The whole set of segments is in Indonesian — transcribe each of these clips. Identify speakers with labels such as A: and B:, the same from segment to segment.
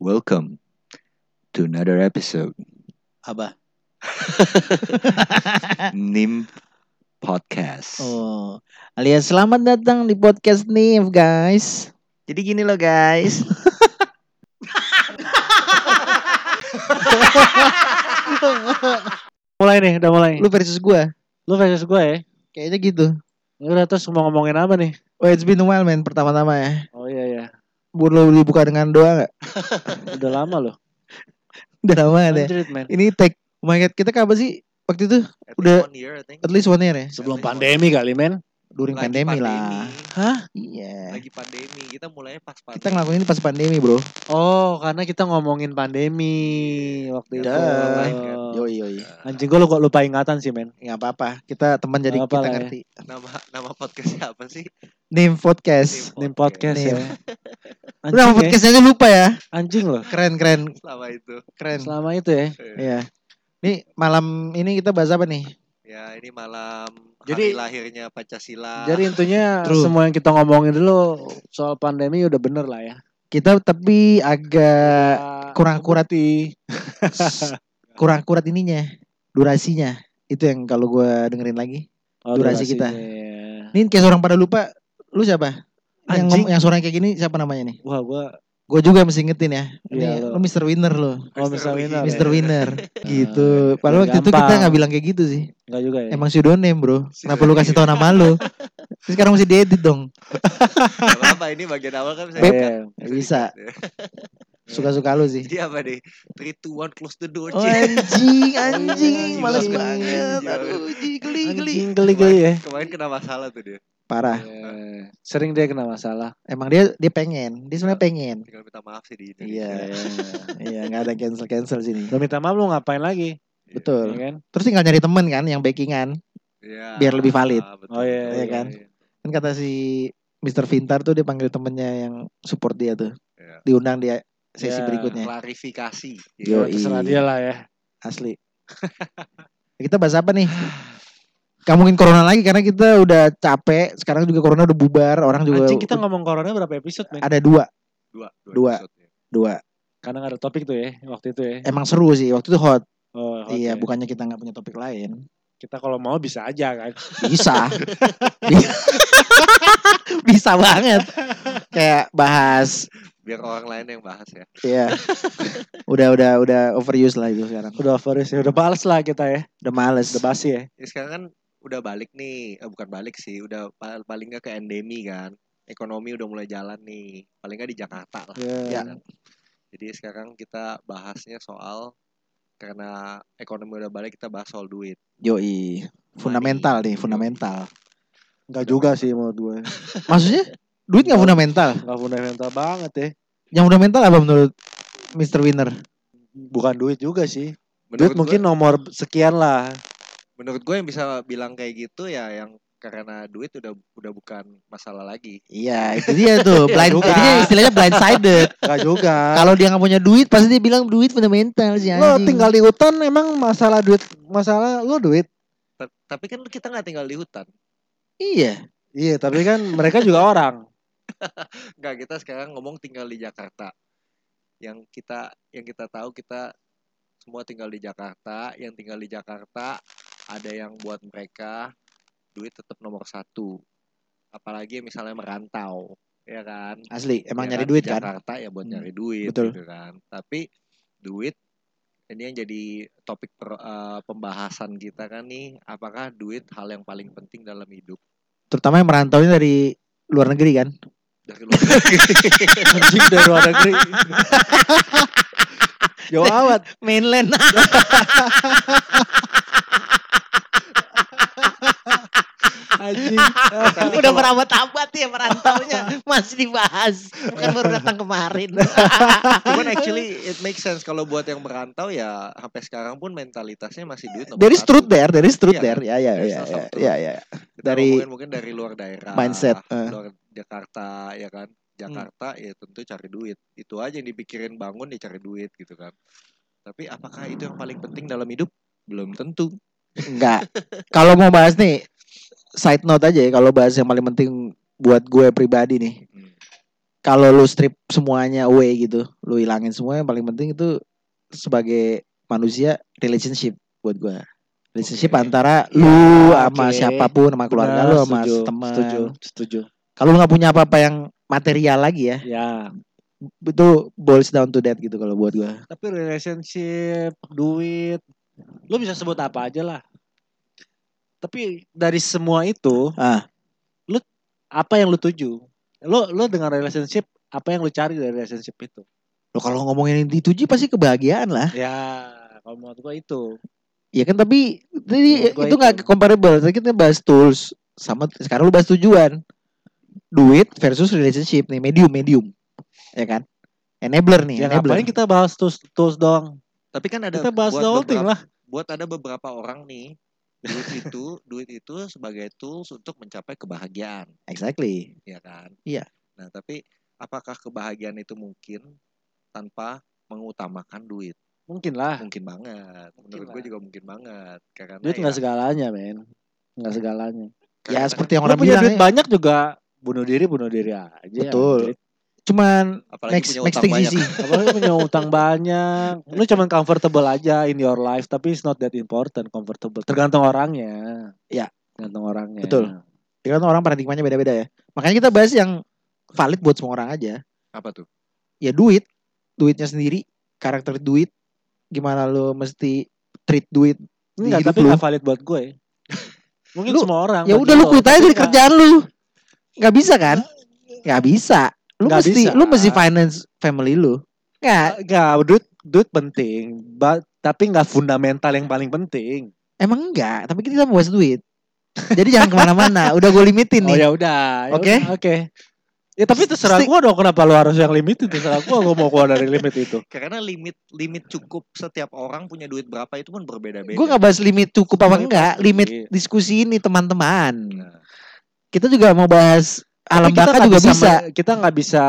A: Welcome to another episode
B: apa
A: NIM Podcast.
B: oh alias selamat datang di podcast Nif guys
A: Jadi gini loh guys.
C: Mulai nih, udah mulai.
B: lu versus gua
C: Lu versus gue ya.
B: kayaknya gitu
C: Ya Udah terus mau ngomongin apa nih?
B: oh it's been a while man pertama-tama ya
C: Oh iya iya.
B: boleh dibuka dengan doa nggak
C: Udah lama loh.
B: udah lama kan ya
C: Anjrit, men.
B: ini tag oh my god kita kapan sih waktu itu Udah- at least one year ya
C: Sebelum pandemi kali, men.
B: during pandemi, lah
C: Hah?
B: iya
A: Lagi pandemi, kita mulainya pas pandemi.
B: kita ngelakuin ini pas pandemi bro
C: Oh, karena kita ngomongin pandemi waktu itu.
B: Dah.
C: Oh.
B: yoi yoi
C: Anjing gue kok lupa ingatan sih, men.
B: nggak apa-apa kita teman jadi
C: Nggak
B: kita
C: apa-apa lah ya.
B: ngerti
A: Nama nama podcastnya apa sih?
B: Name podcast
C: Nim podcast
B: Nim.
C: ya. Anjing,
B: udah nama
C: ya.
B: podcastnya aja lupa ya
C: Anjing loh.
B: keren keren
A: Selama itu.
B: keren
C: Selama itu ya.
B: iya nih malam ini kita bahas apa nih
A: Ya ini malam
C: Jadi-
A: hari lahirnya Pancasila.
C: Jadi intinya
B: True.
C: semua yang kita ngomongin dulu soal pandemi udah bener lah ya.
B: kita tapi
C: Eh,
B: agak kurang kurat
C: kurati.
B: kurang kurat ininya durasinya itu yang kalau gua dengerin lagi durasi kita.
C: Iya.
B: ini kayak orang pada lupa lu siapa yang
C: Anjing.
B: ngomong yang suaranya kayak gini siapa namanya nih
C: Wah, gue
B: gue juga mesti ingetin ya ini
C: Iya,
B: lu
C: lu.
B: Mr. Winner lo
C: Oh, Mr. Winner.
B: Mr.
C: Winner.
B: Winner gitu padahal waktu itu kita
C: Iya, gampang.
B: nggak bilang kayak gitu sih
C: Enggak juga ya.
B: emang pseudonym bro kenapa lu kasih tau nama lu Terus sekarang mesti diedit dong
A: apa ini bagian awal kan bisa
C: Beb.
A: dikat.
B: Nggak bisa
A: dikat.
B: suka-suka lu sih
A: Jadi apa nih? 3 2 1 close the door.
B: Oh,
A: Cik.
B: anjing, anjing,
A: Anjing,
B: males
C: anjing.
B: banget. Aduh, ji, geli, geli.
C: Anjing geli-geli ya.
A: Kemarin kena masalah tuh dia.
B: Parah.
C: Iya. Sering dia kena masalah.
B: Emang dia dia pengen, dia sebenarnya pengen.
A: Tinggal minta maaf sih di
B: Iya,
A: Indonesia.
B: iya nggak ada cancel cancel sini.
C: Lu minta maaf lu ngapain lagi?
B: Betul.
C: Ya kan?
B: Iya. Terus tinggal nyari temen kan yang backingan.
A: Iya.
B: Biar lebih valid.
A: betul.
C: Oh iya,
B: Iya kan? Kan kata si Mr. Vintar tuh dia panggil temennya yang support dia tuh.
A: Iya.
B: Diundang dia sesi
C: Iya.
B: berikutnya.
A: Klarifikasi. Iya.
B: Yo,
C: Terserah dia lah ya.
B: Asli. kita bahas apa nih? Gak mungkin corona lagi karena kita udah capek. Sekarang juga corona udah bubar. Orang juga
C: Anjing kita ngomong corona berapa episode, men?
B: ada dua,
A: Dua.
B: Dua.
A: episode ya.
B: dua.
C: Karena gak ada topik tuh ya waktu itu ya.
B: Emang seru sih. Waktu itu hot.
C: Oh, oke.
B: Iya, bukannya kita nggak punya topik lain.
C: Kita kalau mau bisa aja kan.
B: bisa Bi- bisa banget kayak bahas
A: Biar orang lain yang bahas ya.
B: ya udah udah udah overuse lah itu sekarang
C: Udah over ya, udah males lah kita ya.
B: udah males
C: Udah basi ya.
A: Ya, sekarang kan udah balik nih. Eh, bukan balik sih. Udah pal- paling nggak ke endemi kan. Ekonomi udah mulai jalan nih. Paling nggak di Jakarta lah.
C: Iya,
B: Ya.
A: kan. Jadi sekarang kita bahasnya soal karena ekonomi udah balik kita bahas soal duit.
B: yoi fundamental nih fundamental
C: Enggak juga sih menurut gue.
B: maksudnya duit nggak fundamental
C: Enggak fundamental banget ya.
B: yang fundamental apa menurut Mr. Winner
C: Bukan duit juga sih.
A: Menurut
C: duit mungkin
A: gua,
C: nomor sekian lah.
A: menurut gue yang bisa bilang kayak gitu ya yang karena duit udah udah bukan masalah lagi.
B: iya itu dia tuh blind
C: Bukan.
B: jadinya istilahnya blindsided
C: Enggak juga.
B: kalau dia nggak punya duit pasti dia bilang duit fundamental sih
C: Lo
B: anjing.
C: tinggal di hutan emang masalah duit masalah lo duit.
A: Ta- Tapi kan kita nggak tinggal di hutan.
B: iya
C: Iya, tapi kan mereka juga orang.
A: Enggak, kita sekarang ngomong tinggal di Jakarta. Yang kita yang kita tahu kita semua tinggal di Jakarta, yang tinggal di Jakarta ada yang buat mereka duit tetap nomor satu. Apalagi misalnya merantau, ya kan?
B: asli emang
A: Ya
B: nyari
A: kan,
B: duit
A: di
B: kan
A: Jakarta ya buat
B: Hmm,
A: nyari duit
B: betul.
A: gitu kan. Tapi duit ini yang jadi topik per- eh, pembahasan kita kan nih, apakah duit hal yang paling penting dalam hidup
B: terutama yang merantau ini dari luar negeri kan
A: dari luar negeri?
C: Anjing dari luar negeri. Jauh awet.
B: mainland
C: Anjing.
A: Tapi
B: udah
A: kalau-
B: berabad-abad ya merantaunya masih dibahas bukan baru datang kemarin
A: Cuman actually it makes sense kalau buat yang merantau ya sampai sekarang pun mentalitasnya masih duit nomor
B: dari
A: satu.
B: truth there dari truth
A: Iya,
B: there ya ya
A: There's
B: ya
A: no
B: ya
A: some truth.
B: ya ya
A: Kita
B: dari
A: ngomongin mungkin dari luar daerah,
B: mindset, eh.
A: luar Jakarta ya kan. Jakarta
C: Hmm.
A: ya tentu cari duit. Itu aja yang dipikirin bangun ya cari duit gitu kan. Tapi apakah itu yang paling penting dalam hidup? Belum tentu.
B: enggak kalau mau bahas nih side note aja ya kalau bahas yang paling penting buat gue pribadi nih
A: Hmm.
B: kalau lu strip semuanya away gitu, lu hilangin semuanya yang paling penting itu sebagai manusia relationship buat gua. Relationship
A: Oke.
B: antara lu
C: Ya,
B: sama
C: oke.
B: siapapun, sama keluarga
C: Benar,
B: lu, sama
C: Nah, setuju,
B: teman.
C: Setuju, setuju.
B: Kalau lu nggak punya apa-apa yang material lagi ya,
C: Ya,
B: itu boils down to that gitu kalau buat gua.
C: tapi relationship, duit, lu bisa sebut apa aja lah. Tapi dari semua itu,
B: Ah.
C: lu apa yang lu tuju? Lu lu dengan relationship apa yang lu cari dari relationship itu?
B: Lo kalau ngomongin yang dituju pasti kebahagiaan lah.
C: Ya, kalau menurut gua itu.
B: Ya kan tapi tadi
C: Menurut gua
B: itu nggak
C: itu.
B: comparable. Tadi kita bahas tools sama sekarang lu bahas tujuan. Duit versus relationship nih, medium medium. Ya kan? Enabler nih,
C: Ya
B: enabler.
C: ngapain kita bahas tools tools doang?
A: Tapi kan ada
C: Kita bahas
A: buat
C: the whole thing
A: beberapa-
C: lah.
A: buat ada beberapa orang nih duit itu duit itu sebagai tools untuk mencapai kebahagiaan
B: Exactly.
A: ya kan
B: Iya.
A: nah tapi apakah kebahagiaan itu mungkin tanpa mengutamakan duit
C: Mungkin
B: Ah.
C: lah.
A: mungkin banget menurut gue
C: lah.
A: juga mungkin banget karena
C: Duit
A: ya,
C: nggak segalanya, men. Nggak segalanya.
B: Ya
A: karena-
B: seperti yang
C: Lu
B: orang
C: punya
B: bilang
C: duit
B: ya,
C: banyak juga bunuh diri bunuh diri aja.
B: Betul.
C: anjir.
B: cuman
A: apalagi
B: next
A: punya
B: next
A: utang
B: thing
A: banyak
B: easy.
C: Apa lu punya utang banyak? Lu cuman comfortable aja in your life, tapi it's not that important comfortable. Tergantung orangnya.
B: Ya.
C: tergantung orangnya.
B: Betul. Ya kan orang paradigmanya beda-beda ya. Makanya kita bahas yang valid buat semua orang aja.
A: apa tuh
B: Ya duit, duitnya sendiri, karakter duit, gimana lu mesti treat duit. Di
C: Enggak,
B: hidup
C: tapi
B: lu.
C: nggak valid buat gue. Mungkin
B: Lu-
C: semua orang.
B: Ya
C: bagi
B: udah lu quit aja
C: tapi
B: dari
C: nggak-
B: kerjaan lu. Nggak bisa kan? Nggak bisa. Lu
C: Nggak
B: mesti
C: bisa.
B: lu mesti finance family lu. Nggak,
C: Enggak, duit duit penting, ba- tapi nggak fundamental yang paling penting.
B: emang enggak, tapi kita mau bahas duit. Jadi jangan kemana-mana, udah gue limitin
C: Oh
B: nih.
C: ya udah, ya
B: Oke?
C: udah, Oke. Ya tapi terserah
B: Stick.
C: gua dong kenapa lu harus yang limit itu terserah gua gua mau keluar dari limit itu.
A: karena limit limit cukup setiap orang punya duit berapa itu pun berbeda-beda
B: Gue nggak bahas limit cukup apa
C: Semuanya
B: enggak,
C: pasti.
B: limit diskusi ini teman-teman.
A: Nah,
B: Kita juga mau bahas alam
C: Iya. Tapi kita
B: baka
C: nggak
B: juga bisa.
C: me- kita nggak bisa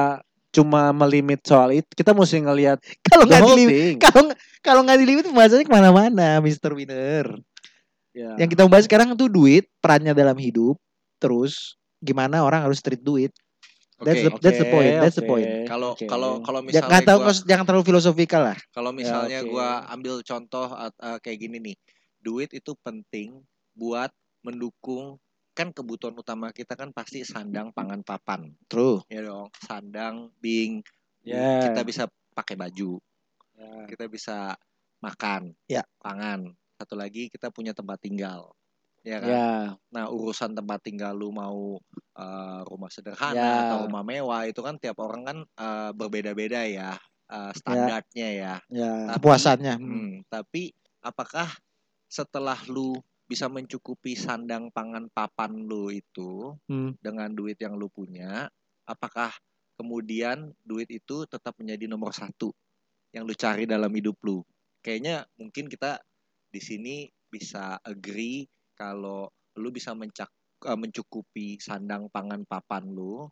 C: cuma melimit soal itu. Kita mesti ngelihat
B: Kalau
C: the
B: nggak
C: whole
B: dilimit,
C: thing.
B: kalau nggak- kalau nggak dilimit pembahasannya kemana-mana, Mister Winner.
C: Ya.
B: Yang kita bahas sekarang tuh duit, perannya dalam hidup, terus gimana orang harus treat duit.
A: oke
B: That's the- that's
C: Oke,
B: point, that's the
C: oke,
B: point.
A: kalau
C: oke.
A: kalau kalau
B: Ja- nggak
A: misalnya
B: tahu
A: gua-
B: nggak usah- jangan terlalu filosofikal lah.
A: Kalau
C: Ya,
A: misalnya
C: oke.
A: gua ambil contoh at- eh, kayak gini nih, duit itu penting buat mendukung kan kebutuhan utama kita kan pasti sandang, pangan, papan,
B: True.
A: ya dong. Sandang, bing,
C: Ya.
A: kita bisa pakai baju,
C: Ya.
A: kita bisa makan,
B: Ya.
A: pangan. Satu lagi kita punya tempat tinggal, ya kan.
C: Ya.
A: Nah urusan tempat tinggal lu mau eh, rumah sederhana
C: Ya.
A: atau rumah mewah itu kan tiap orang kan eh, berbeda-beda ya eh, standarnya ya.
C: Ya.
A: Tapi-
B: Kepuasannya. Hmm.
A: Hmm, tapi apakah setelah lu bisa mencukupi sandang pangan papan lu itu
B: Hmm.
A: dengan duit yang lu punya, apakah kemudian duit itu tetap menjadi nomor satu yang lu cari dalam hidup lu? Kayaknya mungkin kita di sini bisa agree kalau lu bisa mencak- eh, mencukupi sandang pangan papan lu,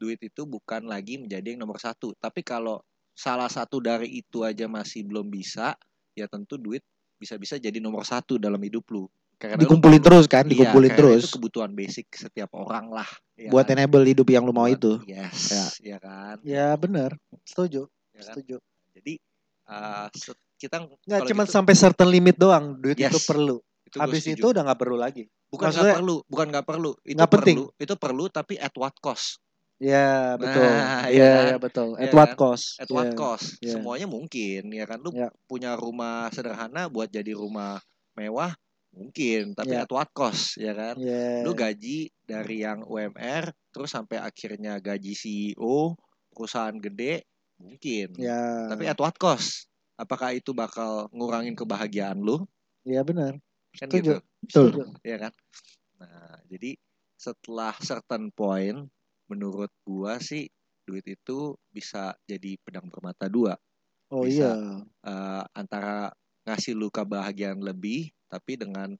A: duit itu bukan lagi menjadi yang nomor satu. Tapi kalau salah satu dari itu aja masih belum bisa, ya tentu duit bisa-bisa jadi nomor satu dalam hidup lu. Karena lu
B: Dikumpulin
A: perlu-
B: terus kan,
A: Iya,
B: dikumpulin
A: karena
B: terus.
A: Itu kebutuhan basic setiap orang lah. ya
B: buat
A: kan?
B: enable hidup yang lu mau
A: Buat-
B: itu.
A: Yes,
C: Ya.
A: ya, kan.
C: Ya benar. Setuju.
A: Ya kan?
C: Setuju.
A: Jadi eh, se- kita
C: Nggak
A: kalau
C: cuma
A: gitu,
C: sampai certain limit doang duit
A: Yes.
C: itu perlu.
A: itu gua
C: Habis
A: setuju.
C: itu udah nggak perlu lagi.
A: bukan nggak
C: maksudnya-
A: perlu, bukan nggak perlu, itu
C: Nggak penting.
A: perlu, itu perlu tapi at what cost?
C: Ya betul.
A: Nah,
C: ya,
A: ya kan?
C: ya, betul. At
A: Ya
C: what
A: kan?
C: cost?
A: At
C: Ya.
A: what cost?
C: ya.
A: Semuanya mungkin, ya kan? Lu
C: Ya.
A: punya rumah sederhana buat jadi rumah mewah mungkin, tapi
C: Ya.
A: at what cost, ya kan?
C: Ya.
A: lu gaji dari yang UMR terus sampai akhirnya gaji CEO perusahaan gede mungkin
C: Ya.
A: tapi at what cost apakah itu bakal ngurangin kebahagiaan lu
C: Ya benar.
A: kan gitu
C: Setuju.
B: Betul.
C: Setuju.
A: ya kan nah jadi setelah certain point menurut gua sih duit itu bisa jadi pedang bermata dua
C: Oh
A: Bisa.
C: iya.
A: Eh, antara ngasih lu kebahagiaan lebih tapi dengan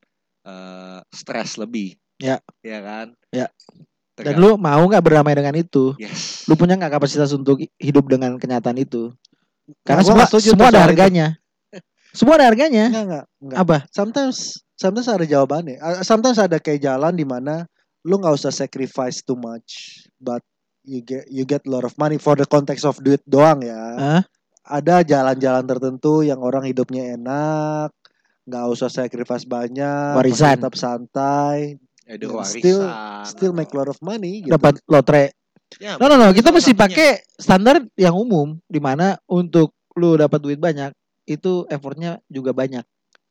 A: eh, stres lebih
B: Ya.
A: ya kan
B: Ya. Dan
A: Tergan-
B: lu mau nggak berdamai dengan itu?
A: Iya. Yes.
B: Lu punya nggak kapasitas untuk hidup dengan kenyataan itu?
C: Nah,
B: Karena
C: gua
B: semua
C: nggak setuju
B: semua
C: tuh
B: ada
C: soal itu.
B: harganya. Semua ada harganya.
C: Enggak, enggak, enggak.
B: Apa?
C: Sometimes sometimes ada jawabannya. Uh, Sometimes ada kayak jalan di mana lu nggak usah sacrifice too much but you get you get lot of money for the context of duit doang ya.
B: Hah?
C: Ada jalan-jalan tertentu yang orang hidupnya enak, nggak usah sacrifice banyak, masih
B: Warisan.
C: tetap santai,
A: Ada
C: Yang
A: ya, warisan.
C: still- still
A: atau-
C: make lot of money gitu.
B: dapat lotre.
A: Ya,
B: No no no, kita
A: salah
B: mesti
A: satunya.
B: pakai standar yang umum di mana untuk lu dapat duit banyak itu effortnya juga banyak.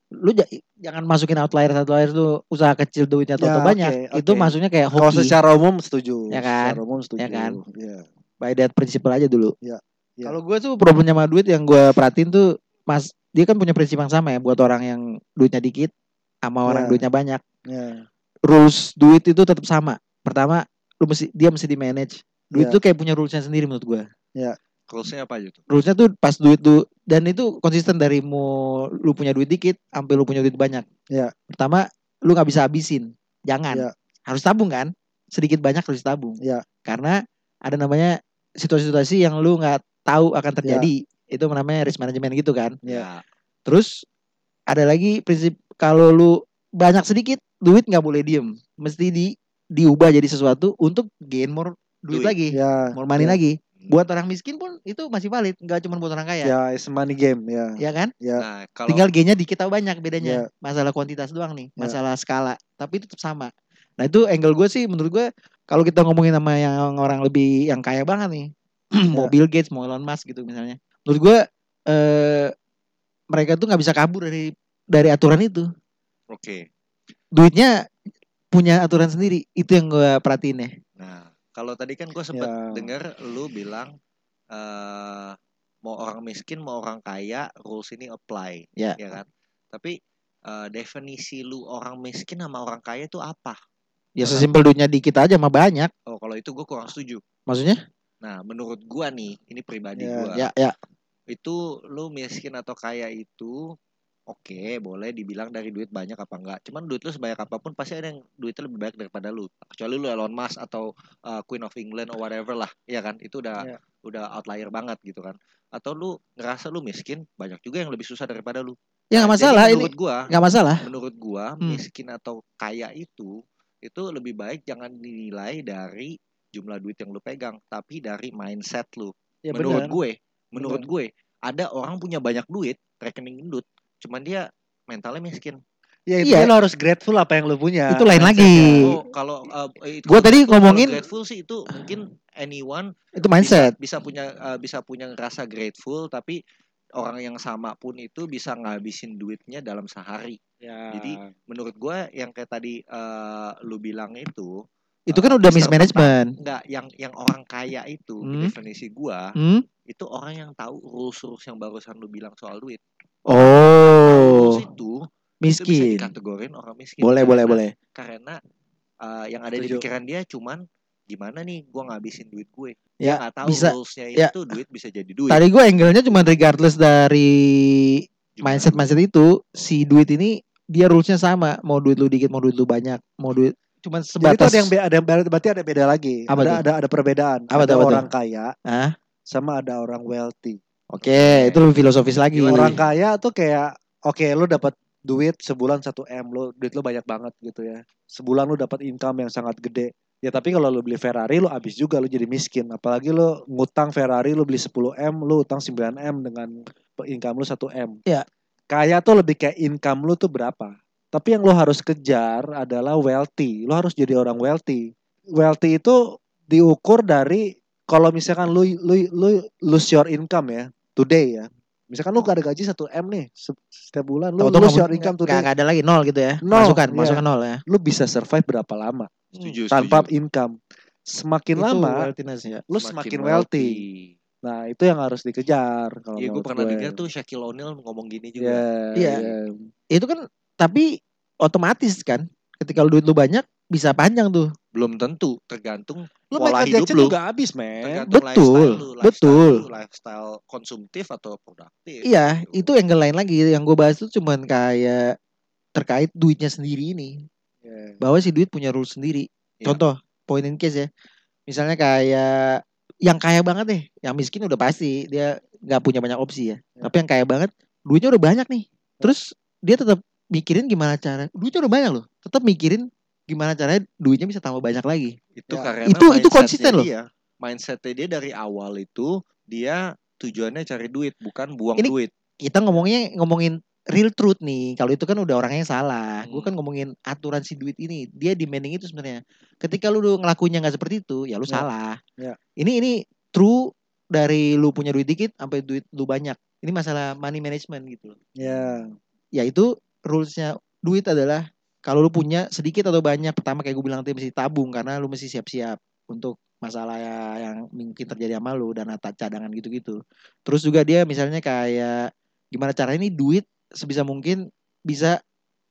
B: Lu ja- jangan masukin outlier outlier lu usaha kecil duitnya
C: Ya,
B: toto
C: oke,
B: banyak. Itu
C: oke.
B: maksudnya kayak
C: Kalau
B: hoki.
C: secara umum setuju.
B: Ya kan?
C: Secara umum setuju.
B: Ya kan?
C: Iya.
B: By that principle aja dulu.
C: Ya, ya.
B: Kalau gue tuh problemnya sama duit yang gue perhatiin tuh Mas dia kan punya prinsip yang sama ya buat orang yang duitnya dikit sama orang
C: Ya.
B: duitnya banyak.
C: Ya.
B: Rules duit itu tetap sama. Pertama, lu mesti dia mesti di manage. Duit
C: Ya.
B: itu kayak punya rulesnya sendiri menurut gue.
A: Rules-nya apa aja tuh?
B: rulesnya tuh pas duit tuh dan itu konsisten dari mau lu punya duit dikit sampai lu punya duit banyak.
A: Ya.
C: Iya.
B: Pertama lu nggak bisa habisin, jangan.
C: Iya.
B: Harus tabung kan, sedikit banyak harus tabung.
A: Ya.
C: Iya.
B: Karena ada namanya situasi-situasi yang lu nggak tahu akan terjadi. Itu namanya risk management gitu kan.
A: Ya.
B: Terus ada lagi prinsip kalau lu banyak sedikit duit nggak boleh diem, mesti di diubah jadi sesuatu untuk gain more duit,
A: Duit.
B: lagi,
C: Ya.
B: more money
A: Iya.
C: Ya.
B: lagi. Buat orang miskin pun itu masih valid, nggak cuma buat orang kaya
C: Ya, it's a money game, ya.
B: ya kan?
A: Nah, Iya. kalau
B: Tinggal gainnya dikit atau banyak bedanya.
C: Iya.
B: Masalah kuantitas doang nih,
C: Iya.
B: masalah skala. Tapi itu tetap sama. Nah itu angle gue sih menurut gue kalau kita ngomongin sama yang orang lebih yang kaya banget nih, mau
A: Iya.
B: Bill Gates, mau Elon Musk gitu misalnya. Menurut gue eh, mereka tuh nggak bisa kabur dari dari aturan itu.
A: oke.
B: Duitnya punya aturan sendiri. Itu yang gue perhatiin ya.
A: Nah, kalau tadi kan gue sempat
C: Ya.
A: dengar lu bilang eh mau orang miskin mau orang kaya rules ini apply,
B: Ya.
A: kan? Tapi eh, definisi lu orang miskin sama orang kaya itu apa?
B: Ya sesimpel duitnya dikit aja sama banyak.
A: Oh, kalau itu gue kurang setuju.
B: Maksudnya?
A: Nah, menurut gua nih, ini pribadi
C: Ya.
A: gua.
B: Ya ya.
A: Itu lu miskin atau kaya itu oke, boleh dibilang dari duit banyak apa enggak. Cuman duit lu sebanyak apapun pasti ada yang duitnya lebih banyak daripada lu. Kecuali lu Elon Musk atau uh, Queen of England or whatever lah, ya kan? Itu udah
C: Ya.
A: udah outlier banget gitu kan. Atau lu ngerasa lu miskin, banyak juga yang lebih susah daripada lu.
B: Ya
A: Nah,
B: nggak
A: jadi
B: masalah ini.
A: menurut gua,
B: Nggak masalah.
A: menurut gua
B: Hmm.
A: miskin atau kaya itu itu lebih baik jangan dinilai dari jumlah duit yang lu pegang, tapi dari mindset lu
C: Ya,
A: menurut
C: benar.
A: gue, menurut gue ada orang punya banyak duit, rekening gendut, cuman dia mentalnya miskin.
C: Ya, itu
B: Iya.
C: lo harus grateful apa yang lo punya.
B: Itu lain lagi.
A: Oh, kalau uh, itu-
B: Gue tadi
A: kalau
B: ngomongin
A: grateful sih itu mungkin anyone
B: itu mindset.
A: bisa, bisa punya uh, bisa punya rasa grateful tapi orang yang sama pun itu bisa ngabisin duitnya dalam sehari. Jadi, Menurut gue yang kayak tadi uh, lu bilang itu
B: Itu kan
A: uh,
B: udah
A: Mr.
B: mismanagement.
A: enggak yang yang orang kaya itu
B: Hmm.
A: definisi gua
B: Hmm?
A: itu orang yang tahu rules-rules yang barusan lu bilang soal duit. Kalau rules
B: Oh,
A: itu itu bisa
B: miskin.
A: dikategorin orang miskin.
B: Boleh,
C: Iya.
A: karena,
B: boleh, boleh.
A: Karena uh, yang ada di
C: Setuju.
A: pikiran dia cuman gimana nih gua ngabisin duit gue.
B: Ya,
A: Dia nggak tahu
B: bisa.
A: rules-nya
B: Ya.
A: itu duit bisa jadi duit.
B: Tadi gue angle-nya cuma regardless dari
A: Jumlah duit.
B: mindset-mindset itu, si duit ini dia rules-nya sama. Mau duit lu dikit, mau duit lu banyak, mau duit cuman
C: Jadi itu
B: sebatas
C: ada yang be- ada yang ber- berarti ada beda lagi.
B: Apa
C: ada
B: tuh?
C: ada ada perbedaan.
B: Apa
C: ada
B: tuh, apa tuh?
C: orang kaya
B: Hah?
C: sama ada orang wealthy.
B: Oke, itu lebih filosofis lagi.
A: Gimana nih?
C: Orang kaya tuh kayak oke lu dapat duit sebulan 1 M lu duit lu banyak banget gitu ya. Sebulan lu dapat income yang sangat gede. Ya tapi kalau lu beli Ferrari lu habis juga lu jadi miskin. Apalagi lu ngutang Ferrari lu beli 10 M, lu utang 9 M dengan income lu 1 M.
B: Iya.
C: Kaya tuh lebih kayak income lu tuh berapa. Tapi yang lu harus kejar adalah wealthy. Lu harus jadi orang wealthy. Wealthy itu diukur dari kalau misalkan lu lu lu lose your income ya today ya. Misalkan lu gak ada gaji 1 M nih se- setiap bulan lu
B: Tahu-tahu
C: lose
B: nggak-
C: your income
B: nggak-
C: today.
B: nggak ada lagi nol gitu ya.
C: Nol,
B: masukan,
C: iya.
B: masukan nol ya.
C: Lu bisa survive berapa lama
A: Setuju,
C: tanpa
A: setuju.
C: income. Semakin
B: Itu
C: lama
B: wealthiness ya.
C: lu semakin, wealthy. Nah, itu yang harus dikejar kalau
A: Iya, gue
C: menurut
A: pernah
C: gue.
B: ya.
A: dengar tuh Shaquille O'Neal ngomong gini
C: Iya,
A: juga.
B: Iya.
C: iya.
B: Itu kan tapi otomatis kan ketika lu duit lu banyak bisa panjang tuh.
A: Belum tentu, tergantung
C: Lu
A: Pola
C: Michael
A: hidup
C: Jackson
A: lu.
C: juga habis,
A: tergantung
C: men.
B: Eh, betul,
A: lifestyle lu, lifestyle
B: betul.
A: lu, lifestyle konsumtif atau produktif.
B: Iya,
A: gitu.
B: itu angle lain lagi yang gue bahas tuh cuman kayak terkait duitnya sendiri ini.
A: Ya,
C: Iya.
B: Bahwa si duit punya rules sendiri.
A: Iya.
B: Contoh, point in case ya. Misalnya kayak yang kaya banget deh, yang miskin udah pasti dia nggak punya banyak opsi ya.
C: Iya.
B: Tapi yang kaya banget, duitnya udah banyak nih. Terus dia tetap mikirin gimana cara, duitnya udah banyak loh, tetap mikirin gimana caranya duitnya bisa tambah banyak lagi.
A: itu
C: Ya.
A: karena
B: Itu- itu
A: mindsetnya
B: konsisten loh.
A: dia. mindsetnya dia dari awal itu dia tujuannya cari duit bukan buang
B: Ini-
A: duit
B: kita ngomongnya ngomongin real truth nih. Kalau itu kan udah orangnya yang salah. Gue
A: Hmm.
B: kan ngomongin aturan si duit ini. Dia demanding itu sebenarnya. Ketika lu udah ngelakuinnya nggak seperti itu, ya lu
C: Ya.
B: salah.
C: Ya.
B: Ini ini true dari lu punya duit dikit sampai duit lu banyak. Ini masalah money management gitu loh.
C: Ya,
B: Yaitu rulesnya duit adalah kalau lu punya sedikit atau banyak, pertama kayak gue bilang tadi mesti tabung karena lu mesti siap-siap untuk masalah ya- yang mungkin terjadi sama lu dana ta- cadangan gitu-gitu. Terus juga dia misalnya kayak gimana caranya nih duit sebisa mungkin bisa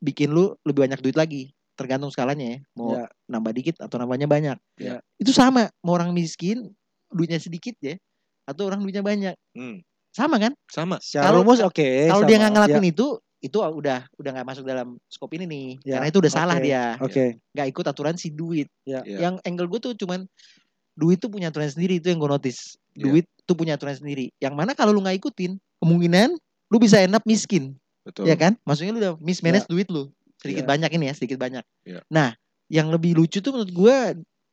B: bikin lu lebih banyak duit lagi, tergantung skalanya ya. Mau
C: Ya.
B: nambah dikit atau nambahnya banyak.
A: Ya.
B: Itu sama, mau orang miskin duitnya sedikit ya atau orang duitnya banyak.
A: Hmm,
B: Sama kan?
A: sama
C: secara
B: Kalau-
C: rumus oke.
B: Kalau
C: sama.
B: dia nggak ngelakuin
C: Ya,
B: itu, itu udah udah nggak masuk dalam skop ini nih.
C: Ya,
B: Karena itu udah salah
C: oke.
B: dia.
C: Oke.
B: Nggak ikut aturan si duit.
C: Ya.
A: Ya.
B: Yang angle gue tuh cuman duit tuh punya aturan sendiri itu yang gue notice.
A: Ya.
B: Duit tuh punya aturan sendiri. Yang mana kalau lu nggak ikutin, kemungkinan lu bisa end up miskin,
A: betul
B: ya kan? Maksudnya lu udah mismanage duit lu. Sedikit
C: Ya. Iya.
B: banyak ini ya, sedikit banyak.
A: Ya.
B: Nah, yang lebih lucu tuh menurut gue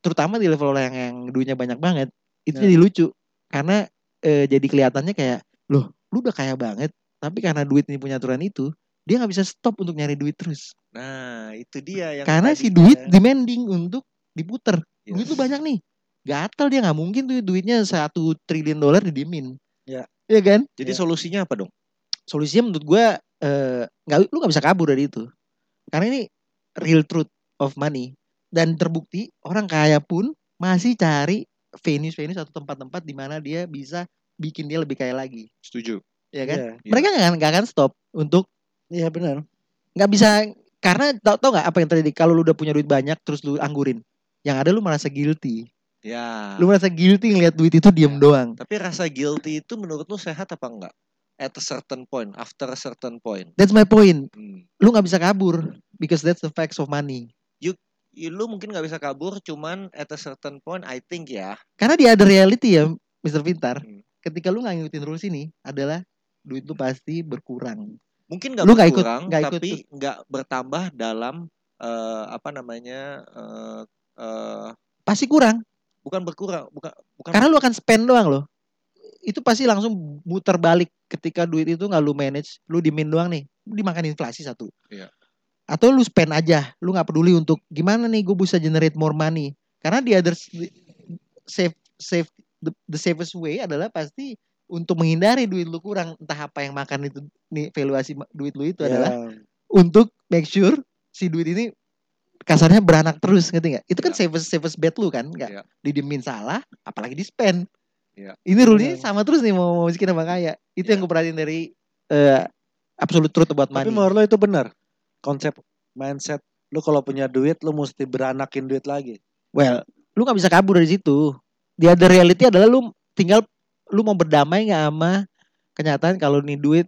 B: terutama di level orang yang duitnya banyak banget, itu
C: Ya.
B: jadi lucu. Karena eh, jadi kelihatannya kayak, loh, lu udah kaya banget, tapi karena duit ini punya aturan itu, dia nggak bisa stop untuk nyari duit terus.
A: nah itu dia yang kan. Iya.
B: Karena si
C: ya.
A: tadinya-
B: duit demanding untuk diputer.
A: Yes.
C: Iya.
B: Duit lu banyak nih. Gatel dia nggak mungkin tuh duitnya satu triliun dolar didimin.
C: Ya.
B: Iya kan?
A: jadi
C: Ya.
A: solusinya apa dong
B: Solusinya menurut gua eh, nggak lu nggak bisa kabur dari itu. Karena ini real truth of money dan terbukti orang kaya pun masih cari venue-venue atau tempat-tempat di mana dia bisa bikin dia lebih kaya lagi.
A: setuju
B: Iya kan?
C: Ya.
A: Iya.
B: Mereka nggak akan- nggak akan stop untuk
C: Iya benar.
B: nggak bisa karena tau tau nggak apa yang terjadi kalau lu udah punya duit banyak terus lu anggurin yang ada lu merasa guilty
A: ya
B: lu merasa guilty ngelihat duit itu diem doang
A: tapi rasa guilty itu menurut lu sehat apa enggak at a certain point after a certain point
B: that's my point
A: hmm.
B: lu nggak bisa kabur because that's the facts of money
A: Ya, lu mungkin nggak bisa kabur cuman at a certain point I think ya
B: karena di other reality ya Mr. Pintar
A: Hmm.
B: ketika lu nggak ngikutin rules ini adalah duit lu pasti berkurang
A: mungkin nggak
B: Lu nggak ikut-
A: berkurang
B: nggak ikut
A: tapi nggak bertambah dalam eh, apa namanya eh, eh,
B: pasti kurang
A: bukan berkurang bukan bukan
B: karena lu akan spend doang loh itu pasti langsung muter balik ketika duit itu nggak lu manage lu dimin doang nih lu dimakan inflasi satu
A: Iya.
B: atau lu spend aja lu nggak peduli untuk gimana nih gue bisa generate more money karena di other safe safe the, the safest way adalah pasti untuk menghindari duit lu kurang entah apa yang makan itu nih valuasi ma- duit lu itu
C: Ya.
B: adalah untuk make sure si duit ini kasarnya beranak terus ngerti nggak? Itu kan
A: Iya.
B: safest safest bet lu kan nggak?
A: Iya.
B: Didemin salah, apalagi di spend.
A: Iya.
B: Ini rule-nya
C: Benar.
B: sama terus nih mau, mau miskin sama kaya. Itu yang
A: Iya.
B: gue perhatiin dari eh, absolute truth about
C: Tapi
B: money.
C: menurut lo itu benar. Konsep mindset lu kalau punya duit lu mesti beranakin duit lagi.
B: Well, lu nggak bisa kabur dari situ. Di other reality adalah lu tinggal lu mau berdamai nggak sama kenyataan kalau nih duit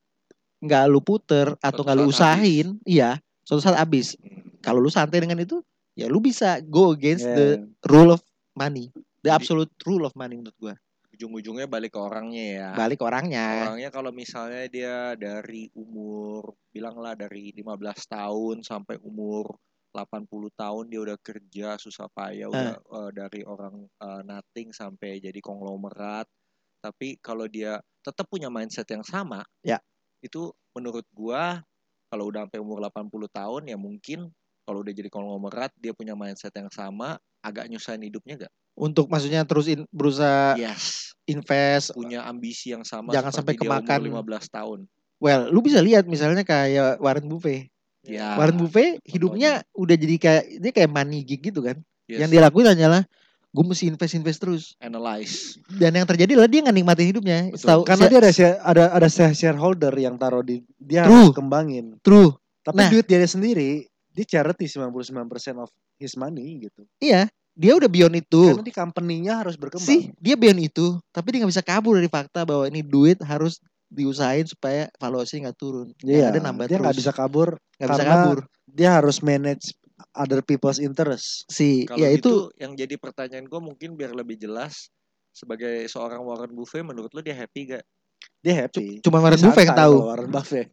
B: nggak lu puter
A: Suatu
B: atau nggak lu
A: saat habis.
B: usahain, iya, suatu saat habis.
A: Hmm. Iya.
B: Kalau lu santai dengan itu, ya lu bisa go against
C: Ya.
B: the rule of money.
A: Jadi-
B: The absolute rule of money menurut
C: Nah.
B: gua.
A: ujung-ujungnya balik ke orangnya ya
B: Balik orangnya.
A: orangnya kalau misalnya dia dari umur bilanglah dari 15 tahun sampai umur 80 tahun dia udah kerja susah payah udah eh, dari orang eh, nothing sampai jadi konglomerat tapi kalau dia tetap punya mindset yang sama
B: Ya.
A: itu menurut gua kalau udah sampai umur 80 tahun ya mungkin kalau udah jadi konglomerat dia punya mindset yang sama agak nyusahin hidupnya gak?
B: Untuk maksudnya terus in- berusaha
A: Yes
B: invest.
A: punya ambisi yang sama
B: Jangan sampai
A: seperti dia
B: kemakan.
A: umur 15 tahun.
B: Well, lu bisa lihat misalnya kayak Warren Buffett.
C: Ah,
A: Ya.
B: Warren Buffett hidupnya udah jadi kayak dia kayak money gig gitu kan.
A: Yes.
B: Yang dia lakuin hanyalah gue mesti invest invest terus.
A: analyze.
B: Dan yang terjadi adalah dia nggak nikmatin hidupnya.
A: Betul.
B: Setahu
C: Karena
B: saya-
C: dia ada share- ada ada share- shareholder yang taruh di dia
B: True.
C: harus kembangin.
B: true.
C: Tapi
B: Nah.
C: duit dia sendiri dia charity 99% of his money gitu.
B: Iya, dia udah beyond itu.
C: Karena di company-nya harus berkembang.
B: sih dia beyond itu tapi dia nggak bisa kabur dari fakta bahwa ini duit harus diusahain supaya valuasi nggak turun yang
C: Iya,
B: ya, ada nambah
C: dia nggak
B: terus
C: bisa kabur,
B: nggak bisa
C: karena-
B: kabur
C: dia harus manage other people's interest.
B: si
A: Kalau
B: ya itu
A: gitu yang jadi pertanyaan gue mungkin biar lebih jelas sebagai seorang Warren Buffet menurut lu dia happy gak?
C: Dia happy.
B: cuma Warren
C: Dia
B: Buffett yang
C: santai
B: tahu
C: kalau Warren Buffett.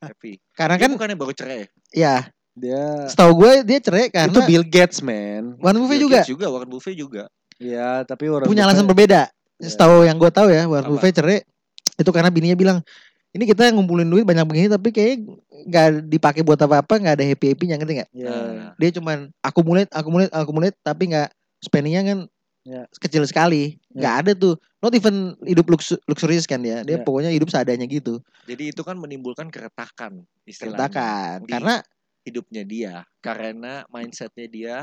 A: Happy.
B: karena
A: Dia
B: kan
A: bukannya baru cerai.
B: ya
C: Dia
B: setahu gue dia cerai
C: Iya. itu
B: karena
C: Bill Gates, man.
B: Warren Buffett
A: Bill
B: juga
A: Gates juga Warren Buffet juga.
C: Iya, tapi orang
B: punya alasan
C: Buffet-
B: berbeda.
C: Iya.
B: Setahu yang gue tahu ya, Warren
A: Apa?
B: Buffett cerai itu karena bininya bilang ini kita ngumpulin duit banyak begini tapi kayak nggak dipakai buat apa-apa nggak ada happy happynya ngerti nggak
C: Iya.
A: Nah,
B: dia cuman akumulit akumulit akumulit tapi nggak spendingnya kan
C: Iya.
B: kecil sekali
C: Iya.
B: nggak ada tuh not even hidup luksu- luxurious kan dia dia
C: Iya.
B: pokoknya hidup seadanya gitu
A: jadi itu kan menimbulkan keretakan istilahnya.
B: ceritakan
C: Iya.
A: Di-
B: karena
A: hidupnya dia karena mindsetnya dia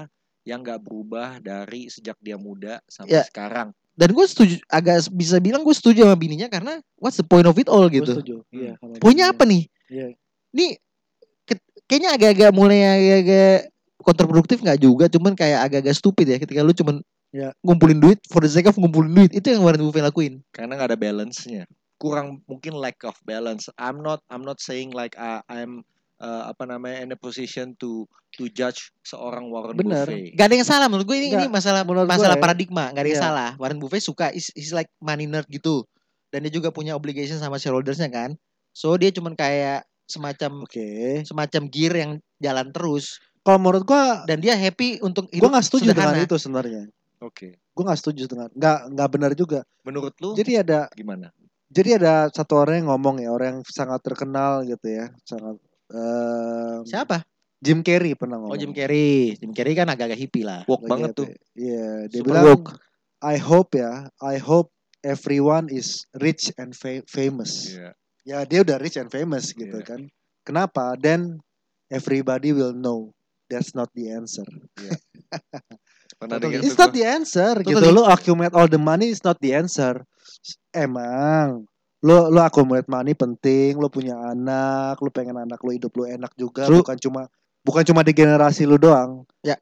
A: yang nggak berubah dari sejak dia muda sampai
B: Ya.
A: sekarang
B: dan gue setuju agak bisa bilang gue setuju sama bininya karena what's the point of it all
C: Gua
B: gitu
C: setuju. Iya, sama
B: poinnya
C: dia.
B: apa nih
C: Iya.
B: ini ke- kayaknya agak-agak mulai agak-agak kontraproduktif nggak juga cuman kayak agak-agak stupid ya ketika lu cuman
C: Iya.
B: ngumpulin duit for the sake of ngumpulin duit itu yang Warren Buffett lakuin
A: karena nggak ada balance-nya kurang mungkin lack of balance I'm not I'm not saying like uh, I'm uh, apa namanya in a position to to judge seorang Warren
C: Bener.
A: Buffet
B: Gak ada yang salah menurut gue ini ini
C: Nggak,
B: masalah
C: menurut
B: masalah
C: gue ya.
B: paradigma gak ada yang
C: Iya.
B: salah Warren Buffett suka is is like money nerd gitu dan dia juga punya obligation sama shareholdersnya kan so dia cuman kayak semacam
C: Oke.
B: semacam gear yang jalan terus
C: Kalau menurut gua
B: dan dia happy untuk
C: gua
B: hidup
C: nggak setuju
B: sederhana.
C: dengan itu sebenarnya.
A: oke
C: Gua nggak setuju dengan nggak nggak benar juga.
A: menurut lu
C: Jadi ada
A: gimana
C: jadi ada satu orang yang ngomong ya, orang yang sangat terkenal gitu ya, sangat em,
B: siapa
C: Jim Carrey pernah ngomong.
B: oh Jim Carrey Jim Carrey kan agak-agak hippie lah
A: woke
C: Lagi
A: banget
C: apa
A: tuh
C: ya? Iya, dia
B: Super
C: bilang
B: woke.
C: I hope ya, I hope everyone is rich and fa- famous.
A: Iya.
C: Ya dia udah rich and famous gitu
A: Iya.
C: kan. Kenapa? Then everybody will know that's not the answer.
A: pernah dengar
C: Totally. It's
A: tuh
C: not
A: gua.
C: the answer gitu.
B: Totally.
C: Lo accumulate all the money is not the answer. Emang lo lo accumulate money penting, lo punya anak, lo pengen anak lo hidup lo enak juga,
B: True.
C: bukan cuma bukan cuma di generasi lo doang.
B: Ya.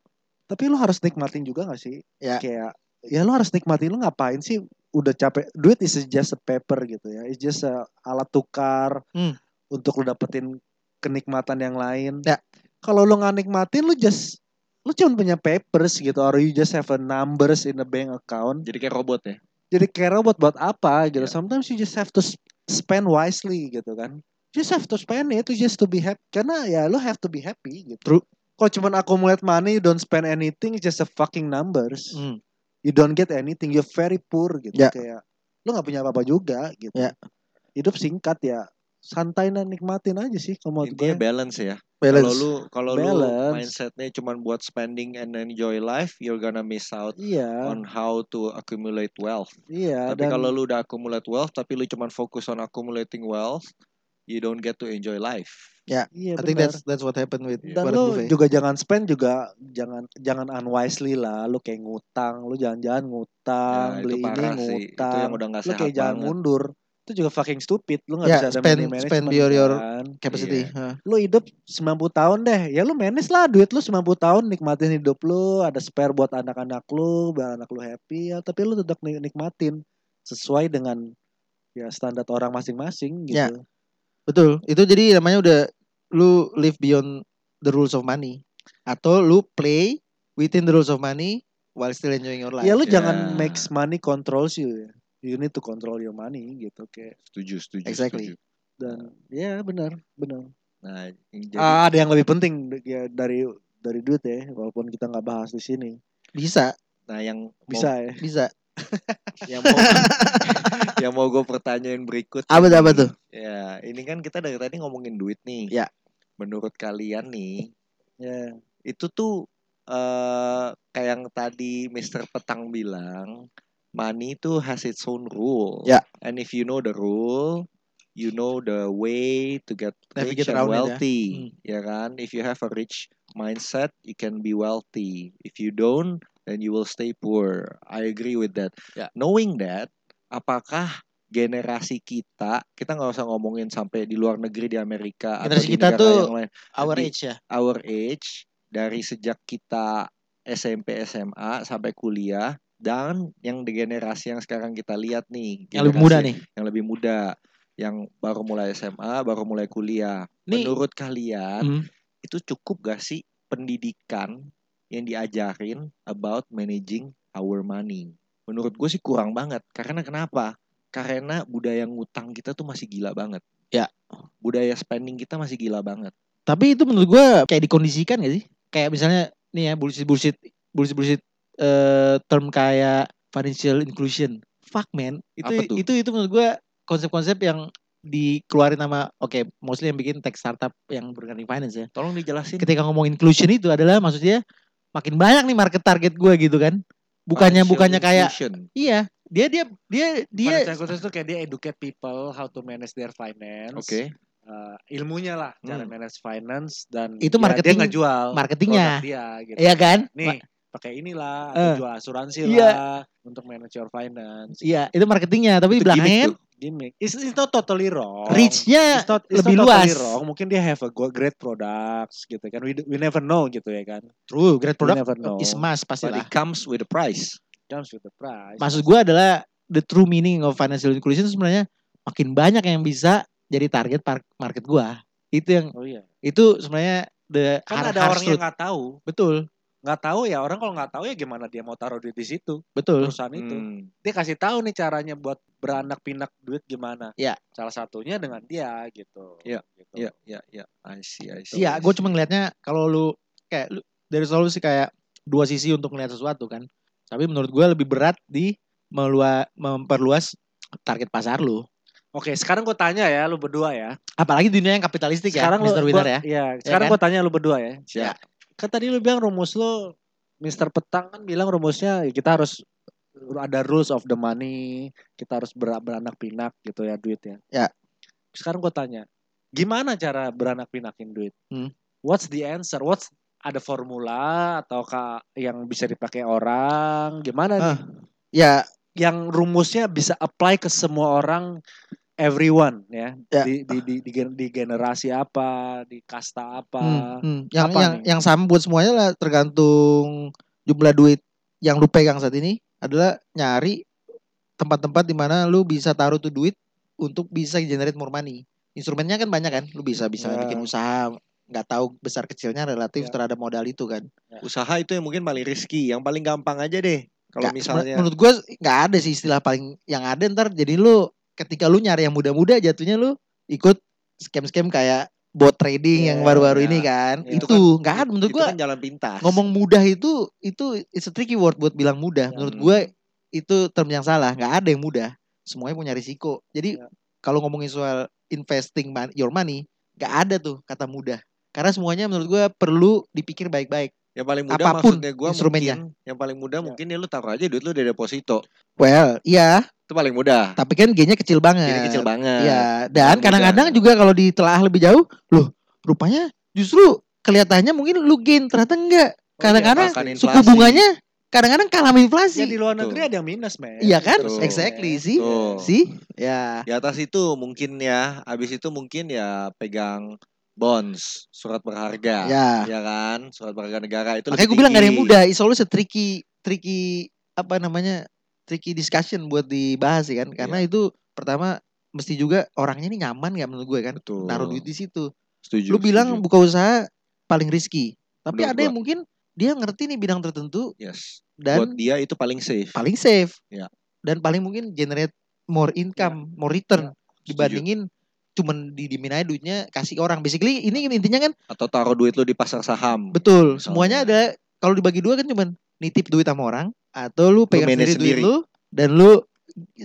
C: Tapi lo harus nikmatin juga gak sih?
B: Ya.
C: Kayak ya lo harus nikmatin lo ngapain sih udah capek. Duit is just a paper gitu ya. It's just a alat tukar
B: Hmm.
C: untuk lo dapetin kenikmatan yang lain.
B: Ya.
C: Kalau lo nggak nikmatin lo just lu cuma punya papers gitu or you just have a numbers in a bank account
A: jadi kayak robot ya
C: jadi kira buat buat apa gitu
A: Yeah.
C: sometimes you just have to sp- spend wisely gitu kan just have to spend it to just to be happy karena ya lu have to be happy gitu
B: True.
C: kalau cuman accumulate money you don't spend anything it's just a fucking numbers
B: Hmm.
C: you don't get anything you're very poor gitu
B: Ya.
C: kayak lu nggak punya apa-apa juga gitu
B: Ya.
C: hidup singkat ya santai dan nikmatin aja sih kalau menurut
A: intinya
C: gue
A: balance ya kalau
B: Balance.
A: lu kalau lu
C: Balance.
A: mindsetnya cuman buat spending and enjoy life you're gonna miss out
C: iya
A: on how to accumulate wealth
C: iya
A: Tapi kalau lu udah accumulate wealth tapi lu cuman fokus on accumulating wealth, you don't get to enjoy life.
C: iya
B: I think
C: benar.
B: that's that's what happened with
A: Iya.
C: Dan
B: Warren
C: lo
B: Buffett.
C: juga jangan spend juga jangan jangan unwisely lah. Lo kayak ngutang, lo jangan-jangan
A: Ya,
C: ngutang, beli
A: itu
C: ini
A: parah sih. Itu
C: ngutang.
A: yang udah nggak
C: Lo
A: sehat
C: kayak jangan
A: banget.
C: mundur. Itu juga fucking stupid. Lo nggak
B: Ya,
C: bisa ada
B: spend-
C: money management
B: spend your- your-
C: kan.
B: Capacity. Hah.
C: Lo hidup 90 tahun deh. Ya lo manage lah duit lo 90 tahun nikmatin hidup lo, ada spare buat anak-anak lo, biar anak lo happy ya, tapi lo tetap nik- nikmatin sesuai dengan ya standar orang masing-masing gitu.
B: Ya. Betul. Itu jadi namanya udah lu live beyond the rules of money atau lu play within the rules of money while still enjoying your life.
C: Ya lu
A: Ya.
C: jangan makes money controls you ya. You need to control your money gitu kayak
A: Setuju, setuju,
B: Exactly.
A: setuju.
C: dan ya benar benar.
A: Nah, yang jadi
C: Ah, ada yang lebih penting d- ya dari dari duit ya walaupun kita nggak bahas di sini
B: Bisa,
A: nah yang mau-
C: bisa ya.
B: bisa.
A: yang mau yang mau gue pertanyaan berikut.
B: Apa
A: jadi-
B: apa tuh?
A: Ya, ini kan kita dari tadi ngomongin duit nih.
B: Ya.
A: Menurut kalian nih,
C: Ya
A: itu tuh eh kayak yang tadi Mr. Petang bilang money itu has its own rule
B: Ya.
A: and if you know the rule you know the way to get rich
B: Navigate
A: and
B: around it ya.
A: wealthy ya kan if you have a rich mindset you can be wealthy if you don't then you will stay poor I agree with that
B: Ya.
A: knowing that apakah generasi kita kita nggak usah ngomongin sampai di luar negeri di Amerika
B: Generasi
A: atau di
B: kita
A: negara
B: tuh-
A: yang lain
B: Our
A: Di-
B: age ya.
A: our age dari sejak kita SMP, SMA sampai kuliah dan yang di generasi yang sekarang kita lihat nih,
B: Yang lebih muda
A: generasi
B: nih.
A: yang lebih muda, yang baru mulai SMA, baru mulai kuliah.
B: Nih-
A: Menurut kalian
B: Hmm.
A: itu cukup gak sih pendidikan yang diajarin about managing our money? Menurut gue sih kurang banget. Karena kenapa? Karena budaya ngutang kita tuh masih gila banget.
B: Ya.
A: Budaya spending kita masih gila banget.
B: Tapi itu menurut gua kayak dikondisikan gak sih? Kayak misalnya nih ya bullshit bullshit bullshit bullshit eh, term kayak financial inclusion. Fuck man,
A: Apa
B: itu
A: tuh?
B: itu itu menurut gua konsep-konsep yang dikeluarin sama oke mostly yang bikin tech startup yang bergerak finance ya.
A: Tolong dijelasin.
B: Ketika ngomong inclusion itu adalah maksudnya makin banyak nih market target gua gitu kan. Bukannya
A: Financial
B: bukannya kayak
A: inclusion.
B: iya, dia dia dia dia
C: Financial inclusion tuh kayak dia educate people how to manage their finance.
A: Oke.
C: Eh, ilmunya lah
A: Hmm.
C: cara manage finance dan
B: Itu
C: ya,
B: marketing-
C: dia ngejual produk
B: marketingnya.
C: dia gitu.
B: Iya kan? Ma-
C: Nih pakai inilah atau
B: Eh.
C: jual asuransi
B: Iya.
C: lah untuk manage your finance.
B: Iya, itu marketingnya, tapi
A: Itu
B: belakangnya
A: gimmick Oh,
B: kan
A: tuh.
C: Gimmick. It's, it's not totally wrong.
B: reach-nya
C: It's not- it's
B: lebih
C: not totally
B: luas.
C: wrong. Mungkin dia have a go- great products gitu kan. We, we never know gitu ya kan.
B: True, great
C: we
B: product
C: never know.
B: is must
A: But
B: pastilah.
A: it comes with a price.
C: Comes with the price.
B: Maksud gue adalah the true meaning of financial inclusion sebenarnya makin banyak yang bisa jadi target par- market gue. Itu yang
C: Oh iya.
B: itu sebenarnya the
C: Kan
B: har-
C: ada
B: harsh
C: orang yang
B: truth.
C: nggak tahu.
B: betul
C: Nggak tahu ya orang kalau nggak tahu ya gimana dia mau taruh duit di situ
B: betul
C: perusahaan itu.
A: Hmm.
C: Dia kasih tahu nih caranya buat beranak pinak duit gimana.
B: Iya.
C: Salah satunya dengan dia gitu.
A: Iya,
C: Gitu.
A: Ya, ya, ya. I see, I see.
B: iya
A: I
B: gue
A: see.
B: cuma ngelihatnya kalau lu kayak lu dari selalu sih kayak dua sisi untuk melihat sesuatu kan tapi menurut gue lebih berat di melua- memperluas target pasar lu
C: Oke, sekarang gue tanya ya lu berdua ya.
B: apalagi di dunia yang kapitalistik
C: sekarang
B: ya
C: lu,
B: Mr. Winner
C: gua-
B: ya
C: Iya,
B: kan? Iya.
C: sekarang gue tanya lu berdua ya.
A: Siap.
C: Kan tadi lu bilang rumus lu Mister Petang kan bilang rumusnya kita harus ada rules of the money, kita harus ber- beranak pinak gitu ya duitnya.
B: Ya.
C: Sekarang gue tanya, gimana cara beranak pinakin duit?
B: Hmm.
C: What's the answer? What's ada formula atau ka- yang bisa dipakai orang? Gimana
B: Ah.
C: nih? Iya,
B: ya
C: Yang rumusnya bisa apply ke semua orang, everyone ya.
B: Ya.
C: Di, di, di, di gen- di generasi apa, di kasta
B: Hmm,
C: apa?
B: hmm. Yang
C: apa
B: yang
C: nih?
B: yang sama buat semuanya lah tergantung jumlah duit yang lu pegang saat ini adalah nyari tempat-tempat di mana lu bisa taruh tuh duit untuk bisa generate more money. Instrumennya kan banyak kan, lu bisa bisa
C: Ya.
B: bikin usaha, nggak tahu besar kecilnya relatif
C: Ya.
B: terhadap modal itu kan.
A: Usaha itu yang mungkin paling riski, yang paling gampang aja deh. Kalau
B: Nggak,
A: misalnya
B: menurut gua nggak ada sih istilah paling yang ada ntar jadi lu ketika lu nyari yang muda-muda jatuhnya lu ikut scam-scam kayak bot trading yang
C: Ya,
B: baru-baru
A: ya.
B: ini kan.
C: Ya.
B: Itu nggak ada menurut
A: itu kan
B: gua
A: jalan pintas.
B: ngomong mudah itu itu it's a tricky word buat bilang mudah. Menurut
A: Hmm.
B: gue itu term yang salah. Nggak ada yang mudah. Semuanya punya risiko. Jadi
C: Ya.
B: kalau ngomongin soal investing mon- your money, nggak ada tuh kata mudah. Karena semuanya menurut gue perlu dipikir baik-baik.
A: yang paling mudah
B: apapun
A: maksudnya gua
B: instrumennya.
A: mungkin yang paling mudah
C: Ya.
A: mungkin ya lu taruh aja duit lu di deposito.
B: Well, iya.
A: Itu paling mudah.
B: Tapi kan gainnya kecil banget.
A: Ini kecil banget.
B: Iya. Dan
A: Bukan
B: kadang-kadang
A: mudah.
B: juga kalau ditelaah lebih jauh, loh rupanya justru kelihatannya mungkin lu gain ternyata enggak. Kadang-kadang
A: Makan
B: suku
A: inflasi.
B: bunganya kadang-kadang kalah sama inflasi.
C: Ya di luar
A: Betul.
C: negeri ada yang minus, men.
B: Iya kan?
A: Betul.
B: Exactly sih.
A: Betul.
B: Sih? Ya.
A: Di atas itu mungkin ya, habis itu mungkin ya pegang bonds, surat berharga.
B: Ya.
A: Ya kan? Surat berharga negara itu
B: Makanya
A: lebih
B: gue bilang gak ada yang
A: tinggi.
B: mudah. It's always a tricky tricky apa namanya? tricky discussion buat dibahas ya kan. Karena
A: Iya.
B: itu pertama mesti juga orangnya ini nyaman gak menurut gue kan.
A: Betul.
B: Taruh duit di
A: Oh.
B: situ.
A: Setuju.
B: Lu bilang
A: setuju.
B: buka usaha paling risky. Tapi
A: Menurut
B: ada yang mungkin dia ngerti nih bidang tertentu
A: yes. Buat
B: dan
A: dia itu paling safe.
B: paling safe.
A: Ya.
B: Dan paling mungkin generate more income, more
A: Iya.
B: return
A: Setuju.
B: dibandingin cuman didimin aja duitnya kasih ke orang. Basically ini intinya kan
A: Atau taruh duit lu di pasar saham.
B: Betul,
C: Oh.
A: Misalnya.
B: semuanya ada kalau dibagi dua kan cuman nitip duit sama orang atau lu pegang sendiri,
A: manage sendiri.
B: duit lu dan lu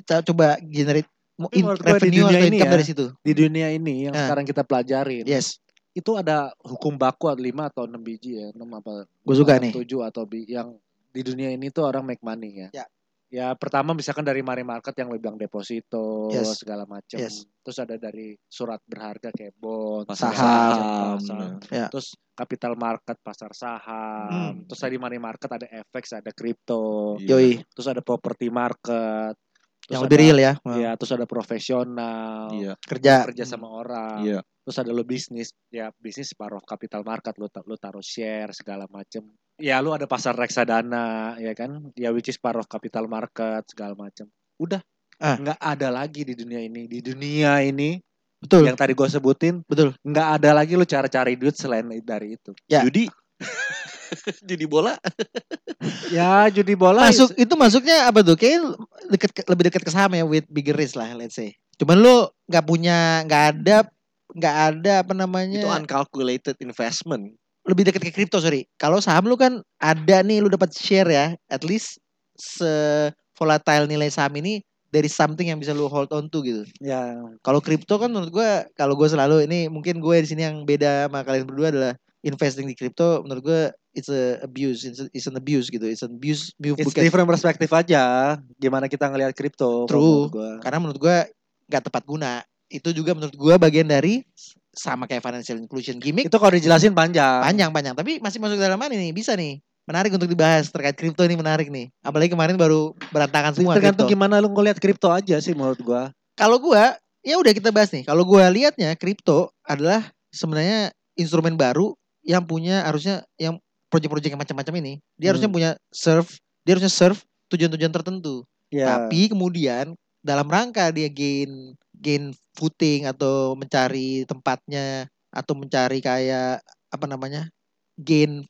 B: ca- coba generate mo-
C: Tapi
B: in-
C: menurut gua di
B: revenue
C: dunia
B: atau
C: ini
B: income
C: ya,
B: dari situ.
C: Di dunia ini yang
B: Eh.
C: sekarang kita pelajarin,
B: Yes,
C: itu ada hukum baku ada 5 atau 6 biji ya, 6 apa
B: gue suka nih.
C: 7 atau bi- yang di dunia ini tuh orang make money ya.
B: Ya.
C: Ya, pertama misalkan dari money market yang lo bilang deposito
B: Yes.
C: segala macam.
B: Yes.
C: Terus ada dari surat berharga kayak bond,
A: Pasar
C: segala macam,
A: saham.
C: pasar.
B: Ya.
C: Terus capital market,
A: Ah,
C: pasar saham.
B: Hmm.
C: Terus tadi money market ada FX, ada kripto.
A: Iya.
B: Yoi,
C: Terus ada property market. Terus
B: yang
C: ada-
B: lebih real ya.
C: Ya, terus ada profesional,
A: Iya.
B: Kerja.
C: kerja sama
B: Hmm.
C: orang.
A: Iya.
C: Terus ada lo bisnis, ya bisnis separuh capital market lo, ta- lo taruh share segala macem. Ya lo ada pasar reksadana, ya kan? Ya which is part of capital market segala macem. Udah,
B: Ah.
C: nggak ada lagi di dunia ini. Di dunia ini
B: Betul.
C: yang tadi gue sebutin,
B: Betul.
C: nggak ada lagi lo cara cari duit selain dari itu.
B: Ya.
A: Judi. Judi bola.
C: Ya judi bola
B: Masuk itu masuknya apa tuh? Kayak deket ke- lebih dekat ke saham ya with bigger risk lah let's say. Cuman lu nggak punya nggak ada nggak ada apa namanya?
A: Itu uncalculated investment.
B: lebih dekat ke kripto sorry. Kalau saham lu kan ada nih lu dapat share ya, at least se volatile nilai saham ini dari something yang bisa lu hold on to gitu.
C: Ya,
B: Kalau kripto kan menurut gue, kalau gue selalu ini mungkin gue di sini yang beda sama kalian berdua adalah investing di kripto menurut gue it's a abuse, it's, a, it's an abuse gitu, it's an abuse move
C: it's
B: bukan-
C: different perspektif aja. Gimana kita ngelihat kripto? kalau
B: True.
C: menurut gua.
B: karena menurut gue nggak tepat guna. Itu juga menurut gue bagian dari sama kayak financial inclusion gimmick
C: Itu kalau dijelasin panjang.
B: panjang-panjang, tapi masih masuk ke dalam mana nih? Bisa nih. Menarik untuk dibahas terkait kripto ini menarik nih. Apalagi kemarin baru berantakan semua
C: Tergantung
B: kripto.
C: gimana lu ngelihat kripto aja sih menurut gua.
B: Kalau gua ya udah kita bahas nih. Kalau gua lihatnya kripto adalah sebenarnya instrumen baru yang punya harusnya yang proyek-proyek yang macam-macam ini, dia harusnya
C: Hmm.
B: punya serve, dia harusnya serve tujuan-tujuan tertentu.
C: Ya.
B: Tapi kemudian dalam rangka dia gain gain footing atau mencari tempatnya atau mencari kayak apa namanya? gain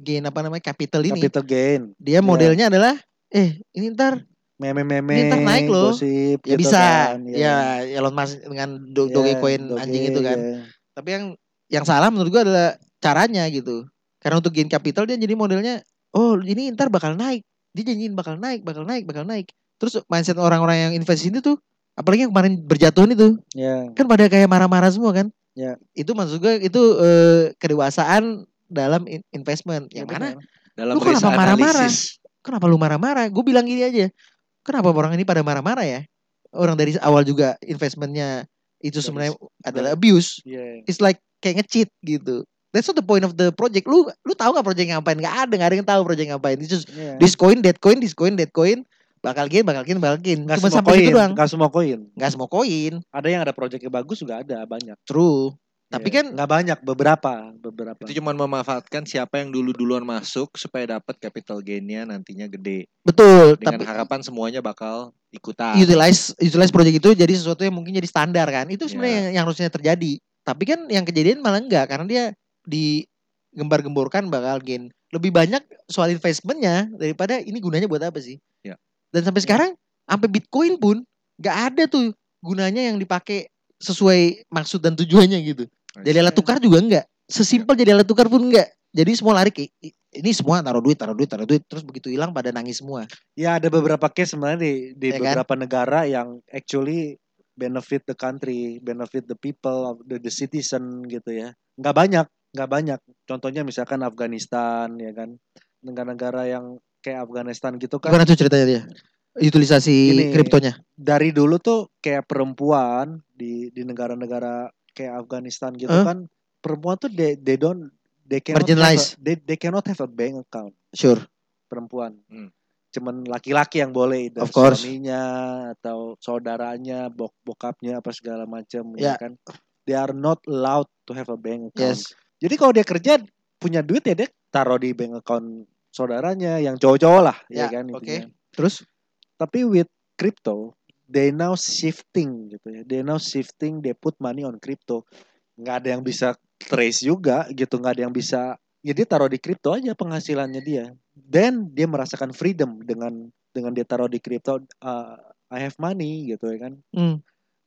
B: gain apa namanya? capital ini.
C: Capital gain,
B: Dia modelnya adalah eh ini ntar
C: meme-meme,
B: Ini ntar naik loh.
C: gosip,
B: ya
C: gitu
B: bisa
C: kan,
B: ya Elon Musk dengan do-
C: Ya,
B: Dogecoin
C: Doge,
B: anjing itu kan.
C: ya.
B: Tapi yang yang salah menurut gua adalah caranya gitu. Karena untuk gain capital dia jadi modelnya oh ini ntar bakal naik. Dia janjiin bakal naik, bakal naik, bakal naik. Terus mindset orang-orang yang invest ini tuh apalagi yang kemarin berjatuhan itu
C: Ya,
B: kan pada kayak marah-marah semua kan.
C: Ya.
B: Itu maksud gua itu eh, kedewasaan dalam in- investment.
C: ya
B: Yang mana?
C: benar.
A: Dalam
B: Lu kenapa
A: risk
B: marah-marah?
A: analisis.
B: Kenapa lu marah-marah? Gue bilang gini aja. Kenapa orang ini pada marah-marah ya? Orang dari awal juga investmentnya itu
C: Dari
B: sebenarnya adalah abuse
C: Iya.
B: it's like kayak ngecheat gitu. That's not the point of the project. Lu lu tahu nggak project ngapain? Gak ada, gak ada yang tahu project ngapain. It's just
C: Iya.
B: this coin, that coin, this coin, that coin, bakal gain, bakal gain, bakal gain.
C: Nggak
B: Cuma
C: semua
B: sampai
C: koin,
B: itu doang.
C: nggak semua koin.
B: Gak semua koin.
C: Ada yang ada project yang bagus juga ada banyak.
B: True. Tapi
C: Iya.
B: kan
C: nggak banyak, beberapa, beberapa.
A: Itu cuma memanfaatkan siapa yang dulu-duluan masuk supaya dapat capital gainnya nantinya gede.
B: betul,
A: Dengan
B: tapi Iya,
A: harapan semuanya bakal ikutan.
B: utilize utilize project itu jadi sesuatu yang mungkin jadi standar kan. Itu sebenarnya
A: Iya.
B: yang, yang harusnya terjadi. Tapi kan yang kejadian malah enggak karena dia digembar-gemborkan bakal gain lebih banyak soal investmentnya daripada ini gunanya buat apa sih.
A: Iya.
B: Dan sampai
C: Iya.
B: sekarang sampai Bitcoin pun nggak ada tuh gunanya yang dipakai sesuai maksud dan tujuannya gitu.
A: Nice.
B: Jadi alat tukar juga enggak. Sesimpel jadi alat tukar pun enggak. Jadi semua lari ke i- ini semua taruh duit, taruh duit, taruh duit terus begitu hilang pada nangis semua.
C: Ya ada beberapa case sebenarnya di, di
B: Ya kan?
C: beberapa negara yang actually benefit the country, benefit the people, of the, the citizen gitu ya. Nggak banyak, nggak banyak. Contohnya misalkan Afghanistan ya kan, negara-negara yang kayak Afghanistan gitu kan.
B: Gimana tuh ceritanya dia? Utilisasi
C: Gini,
B: kriptonya.
C: dari dulu tuh kayak perempuan di di negara-negara kayak Afghanistan gitu
B: Huh?
C: kan perempuan tuh they, they don't they cannot have a,
B: Marginalized.
C: they, they cannot have a bank account
B: Sure.
C: perempuan
A: Hmm.
C: cuman laki-laki yang boleh either
B: Of course.
C: suaminya atau saudaranya bok bokapnya apa segala macam
B: Ya.
C: ya kan they are not allowed to have a bank account
B: Yes.
C: jadi kalau dia kerja punya duit ya dia taruh di bank account saudaranya yang cowok-cowok lah ya,
B: Ya,
C: kan
B: oke.
C: intinya
B: Terus
C: tapi with crypto they now shifting gitu ya they now shifting they put money on crypto nggak ada yang bisa trace juga gitu nggak ada yang bisa ya dia taruh di crypto aja penghasilannya dia then dia merasakan freedom dengan dengan dia taruh di crypto uh, I have money gitu ya kan
B: hmm.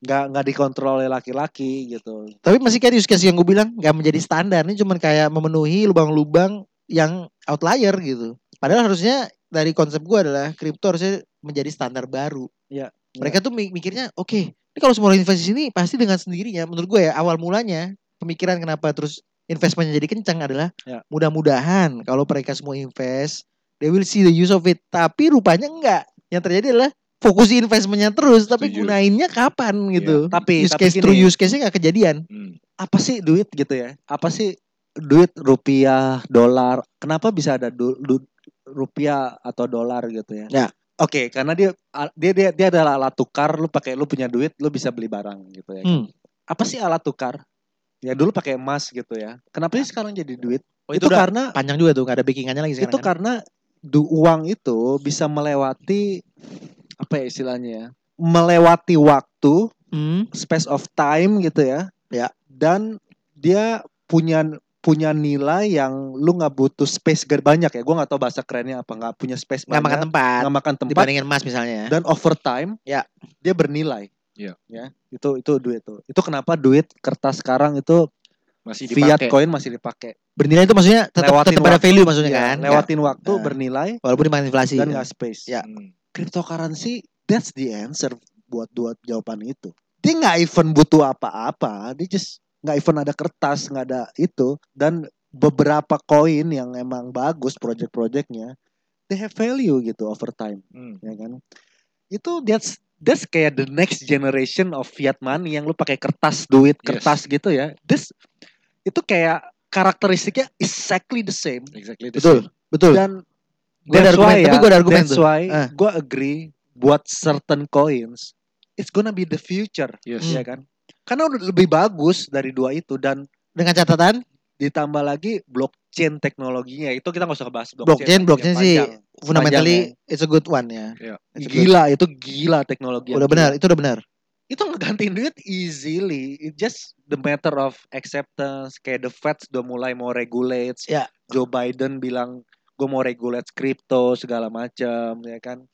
C: nggak nggak dikontrol oleh laki-laki gitu
B: tapi masih kayak di use case yang gue bilang nggak menjadi standar ini cuman kayak memenuhi lubang-lubang yang outlier gitu. Padahal harusnya dari konsep gue adalah kripto harusnya menjadi standar baru.
C: Ya,
B: Mereka tuh mi- mikirnya oke, ini kalau semua orang invest di sini pasti dengan sendirinya. Menurut gue ya awal mulanya pemikiran kenapa terus investmentnya jadi kencang adalah
C: Ya.
B: mudah-mudahan kalau mereka semua invest they will see the use of it. Tapi rupanya enggak. Yang terjadi adalah fokus di investmentnya terus tapi
A: Setuju.
B: gunainnya kapan gitu.
C: Iya, tapi
B: use
C: tapi
B: case true
C: gini,
B: use case-nya gak kejadian.
A: Hmm.
C: apa sih duit gitu ya apa sih duit rupiah dolar kenapa bisa ada du- du- rupiah atau dolar gitu ya
B: Ya.
C: oke karena dia dia dia dia adalah alat tukar lu pakai lu punya duit lu bisa beli barang gitu ya
B: Hmm.
C: apa sih alat tukar ya dulu pakai emas gitu ya kenapa sih sekarang jadi duit
A: Oh,
C: itu,
A: itu, udah
C: karena
B: Panjang juga tuh gak ada backingannya lagi sekarang.
C: itu
B: kan.
C: karena du- uang itu bisa melewati apa ya istilahnya ya melewati waktu
B: Hmm.
C: space of time gitu ya.
B: Ya.
C: Dan dia punya punya nilai yang lu nggak butuh space ger banyak ya. Gua nggak tahu bahasa kerennya apa. Nggak punya space
B: Nggak makan
C: banyak.
B: tempat.
C: Nggak makan tempat.
B: Dibandingin emas misalnya.
C: Dan over time.
B: Ya.
C: Dia bernilai.
A: Ya.
C: Ya. Itu itu duit tuh. Itu kenapa duit kertas sekarang itu
A: masih
C: fiat
A: dipakai.
C: koin masih dipakai.
B: Bernilai itu maksudnya tetap
C: Lewatin
B: tetap ada
C: waktu.
B: value maksudnya
C: Ya,
B: kan.
C: lewatin waktu
B: Nah.
C: bernilai
B: Ya, walaupun dimakan inflasi.
C: dan
B: ya.
C: nggak space.
B: Ya.
A: Hmm.
C: Cryptocurrency that's the answer buat dua jawaban itu. Dia nggak even butuh apa-apa, dia just nggak even ada kertas, nggak ada itu dan beberapa koin yang emang bagus project-projectnya they have value gitu over time
A: Hmm.
C: ya kan itu that's that's kayak the next generation of fiat money yang lu pakai kertas duit
A: Yes.
C: kertas gitu ya this itu kayak karakteristiknya exactly the same
A: Exactly the
B: Betul.
A: same.
B: Betul.
C: dan
B: Gua ada
C: that's
B: argumen,
C: why
B: tapi
C: ya,
B: gua ada argumen
C: that's
B: tuh.
C: why
B: Ah.
C: gua agree buat certain coins it's gonna be the future
B: Hmm.
A: Yes.
C: ya kan karena udah lebih bagus dari dua itu dan
B: Dengan catatan
C: ditambah lagi blockchain teknologinya itu kita nggak usah bahas
B: Blockchain,
C: blockchain
B: blockchain sih
C: panjang.
B: fundamentally it's a good one ya.
A: Iya.
B: It's a good-
C: gila itu gila teknologi yang
B: Udah
C: gila.
B: benar, itu udah benar.
C: itu ngegantiin duit easily. It just the matter of acceptance. Kayak the Feds udah mulai mau regulate.
B: Ya.
C: Joe Biden bilang gue mau regulate kripto segala macam ya kan.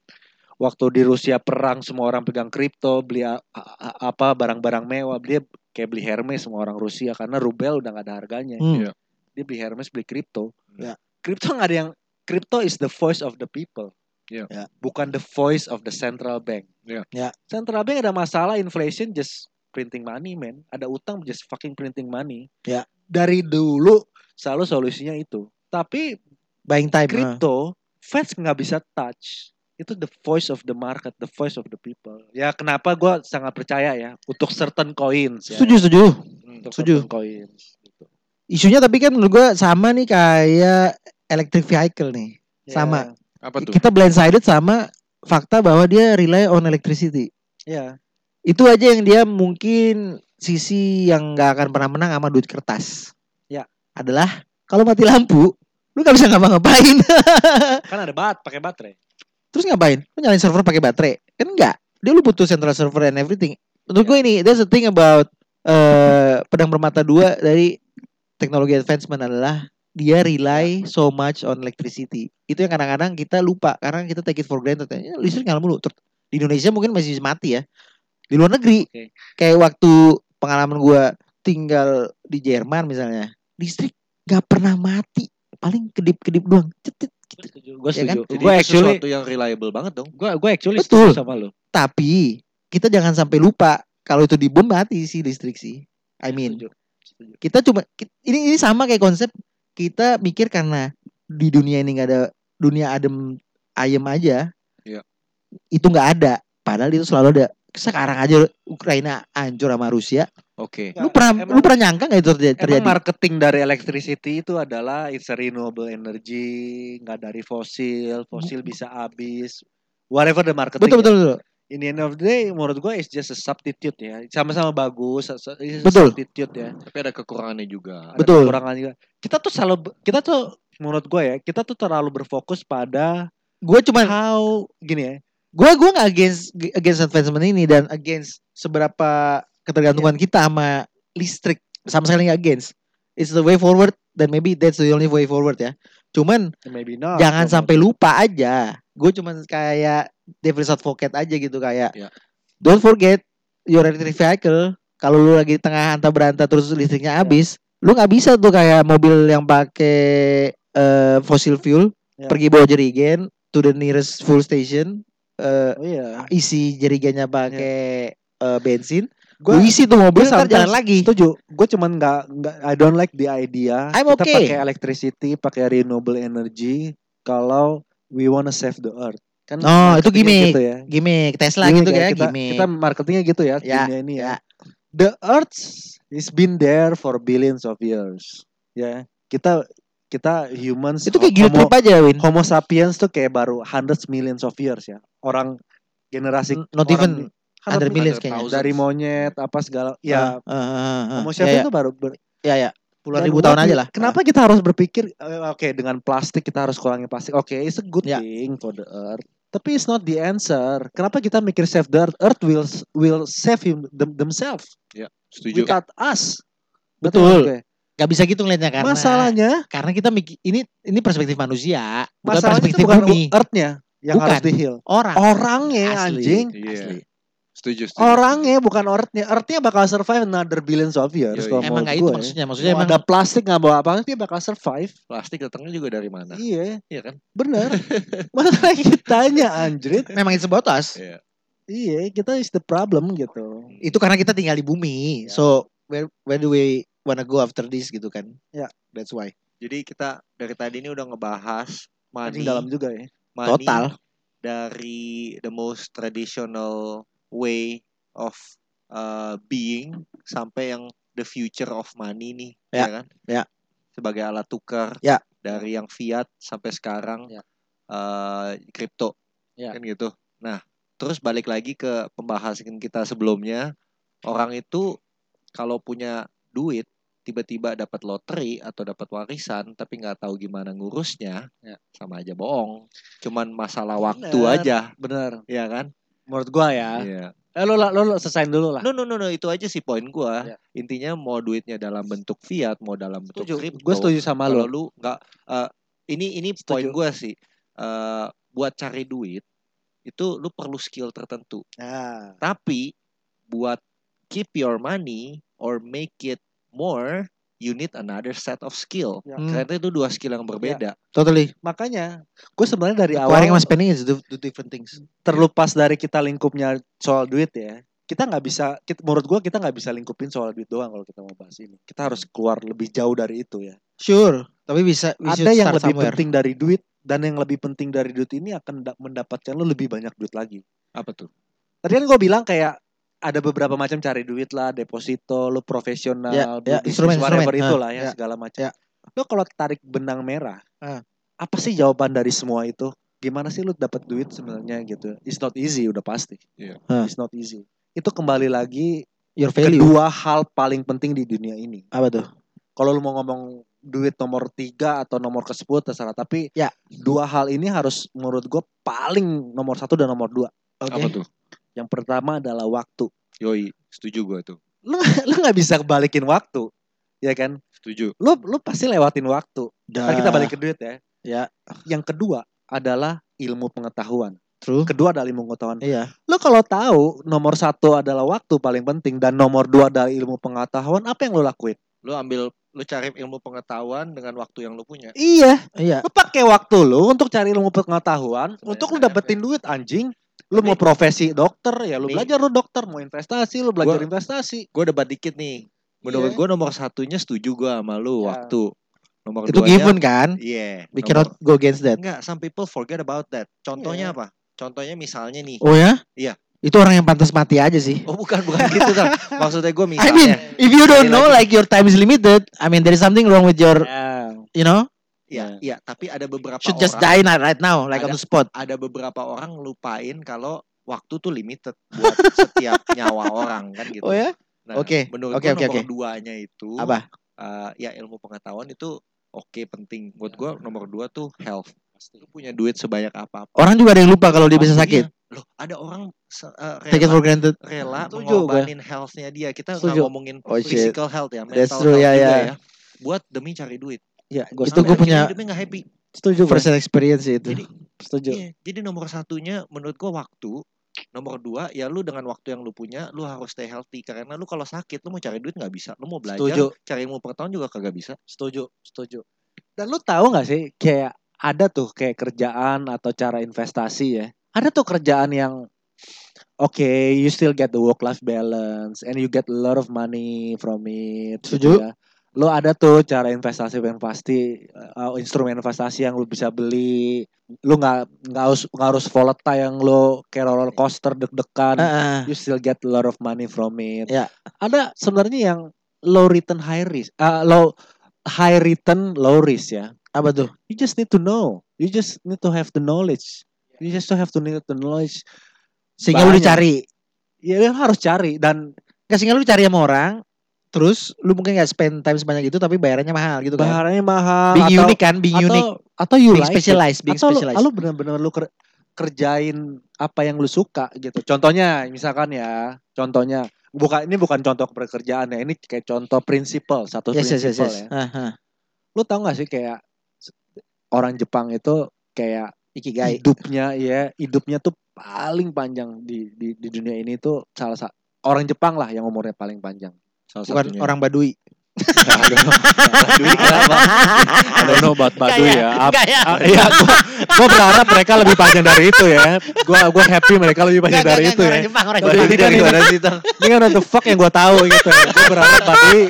C: Waktu di Rusia perang semua orang pegang kripto, beli a- a- a- apa barang-barang mewah, dia kayak beli Hermes semua orang Rusia karena rubel udah gak ada harganya.
B: Hmm.
A: Iya.
C: Dia beli Hermes, beli kripto.
B: Ya.
C: Kripto nggak ada yang kripto is the voice of the people.
A: Ya.
B: Ya.
C: Bukan the voice of the central bank.
A: Ya.
B: Ya.
C: Central bank ada masalah inflation just printing money man. Ada utang just fucking printing money.
B: Ya.
C: Dari dulu selalu solusinya itu. Tapi
B: Nah. Buying time. ah.
C: kripto Feds nggak bisa touch. Itu the voice of the market, the voice of the people. Ya kenapa gua sangat percaya ya untuk certain coins. Ya.
B: Setuju, setuju.
A: Hmm.
C: Untuk
B: setuju.
C: certain coins. gitu.
B: Isunya tapi kan menurut gua sama nih kayak electric vehicle nih. Sama.
A: Apa tuh?
B: Kita blindsided sama fakta bahwa dia rely on electricity.
C: Ya.
B: Itu aja yang dia mungkin sisi yang nggak akan pernah menang sama duit kertas.
C: Ya.
B: Adalah kalau mati lampu, lu nggak bisa ngapa-ngapain.
C: ya. Kan ada bat pakai baterai.
B: Terus ngapain? Lu nyalain server pakai baterai? Kan enggak. Dia lu butuh central server and everything. Menurut gue ini that's the thing about eh pedang bermata dua dari teknologi advancement adalah dia rely so much on electricity. Itu yang kadang-kadang kita lupa karena kita take it for granted. Ya, listrik nyala mulu. Ter- Di Indonesia mungkin masih mati ya. Di luar negeri
C: Oke.
B: kayak waktu pengalaman gua tinggal di Jerman misalnya, listrik nggak pernah mati. Paling kedip-kedip doang. Cetit.
C: Gue setuju. Gue
B: Ya kan?
C: setuju.
A: Jadi
C: Gue
A: itu
C: actually
A: sesuatu yang reliable banget dong.
C: Gua gua actually
B: Betul.
C: setuju sama lo.
B: Tapi kita jangan sampai lupa kalau itu di bom mati sih listrik sih. I mean,
C: Iya, Setuju. Setuju.
B: kita cuma ki- ini ini sama kayak konsep kita mikir karena di dunia ini nggak ada dunia adem ayem aja.
A: Iya.
B: Itu nggak ada. Padal itu selalu ada. Sekarang aja Ukraina hancur sama Rusia.
A: Oke.
B: Lu pernah lu
C: Iya, Emang-
B: pernah nyangka nggak itu terjadi?
C: Emang
B: terjadi?
C: marketing dari electricity itu adalah it's a renewable energy, nggak dari fosil, fosil bisa habis. Whatever the marketing.
B: Hmm. betul, betul betul
C: ya. In the end of the day, menurut gue it's just a substitute ya. Sama-sama bagus, it's a
B: Betul.
C: substitute ya.
A: Tapi ada kekurangannya juga.
C: Ada
B: Betul.
C: kekurangan juga. Kita tuh selalu, kita tuh menurut gue ya, kita tuh terlalu berfokus pada
B: Gue cuman
C: how gini ya.
B: gue gue nggak against against advancement ini dan against seberapa ketergantungan kita sama listrik sama sekali nggak against it's the way forward dan maybe that's the only way forward ya cuman
C: Maybe not.
B: jangan
C: Menurut
B: sampai lupa aja gue cuman kayak devil's advocate aja gitu kayak
C: Iya.
A: Ya.
B: don't forget your electric vehicle kalau lu lagi di tengah antar beranta terus listriknya
C: Ya.
B: habis lu nggak bisa tuh kayak mobil yang pakai eh, fossil fuel
C: Ya.
B: pergi bawa jerigen to the nearest full station eh,
C: Oh iya.
B: isi jerigennya pakai eh, bensin.
C: Gua-
B: Lu isi tuh mobil ntar
C: sometimes
B: jalan lagi.
C: Setuju. Gue cuman nggak nggak I don't like the idea.
B: I'm
C: Kita
B: okay.
C: pakai electricity, pakai renewable energy kalau we wanna save the earth. Kan
B: Oh, itu
C: marketingnya
B: gimmick.
C: Gitu ya.
B: Gimik Tesla
C: Gimmick
B: gitu
C: ya,
B: ya,
C: kita,
B: gimmick.
C: kita marketingnya gitu ya,
B: Ya,
C: timnya ini
B: ya.
C: ya. The earth is been there for billions of years. Ya. Kita kita humans
B: itu kayak gitu.
C: ho-
B: guilt
C: homo,
B: trip aja, Win.
C: homo sapiens tuh kayak baru hundreds millions of years ya. Orang generasi
B: Not even
C: orang di-
B: under
C: hundred
B: millions
A: Hundred
B: kayaknya.
A: thousand.
C: dari monyet apa segala ya
B: Ah, ah, ah, ah.
C: homo
B: ya, ya,
C: sapiens tuh baru ber-
B: ya, ya. Puluhan
C: Dan
B: ribu
C: what
B: tahun
C: we-
B: aja lah. Nah.
C: Kenapa kita harus berpikir eh, oke dengan plastik kita harus kurangi plastik. Oke, it's a good
B: Ya.
C: thing for the earth. Tapi it's not the answer. Kenapa kita mikir save the earth? Earth will will save him them- themselves
A: Setuju.
C: without us. Ngerti
B: Betul.
C: maksud gue?
B: Ah. Gak bisa gitu ngeliatnya karena
C: Masalahnya,
B: karena kita mikir ini ini perspektif manusia, bukan
C: masalahnya itu
B: perspektif
C: bukan
B: bumi.
C: earthnya yang
B: Bukan.
C: harus di heal.
B: Orang.
C: Orangnya
B: Asli.
C: anjing.
A: Iya.
B: Asli.
A: Setuju. setuju.
C: Orangnya bukan earthnya. Earthnya bakal survive another billions of years.
A: Yoi.
C: Kalau
B: Emang
C: menurut ya.
B: kayak itu
C: gue.
B: maksudnya, maksudnya
C: Mau
B: emang
C: ada plastik nggak bawa apa dia bakal survive.
A: Plastik datangnya juga dari mana?
C: Iya,
A: Iya kan?
C: bener. Masalah kitanya anjrit.
B: memang itu sebatas.
A: Iya.
C: Iya, kita is the problem gitu.
B: Itu karena kita tinggal di bumi.
C: Iya.
A: Ya.
B: So where where do we wanna go after this gitu kan?
C: Ya.
B: That's why.
A: Jadi kita dari tadi ini udah ngebahas money,
C: Anjing dalam juga ya.
A: money
B: Total.
A: dari the most traditional way of uh, being sampai yang the future of money nih,
B: Ya,
A: kan?
B: ya.
A: Sebagai alat tukar
B: Ya.
A: dari yang fiat sampai sekarang
B: Ya.
A: uh, kripto.
B: Ya.
A: Kan gitu. Nah, terus balik lagi ke pembahasan kita sebelumnya, orang itu kalau punya duit tiba-tiba dapat loteri atau dapat warisan tapi nggak tahu gimana ngurusnya
C: Ya.
A: sama aja bohong cuman masalah waktu
C: Bener.
A: aja
C: Bener.
A: Iya kan?
C: Menurut gua ya. Nah.
A: Iya.
C: Eh, lo, lo, lo, selesain dulu lah.
A: No no no no itu aja sih poin gua.
C: Iya.
A: Intinya mau duitnya dalam bentuk fiat, mau dalam bentuk
C: Setuju.
A: kripto.
C: Gue setuju sama
A: Kalau
C: lo.
A: lu nggak eh, ini ini poin
C: Setuju.
A: gua sih. Eh, buat cari duit itu lu perlu skill tertentu.
C: Nah,
A: Tapi buat keep your money or make it more, you need another set of skill.
C: Ya.
B: Hmm, Ya.
A: Karena itu dua skill yang berbeda.
B: totally.
C: makanya gue sebenarnya dari awal
B: Acquiring sama spending is do, do different things.
C: terlepas dari kita lingkupnya soal duit ya. Kita nggak bisa, kita, menurut gua kita nggak bisa lingkupin soal duit doang kalau kita mau bahas ini. Kita harus keluar lebih jauh dari itu ya.
B: Sure, tapi bisa we should
C: ada yang
B: start
C: lebih
B: somewhere.
C: penting dari duit dan yang lebih penting dari duit ini akan da- mendapatkan lo lebih banyak duit lagi.
A: Apa tuh?
C: Tadi kan gue bilang kayak ada beberapa macam cari duit lah, deposito, lo profesional,
B: Ya,
C: lo
B: ya,
C: bisnis,
B: instrumen,
C: whatever
B: instrumen.
C: itulah
B: Ah,
C: ya,
B: ya.
C: segala macam.
B: Ya.
C: Lo kalau tarik benang merah,
B: Ah.
C: apa sih jawaban dari semua itu? Gimana sih lo dapat duit sebenarnya gitu? It's not easy udah pasti.
A: Iya.
B: Ah.
C: It's not easy. Itu kembali lagi
B: Your value.
C: kedua hal paling penting di dunia ini
B: Apa tuh?
C: kalau lu mau ngomong duit nomor tiga atau nomor ke sepuluh terserah tapi
B: Ya.
C: dua hal ini harus menurut gue paling nomor satu dan nomor dua
B: Oke.
A: Apa tuh?
C: yang pertama adalah waktu
A: Yoi, setuju gua tuh.
C: lu lu nggak bisa balikin waktu ya kan
A: Setuju.
C: lu lu pasti lewatin waktu Ntar
B: Dah.
C: kita balik ke duit ya
B: Ah. Ya.
C: yang kedua adalah ilmu pengetahuan
B: True.
C: kedua adalah ilmu pengetahuan
B: Iya.
C: lu kalau tahu nomor satu adalah waktu paling penting dan nomor dua adalah ilmu pengetahuan apa yang lu lakuin
A: Lu ambil lu cari ilmu pengetahuan dengan waktu yang lu punya.
C: iya
B: Iya.
C: lu pakai waktu lu untuk cari ilmu pengetahuan
A: Sebenarnya
C: untuk lu
A: ada
C: dapetin duit anjing lu mau profesi dokter ya lu
A: Nih.
C: belajar lu dokter mau investasi lu belajar
A: Gua-
C: investasi
A: gue debat dikit nih. Menurut
C: Iya.
A: gue nomor satunya setuju gue sama lu
C: Ya.
A: waktu. Nomor
B: Iya. Itu
A: duanya,
B: given kan?
A: Iya.
B: We
A: Nomor-
B: cannot go against that.
A: Enggak, some people forget about that. Contohnya
C: Iya.
A: apa? Contohnya misalnya nih.
B: Oh ya?
A: Iya.
B: Itu orang yang pantas mati aja sih.
A: Oh bukan, bukan gitu. Tar. Maksudnya gue
B: I
A: misalnya.
B: mean, if you don't
A: Sekali
B: know like your time is limited, I mean there is something wrong with your,
C: Ya.
B: you know,
A: ya, ya, tapi ada beberapa
B: Nah, should
A: orang.
B: just die now, right now, like on
A: Ada-
B: the spot.
A: Ada beberapa orang lupain kalau waktu tuh limited buat setiap nyawa orang kan gitu.
B: Oh ya?
A: Nah,
B: Oke,
A: menurut
B: oke,
A: gua
B: oke,
A: nomor
B: oke.
A: duanya itu
B: Apa?
A: eh, ya ilmu pengetahuan itu oke penting. Buat gue nomor dua tuh health. Lu punya duit sebanyak apa
B: Orang juga ada yang lupa kalau Oh, dia bisa sakit.
A: Pastinya. Loh, ada orang se- eh,
B: Take it
A: rela,
B: for granted.
A: rela
C: Setuju
A: mengorbanin health-nya dia. Kita nggak
C: Setuju.
A: ngomongin
B: Oh, shit.
A: physical health ya, mental
B: That's true,
A: health
B: ya,
A: juga
B: ya.
A: ya. Buat demi cari duit.
C: ya gua
A: Sampai
B: Itu gua
C: setuju
A: akhirnya
B: punya-
A: hidupnya nggak happy.
C: setuju gua.
B: First experience sih itu.
A: Jadi,
C: setuju
A: iya. Jadi nomor satunya menurut gua waktu. Nomor dua ya lu dengan waktu yang lu punya lu harus stay healthy karena lu kalau sakit lu mau cari duit nggak bisa lu mau belajar
C: Setuju.
A: cari ilmu pengetahuan juga kagak bisa
C: setuju setuju dan lu tahu nggak sih kayak ada tuh kayak kerjaan atau cara investasi ya ada tuh kerjaan yang Oke, you still get the work-life balance and you get a lot of money from it.
B: Setuju.
C: ya. Lo ada tuh cara investasi yang pasti, uh, instrumen investasi yang lo bisa beli. Lo nggak nggak harus nggak harus volatile yang lo kayak roller coaster
B: Ah,
C: deg-degan.
B: ah.
C: You still get a lot of money from it.
B: Ya.
C: Ada sebenarnya yang low return high risk, uh, low high return low risk ya.
B: apa tuh?
C: You just need to know. You just need to have the knowledge. You just have to need the knowledge.
B: Sehingga lu
C: Banyak.
B: dicari.
C: Ya lo harus cari dan
B: Nggak, sehingga lu dicari sama orang, terus lu mungkin gak spend time sebanyak itu tapi bayarannya mahal gitu kan.
C: Bahannya mahal
B: Being
C: atau,
B: unique kan, being
C: atau
B: unique,
C: atau you
B: being
C: like it.
B: specialized, being
C: atau lu, ah,
B: specialized.
C: lu benar-benar lu ker- kerjain apa yang lu suka gitu. Contohnya misalkan ya, contohnya bukan ini bukan contoh pekerjaan ya, ini kayak contoh prinsipal satu
B: Yes, yes, yes,
C: prinsipal
B: yes.
C: ya.
B: Ah, ah.
C: Lu tau gak sih kayak orang Jepang itu kayak
B: Ikigai.
C: hidupnya ya, hidupnya tuh paling panjang di di, di dunia ini tuh salah satu orang Jepang lah yang umurnya paling panjang.
A: Salah
B: bukan
A: satunya.
B: orang Baduy.
C: Baduy kenapa? I don't know about Baduy
B: Kayak-
C: ya. Apa-
B: Enggak ya.
C: Ah, Iya, gua, gua berharap mereka lebih panjang dari itu ya. Gua gua happy mereka lebih panjang dari itu ya.
B: Orang Jepang, orang
C: Baduy
B: Jepang.
C: tidak
A: dari
C: nih.
A: mana sih Tang?
C: Ini kan what the fuck yang gua tahu gitu. ya. Gua berharap Baduy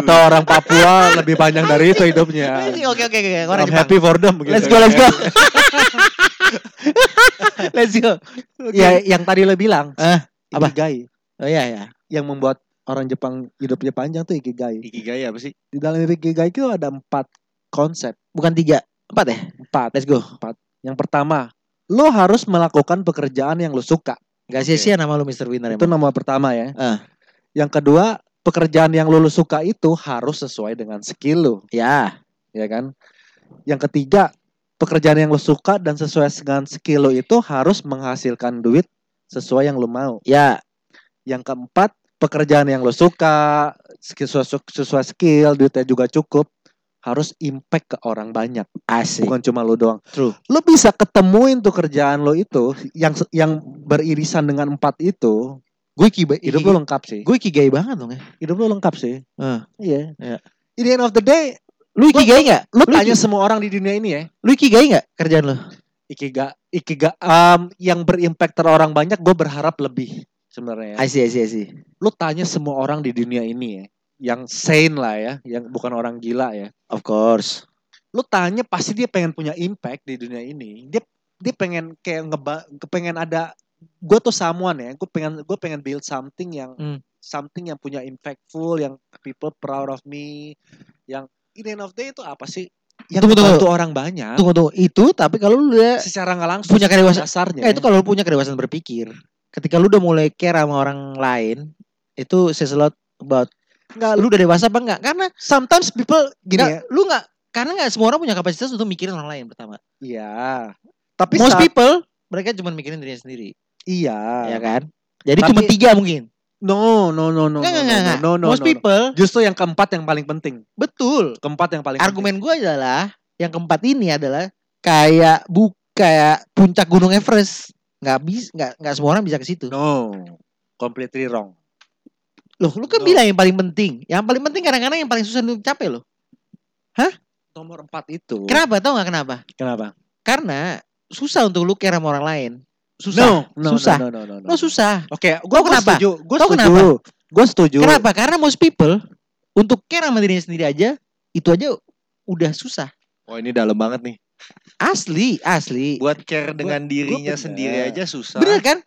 C: atau orang Papua lebih panjang dari itu hidupnya.
B: Oke oke oke, oke, orang
C: I'm
B: Jepang.
C: happy for them gitu.
B: Let's go, let's go. let's go.
C: Ya, yang tadi lo bilang.
B: Eh, apa?
C: Ikigai.
B: Oh iya ya.
C: Yang membuat orang Jepang hidupnya panjang tuh ikigai.
A: Ikigai apa sih?
C: Di dalam ikigai itu ada empat konsep.
B: Bukan tiga, empat ya.
C: Empat.
B: Let's go.
C: Yang pertama, lo harus melakukan pekerjaan yang lo suka.
B: Gak sia-sia nama lu Mr. Winner
C: Itu
B: emang.
C: nomor pertama ya.
B: Ah.
C: Yang kedua, pekerjaan yang lo, lo suka itu harus sesuai dengan skill lo,
B: Ya,
C: ya kan? Yang ketiga, pekerjaan yang lo suka dan sesuai dengan skill lo itu harus menghasilkan duit sesuai yang lo mau.
B: ya.
C: Yang keempat, pekerjaan yang lo suka, skill- sesuai, sesuai skill, duitnya juga cukup, harus impact ke orang banyak.
B: Asik.
C: bukan cuma lo doang.
B: True.
C: Lo bisa ketemuin tuh kerjaan lo itu yang se- yang beririsan dengan empat itu,
B: Gue kibai.
C: hidup lo lengkap sih.
B: Gue kigai banget dong ya.
C: Hidup lo lengkap sih.
B: Heeh.
C: Iya.
B: Iya.
C: In the end of the day,
B: Lu ikigai gak?
C: lo
B: Lu
C: tanya
B: iki-
C: semua orang di dunia ini ya,
B: Lu ikigai gak kerjaan lu?
C: ikiga ikiga um, yang berimpact ter orang banyak, gue berharap lebih sebenarnya. Ya.
B: I see, I see, I see.
C: Lo tanya semua orang di dunia ini ya, yang sane lah ya, yang bukan orang gila ya.
B: Of course.
C: Lo tanya pasti dia pengen punya impact di dunia ini. Dia dia pengen kayak ngeba, pengen ada gue tuh someone ya, gue pengen gue pengen build something yang
B: Hmm.
C: something yang punya impactful, yang people proud of me, yang in the end of the day itu apa sih? Yang
B: Tunggu, tunggu.
C: bantu orang banyak
B: Tunggu, tunggu. Itu tapi kalau lu udah
C: secara nggak langsung
B: punya kedewasaan.
C: dasarnya.
B: Eh, itu kalau lu punya kedewasaan berpikir. Ketika lu udah mulai care sama orang lain, itu says a lot about
C: Nggak,
B: lu udah dewasa apa enggak? Karena
C: sometimes people gini
B: nggak-
C: ya.
B: lu enggak karena enggak semua orang punya kapasitas untuk mikirin orang lain pertama.
C: Iya. Tapi
B: Most
C: saat-
B: people mereka cuma mikirin dirinya sendiri,
C: iya.
B: ya kan? Jadi
C: Tapi-
B: cuma tiga mungkin.
C: No, no, no, no, no,
B: Enggak,
C: no,
B: enggak, enggak, enggak.
C: no, no,
B: Most
C: no, no.
B: people
C: Justru yang keempat yang paling penting.
B: betul.
C: Keempat yang paling
B: Argumen gue adalah yang keempat ini adalah kayak bu kayak puncak gunung Everest. Nggak bisa, nggak nggak semua orang bisa ke situ.
C: penting. No, completely wrong.
B: Loh, lu kan
C: No.
B: bilang yang paling penting. Yang paling penting kadang-kadang yang paling susah lu capai loh.
C: Nomor empat itu.
B: Kenapa? Tahu nggak kenapa?
C: Kenapa?
B: Karena susah untuk lu care sama orang lain. Susah.
C: No, no,
B: Susah.
C: no, no, no, no,
B: Lo susah.
C: Oke,
B: Tau
C: gua gua
B: kenapa?
C: setuju. Gua
B: Tau
C: setuju.
B: kenapa?
C: Gua setuju.
B: Kenapa? Karena most people untuk care sama dirinya sendiri aja itu aja udah susah.
A: Oh ini dalam banget nih.
B: Asli, asli.
A: Buat care dengan dirinya
C: bener.
A: sendiri aja susah.
B: Bener kan?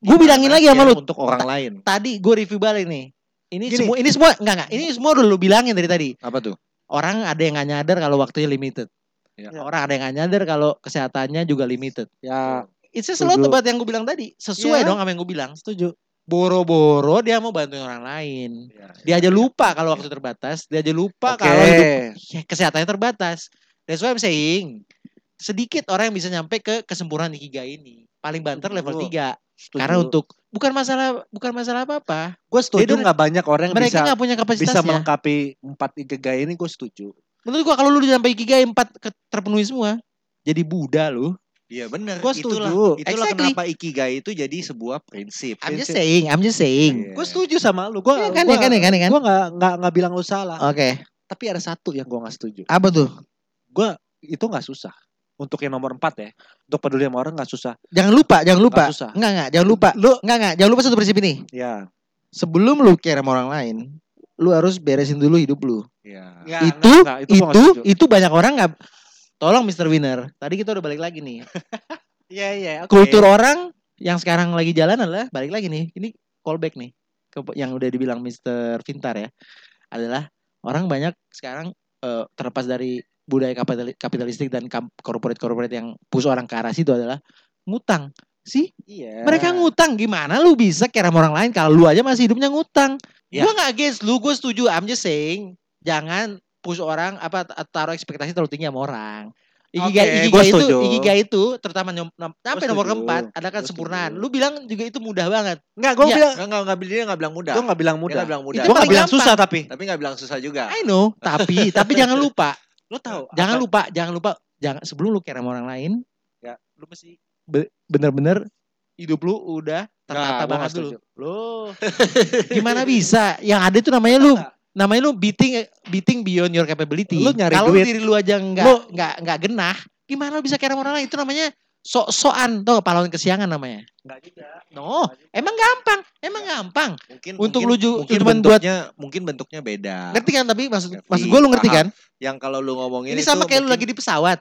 B: Gue bilangin lagi sama lu
A: Untuk orang lain.
B: tadi gue review balik nih. Ini
C: Gini.
B: semua ini semua enggak enggak. Ini semua udah lu bilangin dari tadi.
A: Apa tuh?
B: Orang ada yang nggak nyadar kalau waktunya limited.
A: Ya.
B: Orang ada yang nggak nyadar kalau kesehatannya juga limited.
C: Ya,
B: It's just a lot
C: Setuju.
B: about yang gue bilang tadi. Sesuai
C: Iya.
B: dong sama yang gue bilang.
C: setuju.
B: Boro-boro dia mau bantuin orang lain. Dia aja lupa kalau waktu terbatas. Dia aja lupa
C: Oke.
B: kalau hidup ya, kesehatannya terbatas. That's why I'm saying sedikit orang yang bisa nyampe ke kesempurnaan ikigai ini. Paling banter level 3.
C: Setuju. Setuju.
B: Karena untuk bukan masalah bukan masalah apa-apa.
C: gua setuju
B: Dia-
C: nggak banyak orang yang
B: Mereka
C: bisa
B: nggak punya ya?
C: bisa
B: kapasitasnya.
C: melengkapi empat ikigai ini gue setuju.
B: Menurut gua kalau lu udah sampai ikigai 4 terpenuhi semua. Jadi Buddha lu.
A: Iya bener.
C: Gua
A: Itulah,
C: setuju.
A: itulah
B: Exactly.
A: kenapa Ikigai itu jadi sebuah prinsip.
B: I'm just
C: Prinsip.
B: saying, I'm just
A: Iya.
B: saying.
C: Gue setuju sama lu. Gue
B: Iya kan, iya kan, iya kan, iya kan.
C: Gue nggak nggak nggak bilang lu salah.
B: Oke,
C: Tapi ada satu yang gue nggak setuju.
B: apa tuh?
C: Gue itu nggak susah. Untuk yang nomor empat ya. Untuk peduli sama orang nggak susah.
B: Jangan lupa, jangan lupa.
C: Nggak susah.
B: Enggak, enggak, jangan lupa.
C: Lu
B: Enggak, enggak, jangan lupa satu prinsip ini.
C: ya.
B: Sebelum lu care sama orang lain, lu harus beresin dulu hidup lu.
A: Iya.
C: Nggak,
B: itu
C: nggak, nggak,
B: itu
C: gua nggak
B: itu,
C: setuju.
B: banyak orang nggak tolong Mr. Winner. Tadi kita udah balik lagi nih.
C: Iya iya. oke.
B: Kultur orang yang sekarang lagi jalan adalah balik lagi nih. Ini callback nih ke yang udah dibilang Mr. Vintar ya. Adalah orang banyak sekarang eh, terlepas dari budaya kapitali- kapitalistik dan kam- corporate-corporate yang push orang ke arah situ adalah ngutang. Sih,
C: Iya.
B: mereka ngutang gimana lu bisa kira sama orang lain kalau lu aja masih hidupnya ngutang.
A: Ya.
B: Gua nggak against lu, gue setuju. I'm just saying jangan push orang apa t- taruh ekspektasi terlalu tinggi sama orang.
C: Oke,
B: Ikigai,
C: gua
B: ikigai itu,
C: setuju.
B: ikigai itu terutama nyom- nom- sampai nomor
C: setuju.
B: keempat ada
C: Gua
B: kesempurnaan.
C: setuju.
B: Lu bilang juga itu mudah banget.
C: Nggak gue
B: Iya.
C: bilang.
A: Enggak, enggak, enggak, dia enggak bilang mudah.
C: Gue nggak bilang
A: Dia
C: mudah.
A: nggak bilang mudah.
B: Itu
C: Gue
B: paling
C: nggak bilang
B: gampang.
C: susah tapi.
A: Tapi enggak bilang susah
C: Ya.
A: juga.
B: I know, tapi tapi jangan lupa,
C: Lo tau.
B: jangan lupa, jangan lupa, jangan sebelum lu kira sama orang lain,
C: Ya.
B: lu mesti be- bener-bener hidup lu udah
A: Nah,
B: tertata
A: gua
B: banget
A: nggak
B: dulu.
A: setuju.
B: Loh, gimana bisa? Yang ada itu namanya lu namanya lu beating beating beyond your capability.
C: Lu nyari
B: Kalau
C: duit.
B: diri lu aja nggak
C: Lu-
B: nggak nggak genah, gimana lu bisa keren orang lain? Itu namanya sok-sokan tuh pahlawan kesiangan namanya.
A: Nggak juga.
B: No, emang gampang, emang gampang.
A: Mungkin
B: Untuk lu
A: mungkin,
B: ju-
A: mungkin
B: cuman buat-
A: bentuknya mungkin bentuknya beda.
B: Ngerti kan tapi maksud
A: Ngerti,
B: maksud gua lu ngerti
A: paham.
B: kan?
A: Yang kalau lu ngomongin
B: Ini sama
A: itu
B: kayak lu lagi
A: mungkin-
B: di pesawat,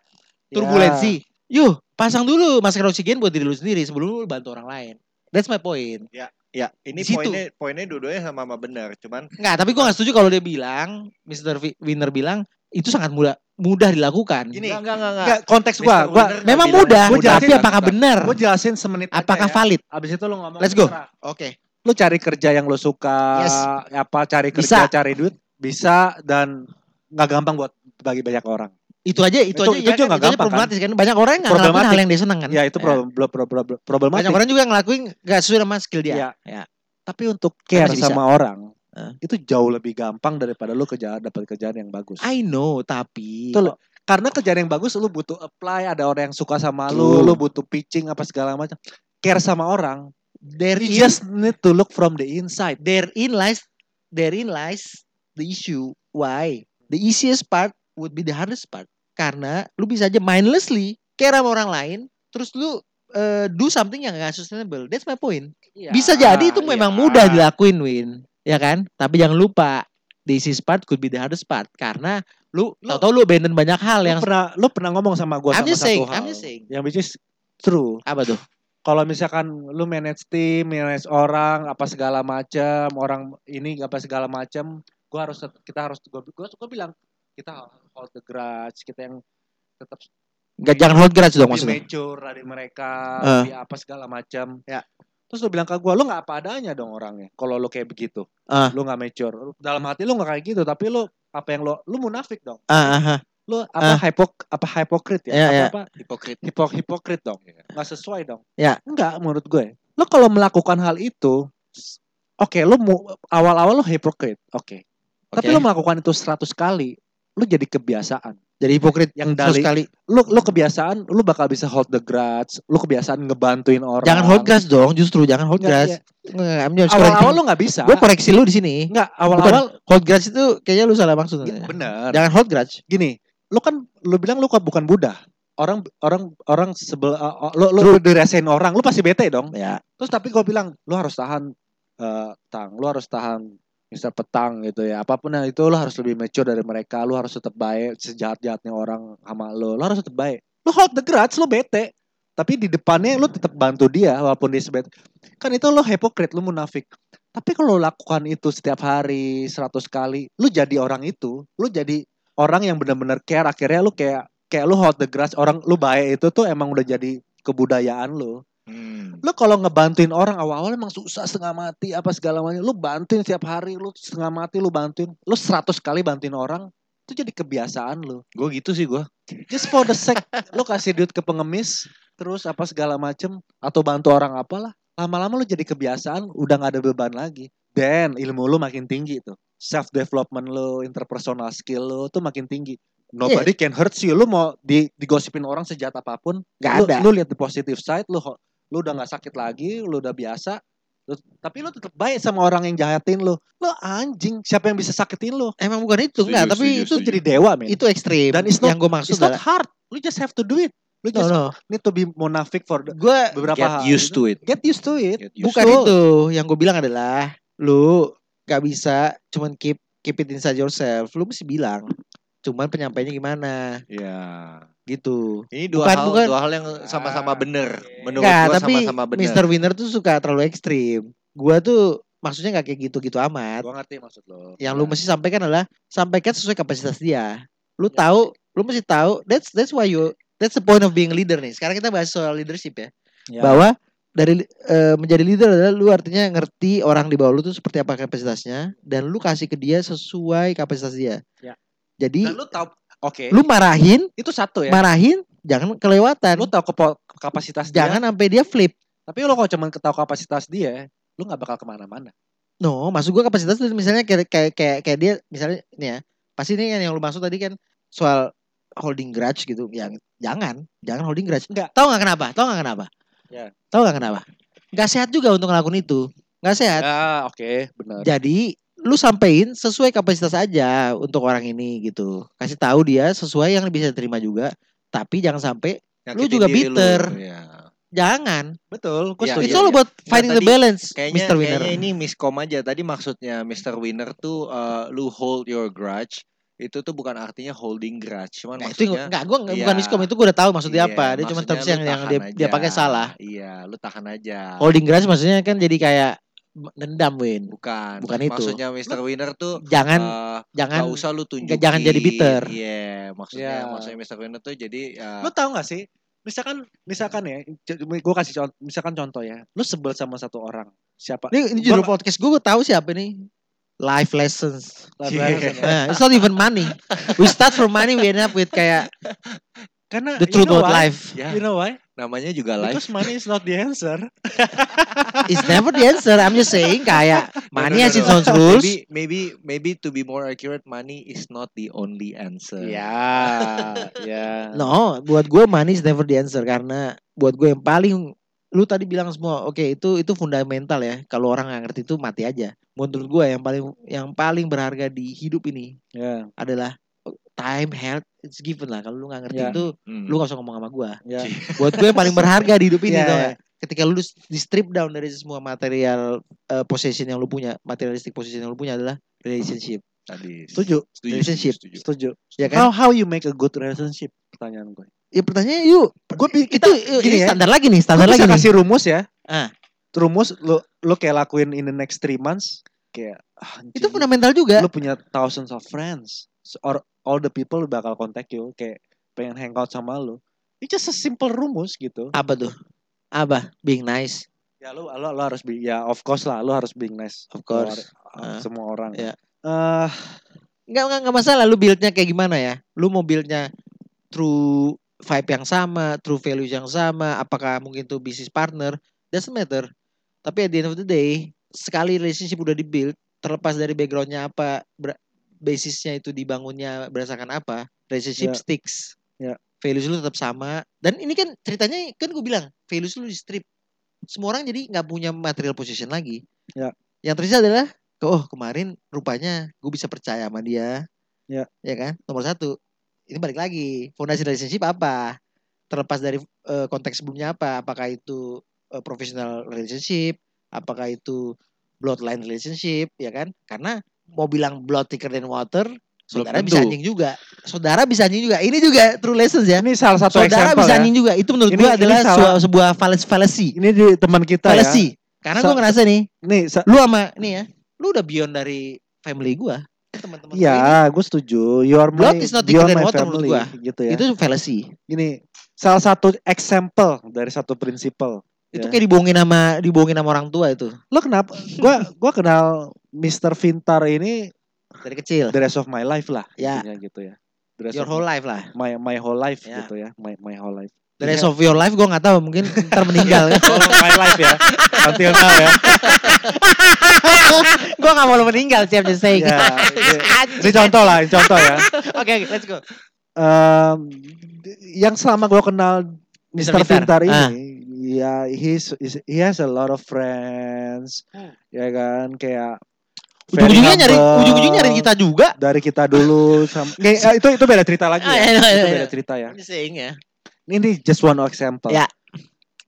B: turbulensi. Yuh, pasang dulu masker oksigen buat diri lu sendiri sebelum lu bantu orang lain. That's my point.
A: ya ini
B: di situ.
A: poinnya poinnya dua-duanya sama sama benar, cuman
B: Enggak, tapi gue gak setuju kalau dia bilang, Mr. V- Winner bilang, itu sangat mudah mudah dilakukan.
A: Gini,
C: Enggak, enggak, enggak, enggak. Konteks
A: Mr.
C: gua, gua
A: Winner nggak
B: Memang
A: bilang
B: mudah,
C: Gua jelasin
B: tapi apakah benar?
C: gua jelasin ya. semenit aja
B: Apakah
C: ya.
B: valid?
C: Abis itu lu ngomong
B: Let's go.
C: terserah.
B: Oke.
C: Lu cari kerja yang lu suka,
B: Yes.
C: apa cari kerja,
B: Bisa.
C: cari duit, bisa dan nggak gampang buat bagi banyak orang.
B: Itu aja, itu,
C: Itu-
B: aja.
C: itu
B: ya
C: juga
B: kan?
C: nggak gampang,
B: problematis kan? Banyak orang yang nggak ngelakuin
C: Problematik.
B: hal yang dia seneng kan?
C: Ya itu
B: Ya.
C: problem, problem, problem, problematik.
B: Banyak orang juga ngelakuin gak sesuai sama skill dia.
C: Ya.
B: Ya.
C: Tapi untuk care
B: masih bisa.
C: sama orang
B: Heeh.
C: itu jauh lebih gampang daripada lu kerja dapat kerjaan yang bagus.
B: I know, tapi...
C: Betul. Karena kerjaan yang bagus lu butuh apply, ada orang yang suka sama
B: True.
C: lu, lu butuh pitching apa segala macam. Care sama orang,
B: There
C: you
B: is,
C: just need to look from the inside.
B: therein lies, therein lies the issue. Why? The easiest part would be the hardest part. Karena lu bisa aja mindlessly care sama orang lain, terus lu eh, do something yang gak sustainable. That's my point.
A: Iya. Ah,
B: Bisa jadi itu memang mudah dilakuin, Win. Ya kan? Tapi jangan lupa, this is part could be the hardest part karena lu
C: Lu-
B: tau-tau lu abandon banyak hal
C: Lu
B: yang
C: pernah lu pernah ngomong sama gua
B: I'm
C: sama
B: just
C: satu
B: saying,
C: hal.
B: I'm just saying.
C: Yang which is true.
B: Apa tuh?
C: Kalau misalkan lu manage tim, manage orang, apa segala macam, orang ini apa segala macam, gua harus kita harus gua, gua, gua bilang kita hold the grudge, kita yang tetap
B: Gak jangan hold grudge dong
C: lebih
B: maksudnya.
C: mature dari mereka,
B: Eh.
C: lebih apa segala macam.
A: Ya.
C: Terus lu bilang ke gua, lu nggak apa adanya dong orangnya. Kalau lu kayak begitu,
B: Ah.
C: lu nggak mature. Dalam hati lu nggak kayak gitu, tapi lu apa yang lu lu munafik dong.
B: Ah, ah, ah.
C: Lu apa hypok apa hipokrit ya?
B: Iya,
C: apa,
B: iya.
C: apa
A: hipokrit.
C: hipo- hipokrit dong.
A: Iya.
C: Nggak sesuai dong.
B: Ya.
C: Enggak menurut gue. Lu kalau melakukan hal itu, s- oke lu mu- awal-awal lu hipokrit, oke. Tapi
B: Oke.
C: lu melakukan itu 100 kali, lu jadi kebiasaan.
B: jadi hipokrit
C: Yang
B: terus
C: dari
B: sekali.
C: lu lu kebiasaan lu bakal bisa hold the grudge, lu kebiasaan ngebantuin orang.
B: Jangan hold grudge dong, justru jangan hold grudge.
C: Nggak, iya.
B: Nggak, I'm just
C: Awal-awal
B: correcting.
C: lu nggak bisa.
B: Gua koreksi lu di sini.
C: Nggak, awal-awal
B: Hold grudge itu kayaknya lu salah maksud.
C: Iya, bener.
B: Jangan hold grudge.
C: Gini, lu kan lu bilang lu kan bukan Buddha. Orang orang orang sebel uh, uh, lu lu diresain orang, lu pasti bete dong.
B: Ya.
C: Terus tapi gua bilang lu harus tahan eh, tang, lu harus tahan misal petang gitu ya. Apapun yang itu lu harus lebih mature dari mereka, lu harus tetap baik sejahat-jahatnya orang sama lu. Lu harus tetap baik. Lu hold the grudge, lu bete. Tapi di depannya lu tetap bantu dia walaupun dia sebet. Kan itu lu hipokrit, lu munafik. Tapi kalau lu lakukan itu setiap hari 100 kali, lu jadi orang itu, lu jadi orang yang benar-benar care akhirnya lu kayak kayak lu hold the grudge orang lu baik itu tuh emang udah jadi kebudayaan lu
A: Hmm.
C: lu kalau ngebantuin orang awal-awal emang susah setengah mati apa segala macam lu bantuin setiap hari lu setengah mati lu bantuin lu 100 kali bantuin orang itu jadi kebiasaan lu
A: Gue gitu sih gue.
C: just for the sake lu kasih duit ke pengemis terus apa segala macem atau bantu orang apalah lama-lama lu jadi kebiasaan udah nggak ada beban lagi dan ilmu lu makin tinggi tuh self development lu interpersonal skill lu tuh makin tinggi nobody can hurt you lu mau di digosipin orang sejahat apapun
B: Gak
C: lu,
B: ada.
C: lu lihat the positive side lu ho- lu udah nggak sakit lagi lu udah biasa Lu- tapi lu tetap baik sama orang yang jahatin lu lu anjing siapa yang bisa sakitin lu
B: Emang bukan itu,
A: Setuju,
B: enggak, tapi
A: setuju,
B: itu
C: itu jadi dewa men
B: itu ekstrim.
C: Dan it's not-
B: yang gue maksud
C: it's not
B: adalah-
C: hard lu just have to do it lu
B: no,
C: just
B: no.
C: need to be monafik for the,
B: Gue
C: beberapa
A: Get used to it.
C: get used to it
A: Get used
B: gitu. bukan
A: to it.
B: itu. Yang gue bilang adalah lu gak bisa cuman keep keep it inside yourself. Lu mesti bilang. Cuman penyampaiannya gimana
A: Ya.
B: gitu.
A: Ini dua
B: Bukan,
A: hal
B: bukan.
A: dua hal yang sama-sama benar. Menurut
B: Enggak,
A: gue
B: tapi
A: sama-sama benar.
B: Mr. Winner tuh suka terlalu ekstrim. Gue tuh maksudnya gak kayak gitu-gitu amat.
A: Gue ngerti maksud lo.
B: Yang
A: Ya.
C: Iya.
B: lu mesti sampaikan adalah sampaikan sesuai kapasitas dia.
C: Iya.
B: Lu tahu, lu mesti tahu. That's that's why you that's the point of being a leader nih. Sekarang kita bahas soal leadership ya.
C: Ya.
B: bahwa dari eh, menjadi leader adalah lu artinya ngerti orang di bawah lu tuh seperti apa kapasitasnya dan lu kasih ke dia sesuai kapasitas dia.
C: Ya.
B: Jadi
C: Dan lu tahu oke
B: lu marahin,
C: itu satu ya
B: marahin jangan kelewatan.
C: lu iya. tahu kepo- kapasitas dia
B: jangan sampai dia flip.
C: tapi lu kalau cuman ketahui kapasitas dia lu nggak bakal kemana-mana
B: No, maksud gua kapasitas itu misalnya kayak kayak kayak, kayak dia misalnya ini ya. Pasti ini yang, yang lu maksud tadi kan soal holding grudge gitu. Yang jangan, jangan holding grudge.
C: Enggak.
B: Tahu nggak kenapa? Tahu nggak kenapa?
C: Ya.
B: Tahu nggak kenapa? nggak sehat juga untuk ngelakuin itu nggak sehat
C: Ah, oke, benar.
A: Ya.
B: jadi lu sampein sesuai kapasitas aja untuk orang ini gitu kasih tahu dia sesuai yang bisa terima juga tapi jangan sampai Lu
A: Nyakitin
B: juga
A: diri lu.
B: bitter.
A: Iya.
B: jangan
C: Betul,
A: Iya,
B: itu
C: setuju.
B: it's all about finding the
A: tadi
B: balance
A: Kayaknya,
B: Mr. Winner
A: kayaknya ini miskom aja. Tadi maksudnya Mr. Winner tuh eh, lu hold your grudge. Itu tuh bukan artinya holding grudge, cuman
B: Nah, itu
A: maksudnya
B: enggak gua enggak, bukan
A: Iya.
B: miskom itu gua udah tahu maksudnya
A: Iya,
B: apa. Dia cuma
A: maksudnya lu
B: terms yang, yang
A: tahan
B: dia, dia
A: aja.
B: pakai salah.
A: Iya, lu tahan aja.
B: Holding grudge maksudnya kan jadi kayak dendam win.
A: bukan.
B: bukan itu.
A: Maksudnya Mr. Winner tuh
B: Jangan
A: eh,
B: jangan
A: nggak usah lu tunjukin.
B: jangan jadi bitter.
A: Iya, maksudnya
C: Iya.
A: maksudnya Mr. Winner tuh jadi eh,
C: Lu tahu gak sih? Misalkan misalkan ya, gue kasih contoh, misalkan contoh ya. Lu sebel sama satu orang. Siapa?
B: ini, ini judul podcast gua gua tahu siapa ini. Life lessons.
C: Lah,
A: Iya.
C: barusan ya.
B: Nah, it's not even money. We start from money, we end up with kayak
C: Karena
B: the truth
C: you know
B: about
C: why?
B: life.
A: ya
C: You know why?
A: namanya juga live.
C: Because money is not the answer.
B: It's never the answer. I'm just saying kayak money has
A: no, no.
B: its own rules.
A: Maybe maybe maybe to be more accurate, money is not the only answer.
C: ya.
B: No, buat gue money is never the answer karena buat gue yang paling lu tadi bilang semua oke itu itu fundamental ya kalau orang nggak ngerti itu mati aja menurut gue yang paling yang paling berharga di hidup ini
C: Ya,
B: adalah time health it's given lah kalau lu nggak ngerti
C: Ya.
B: itu
A: Hmm.
B: lu gak usah ngomong sama gue
C: ya.
B: buat gue yang paling berharga di hidup ini
C: Ya,
B: tau
C: ya.
B: nggak? ketika lu di strip down dari semua material eh, possession yang lu punya materialistik possession yang lu punya adalah relationship
A: tadi
C: Setuju,
A: setuju,
B: Relationship.
A: setuju, setuju.
C: setuju.
B: ya kan
C: How how you make a good relationship? Pertanyaan gue.
B: ya pertanyaannya yuk
C: Gue
B: itu
C: gini
B: ini
C: ya.
B: standar lagi nih standar
C: Gue
B: lagi
C: bisa
B: nih.
C: kasih rumus ya.
B: Ah.
C: Rumus lu lu kayak lakuin in the next three months kayak ah,
B: itu
C: anjing,
B: fundamental juga
C: lu punya thousands of friends So, or all the people bakal contact you kayak pengen hangout sama lu. It's just a simple rumus gitu.
B: apa tuh apa being nice
C: Ya lu lu, lu harus be, ya of course lah lu harus being nice.
B: Of course.
C: Keluar-
B: Ah.
C: semua orang.
B: Ya.
C: Eh,
B: nggak nggak nggak masalah lu buildnya kayak gimana ya lu mau buildnya through vibe yang sama through values yang sama apakah mungkin tuh bisnis partner doesn't matter tapi at the end of the day sekali relationship udah dibuild terlepas dari backgroundnya apa ber- basisnya itu dibangunnya berdasarkan apa relationship
C: Ya.
B: sticks
C: Ya.
B: values lu tetap sama dan ini kan ceritanya kan gue bilang values lu di strip semua orang jadi nggak punya material position lagi
C: Ya.
B: yang terjadi adalah oh kemarin rupanya gue bisa percaya sama dia
C: Ya.
B: ya kan nomor satu ini balik lagi fondasi relationship apa terlepas dari eh, konteks sebelumnya apa apakah itu eh, professional relationship apakah itu bloodline relationship ya kan karena mau bilang blood thicker than water saudara bisa
A: tentu.
B: anjing juga saudara bisa anjing juga ini juga true lessons ya
C: ini salah satu
B: saudara
C: example
B: bisa
C: ya.
B: anjing juga itu menurut
C: Ini-
B: gue
C: ini
B: adalah
C: salah-
B: sebuah, sebuah fallacy fallacy
C: Ini di teman kita ya.
B: fallacy karena gue
C: Sa-
B: ngerasa nih
C: Nih, sa-
B: lu sama nih ya lu udah beyond dari family gue teman-teman gua ini
C: Iya, gue setuju. You are my,
B: Blood is not
C: you
B: thicker
C: are
B: than
C: my
B: water menurut
C: family,
B: gua.
C: gitu ya.
B: itu fallacy
C: Ini salah satu example dari satu prinsipal.
B: itu
C: Ya.
B: kayak dibohongin sama dibohongin sama orang tua itu
C: Lo kenapa? Gua gua kenal Mr. Vintar ini
B: dari kecil
C: the rest of my life lah,
B: Ya.
C: intinya gitu ya. The rest
B: your
C: of
B: whole life lah
C: my my whole life
B: Ya.
C: gitu ya, my my whole life.
B: the rest of your life gue nggak tahu mungkin ntar meninggal
C: Oh, my life ya. Until now ya.
B: gue nggak mau lu meninggal sih I'm just saying
C: Ya, ya. Ini
B: Anjing.
C: contoh lah, ini contoh ya.
B: oke oke, let's go
C: Em, d- yang selama gua kenal
B: Mr.
C: Mr.
B: Pintar.
C: Pintar ini,
B: Ah.
C: ya he's, is- he has a lot of friends, ya kan kayak very
B: Hmm. ujung-ujungnya nyari
C: humble,
B: ujung-ujungnya nyari kita juga
C: dari kita dulu sam- Nggak, eh, itu itu beda cerita lagi
B: Ah,
C: ya.
B: iya, iya,
C: itu
B: iya.
C: beda cerita ya.
B: I'm just saying ya
C: Ini nih just one example.
B: Ya.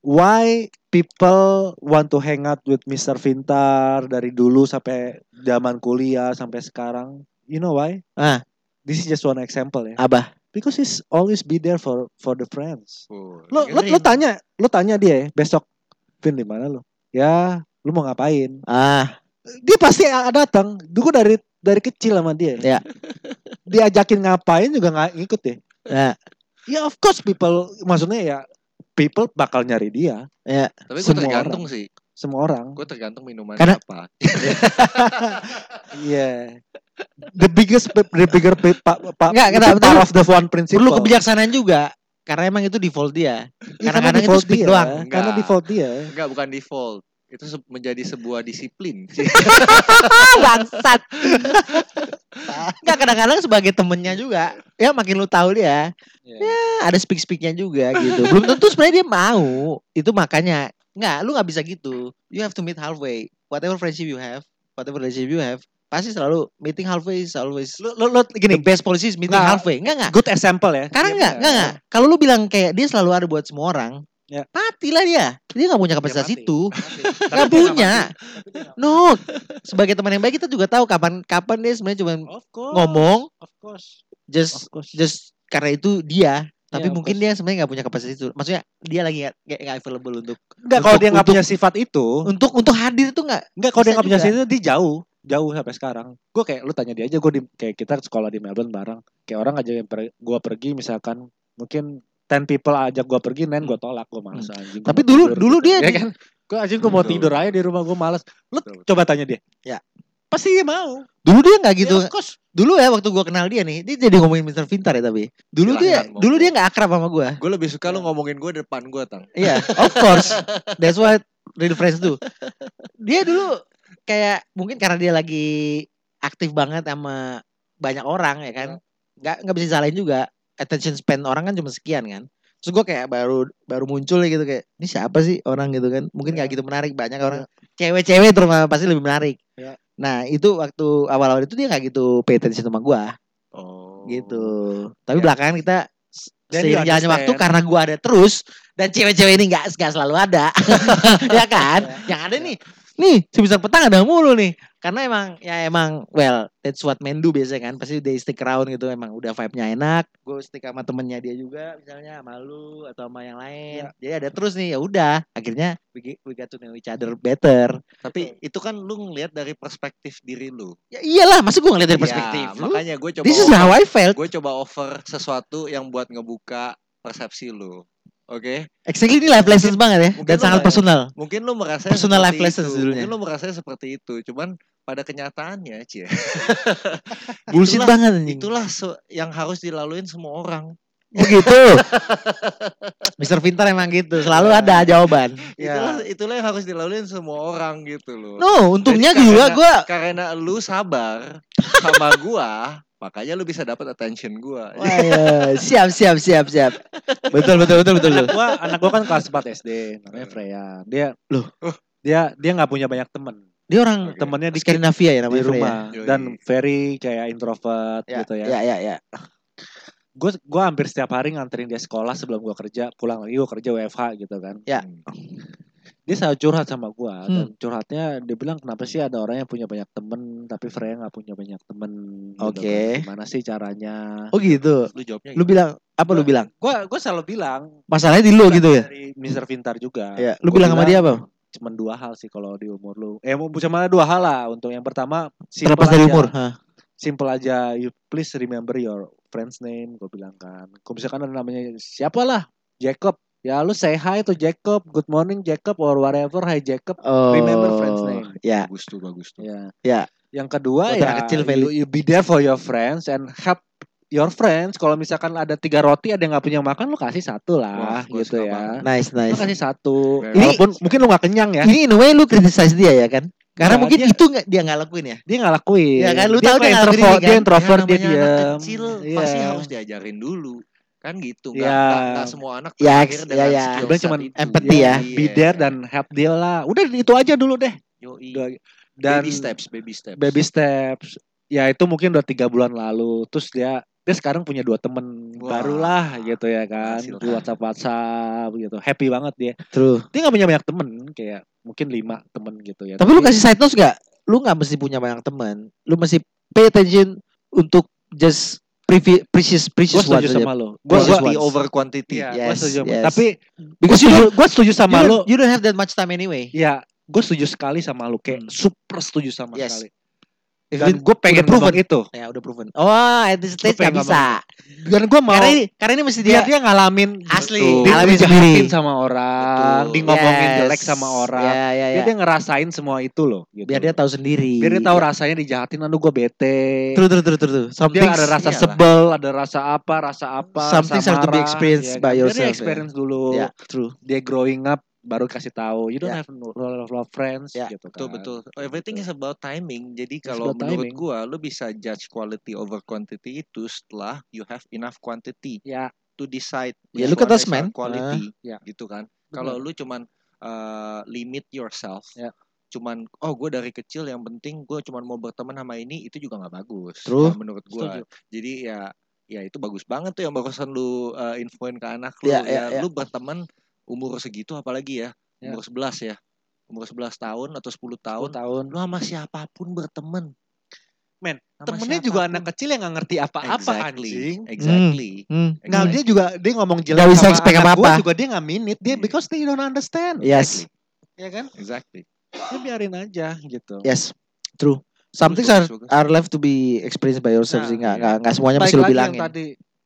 C: Why people want to hang out with Mr. Vintar dari dulu sampai zaman kuliah sampai sekarang? You know why?
B: Ah.
C: This is just one example ya.
B: abah
C: Because he's always be there for for the friends.
A: Oh,
C: Lu lu,
B: Iya,
C: lu tanya, lu tanya dia ya, besok Vin di mana lu? Ya, lu mau ngapain?
B: ah
C: Dia pasti a- datang. Dulu dari dari kecil sama dia.
B: Iya.
C: Diajakin ngapain juga nggak ngikut deh.
B: ya
C: Ya of course people maksudnya ya people bakal nyari dia
A: Tapi gue
C: semua
A: tergantung sih.
C: semua orang.
A: Gue tergantung minuman
B: Karena-
A: apa.
C: Iya. The biggest the bigger pa, pa, pa-
B: Nggak,
C: itu
B: kenapa,
C: part
B: bentar.
C: of the one principle.
B: perlu kebijaksanaan juga karena emang itu default dia
C: Ya, karena
B: kadang-kadang itu
C: default
B: speed
C: dia,
B: doang.
C: Karena
A: Nggak.
C: default dia.
A: Enggak, bukan default. Itu se- menjadi sebuah disiplin.
B: ah bangsat nggak kadang-kadang sebagai temennya juga ya makin lu tahu ya dia ada speak speaknya juga gitu belum tentu sebenarnya dia mau itu makanya Nggak, lu nggak bisa gitu. You have to meet halfway. Whatever friendship you have, whatever relationship you have, pasti selalu meeting halfway is always
C: Lu, lu, lu
B: the
C: gini,
B: best policy is meeting
C: Nggak.
B: halfway. Enggak enggak.
C: good example ya.
B: Karena
A: Iya,
B: enggak,
A: benar.
B: enggak, enggak. Kalau lu bilang kayak dia selalu ada buat semua orang,
C: Ya.
B: matilah dia. Dia nggak punya kapasitas
A: mati.
B: itu.
A: Mati.
B: Nggak
A: Tapi dia nggak
B: punya.
A: mati. Tapi dia nggak
B: No. Sebagai teman yang baik kita juga tahu kapan kapan dia sebenarnya cuma
C: Oh.
A: mati. Of course.
B: ngomong
A: Of course.
B: just
C: Of course.
B: just karena itu dia tapi
C: Ya, of
B: mungkin
C: course.
B: dia sebenarnya nggak punya kapasitas itu maksudnya dia lagi nggak- nggak nggak available untuk
C: Enggak kalau
B: Untuk-
C: dia nggak
B: untuk-
C: punya sifat itu,
B: untuk untuk hadir tuh nggak
C: Enggak, kalau dia
B: Bisa
C: nggak punya
B: juga.
C: sini dia jauh, jauh sampai sekarang. Gue kayak lu tanya dia aja, gue di kayak kita sekolah di Melbourne bareng. Kayak orang aja yang per, gue pergi misalkan mungkin 10 people ajak gue pergi, nen gue tolak, gue males anjing. gua
B: Tapi
C: mau
B: dulu-
C: tidur
B: dulu dia
C: Ya
B: di-
C: kan, gue anjing gue mau
A: Betul,
C: tidur
A: betul.
C: aja di rumah gue males. Lu
A: Betul, betul.
C: coba tanya dia.
B: Ya.
C: Pasti dia mau.
B: dulu dia nggak gitu
C: Ya, of course.
B: dulu ya waktu gua kenal dia nih dia jadi ngomongin Mister Pintar ya tapi dulu
A: Silahkan,
B: dia
A: mau
B: dulu
A: gua.
B: dia nggak akrab sama gua
A: Gue lebih suka lu
C: Ya.
A: ngomongin gue depan gue tang.
B: iya of course that's what real friends do dia dulu kayak mungkin karena dia lagi aktif banget sama banyak orang ya kan nggak nggak bisa salahin juga attention span orang kan cuma sekian kan terus gua kayak baru baru muncul gitu kayak ini siapa sih orang gitu kan mungkin nggak
C: Ya.
B: gitu menarik banyak orang cewek-cewek terutama pasti lebih menarik
C: Ya.
B: nah itu waktu awal-awal itu dia nggak gitu pay attention sama gua
A: Oh.
B: gitu. Tapi
A: Ya.
B: belakangan kita se-
C: Then
B: seiring
C: you
B: jalannya
C: understand.
B: waktu karena gua ada terus dan cewek-cewek ini nggak nggak selalu ada, ya kan?
A: Iya.
B: Yang ada nih, nih sebisa petang ada mulu nih. Karena emang ya emang well that's what men do biasanya kan. Pasti they stick around gitu emang udah vibe-nya enak. Gue stick sama temennya dia juga misalnya sama lu atau sama yang lain.
A: Iya.
B: Jadi ada terus nih ya udah. Akhirnya we, get- we got to know each other better.
A: Tapi
B: Iya.
A: itu kan lu ngelihat dari perspektif diri lu.
B: Ya iyalah, masa gue ngeliat dari
A: Iya,
B: perspektif lu.
A: makanya gue coba
B: This is how I felt.
A: gue coba offer sesuatu yang buat ngebuka persepsi lu. Oke,
B: Exactly ini life lessons banget ya
A: mungkin
B: dan
A: lu
B: sangat
A: nggak-
B: personal.
A: mungkin lu merasa
B: Personal life lessons
A: itu.
B: judulnya.
A: Mungkin lu merasa seperti itu, cuman pada kenyataannya, Cie.
B: Bullshit
A: Itulah-
B: banget anjing.
A: Itulah se- yang harus dilaluin semua orang.
B: Oh gitu. Mister Pintar emang gitu, selalu
C: Ya.
B: ada jawaban.
C: Ya.
A: Itulah itulah yang harus dilaluin semua orang gitu loh.
B: No, untungnya
A: Jadi
B: juga
A: karena-
B: gue
A: Karena lu sabar sama gua, makanya lu bisa dapat attention gua.
C: Iya.
B: Wah, ya. siap siap siap siap. Betul betul betul betul. betul.
C: Gua anak gua kan kelas 4 SD, namanya Freya. Dia
B: Loh.
C: Dia dia nggak punya banyak temen.
B: Dia orang
A: Oke.
C: Temennya di, di
B: Skandinavia ya namanya Frey ya?
C: rumah
A: Yoi.
C: dan very kayak introvert
B: Ya,
C: gitu ya.
B: ya ya ya.
C: gue gua hampir setiap hari nganterin dia sekolah sebelum gua kerja pulang lagi gua kerja WFH gitu kan
B: Ya.
A: Hmm.
C: dia selalu curhat sama gua dan curhatnya dia bilang kenapa sih ada orang yang punya banyak temen tapi Freya nggak punya banyak temen gitu
B: Oke.
C: kan. gimana sih caranya
B: Oh gitu.
A: Terus Lu jawabnya
B: Lu bilang apa lu bilang?
C: gua gua selalu bilang
B: Eh, Masalahnya di lu
C: bukan
B: gitu ya.
C: dari Mister Pintar juga
B: Ya, lu
C: Gua
B: bilang sama dia apa?
C: cuman dua hal sih kalau di umur lu eh mu- cuma dua hal lah untuk yang pertama simple
B: Terlepas dari
C: aja.
B: umur. Hah.
C: simple aja you please remember your friend's name gue bilang kan kalau misalkan ada namanya siapa lah Jacob ya lu say hi to Jacob good morning Jacob or whatever hi Jacob
B: Oh.
C: Remember friend's name.
B: Ya.
A: bagus tuh, bagus tuh.
C: ya
B: Ya.
C: yang kedua
B: Kota
C: ya
B: kecil,
C: you, you be there for your friends and help your friends kalau misalkan ada tiga roti ada yang nggak punya makan lu kasih satu
A: Wah,
C: lah
A: gua
C: gitu
A: suka
C: ya
B: Nice
C: lu
B: nice.
C: kasih satu
A: Very
B: Ini-
C: walaupun mungkin lu nggak kenyang ya
B: Ini in a way lu criticize dia ya kan? Karena
C: Ya,
B: mungkin
C: dia-
B: itu nggak dia nggak lakuin ya.
C: dia nggak lakuin
B: Ya kan, lu
C: dia
B: tahu
C: mah
B: dia nggak lakuin ini
C: introvert dia
B: kan?
C: introvert
A: ya,
C: dia
A: namanya anak
C: diem
A: kecil
C: Iya.
A: pasti harus diajarin dulu kan gitu nggak
C: Iya.
A: nggak- nggak semua anak
B: Ya,
A: terlahir
B: ya,
A: dengan
B: ya.
A: skill
C: Gua
A: set
C: cuman
A: itu
B: empathy ya.
A: Iya.
C: be there dan help dia lah udah itu aja dulu deh
A: Yoi.
C: Udah- dan
A: baby steps baby steps
C: baby steps ya itu mungkin udah tiga bulan lalu terus dia dia sekarang punya dua temen
A: Wah,
C: barulah gitu ya kan
A: berhasil.
C: di WhatsApp WhatsApp gitu happy banget dia
B: True.
C: dia nggak punya banyak temen kayak mungkin lima temen gitu ya
B: Tapi lu kasih side note gak? Lu gak mesti punya banyak teman. Lu mesti pay attention untuk just previ- precious
C: gue
B: precious ones
C: setuju
B: aja.
C: sama lo gue
B: Gua-
C: gua,
A: quality
B: gua-
A: over quantity
C: iya,
B: Yes,
C: gua setuju sama-
B: yes.
C: tapi gue
B: Because you
C: setuju,
B: don't,
C: gua setuju
B: you,
C: sama lo
B: don't, you don't have that much time anyway.
C: ya gue setuju sekali sama lo kayak
B: Hmm.
C: super setuju sama
B: Yes.
C: sekali
B: If
C: dan
B: it-
C: gue pengen
B: udah proven.
C: ngomong itu
B: Ya udah proven. Oh, at this stage gak
C: Gua pengen
B: bisa.
C: dan gue mau
B: Karena ini, karena ini mesti dia
C: dia dia ngalamin
B: asli,
A: Betul.
B: Iya.
C: dia
B: alami
C: dijahatin
B: sendiri.
C: sama orang,
A: Betul.
C: di ngomongin
B: Yes.
C: jelek sama orang.
B: Ya, ya,
C: Dia
B: ya.
C: dia ngerasain semua itu loh. Gitu. Iya.
B: Biar dia tahu sendiri.
C: Biar dia tahu
B: Ya.
C: rasanya dijahatin, aduh gue bete.
B: True, true, true, true. true. Some
C: dia
B: things-
C: ada
B: Iya.
C: rasa
A: iyalah.
C: sebel, ada rasa apa, rasa apa,
B: Some things
C: rasa
B: have to be
C: marah,
B: experienced by
C: ya kan? Biar
B: yourself, ya.
C: Dia experience dulu.
B: Ya, true.
C: Dia growing up baru kasih tahu. You don't
B: Ya.
C: have no, no, no- no friends
B: Ya,
C: gitu
A: betul
C: kan.
A: betul everything is about timing jadi
C: It's
A: kalau
C: about
A: menurut
C: timing.
A: gua lu bisa judge quality over quantity itu setelah you have enough quantity
C: Ya,
A: to decide
B: Ya,
A: which
B: look
A: one
B: at us,
A: is our
B: man.
A: quality
C: Ah, ya.
A: gitu kan
C: Benar.
A: kalau lu cuman eh, limit yourself.
C: Ya.
A: Cuman oh gue dari kecil yang penting gue cuman mau berteman sama ini itu juga nggak bagus.
C: True.
A: Kalau menurut gue.
C: Setuju.
A: Jadi ya ya itu bagus banget tuh yang barusan lu eh, infoin ke anak lu. Ya,
C: Ya, ya, ya.
A: Lu berteman umur segitu apalagi ya
C: Ya.
A: umur 11 ya umur 11 tahun atau 10 tahun.
C: 10 tahun.
A: Lu sama siapapun berteman.
C: Men,
A: Sama
C: Temennya juga
A: siapapun.
C: anak kecil yang nggak ngerti apa-apa
A: exactly,
C: anjing. Nah,
A: Exactly.
B: Hmm.
C: Nggak, dia juga dia ngomong jelek
B: Nggak bisa
C: sama
B: expect
C: anak gua
B: apa-apa.
C: juga dia nggak minit dia
A: Iya.
C: because they don't understand.
B: Yes.
C: Ya kan?
A: Exactly.
C: Ya biarin aja gitu.
B: Yes. True. Some things are,
A: Bagus, bagus, bagus.
B: are left to be experienced by yourself
C: Nah,
B: sih nggak
A: iya.
B: nggak nggak semuanya
C: Baik
B: mesti lu
C: lagi yang
B: bilangin.
C: tadi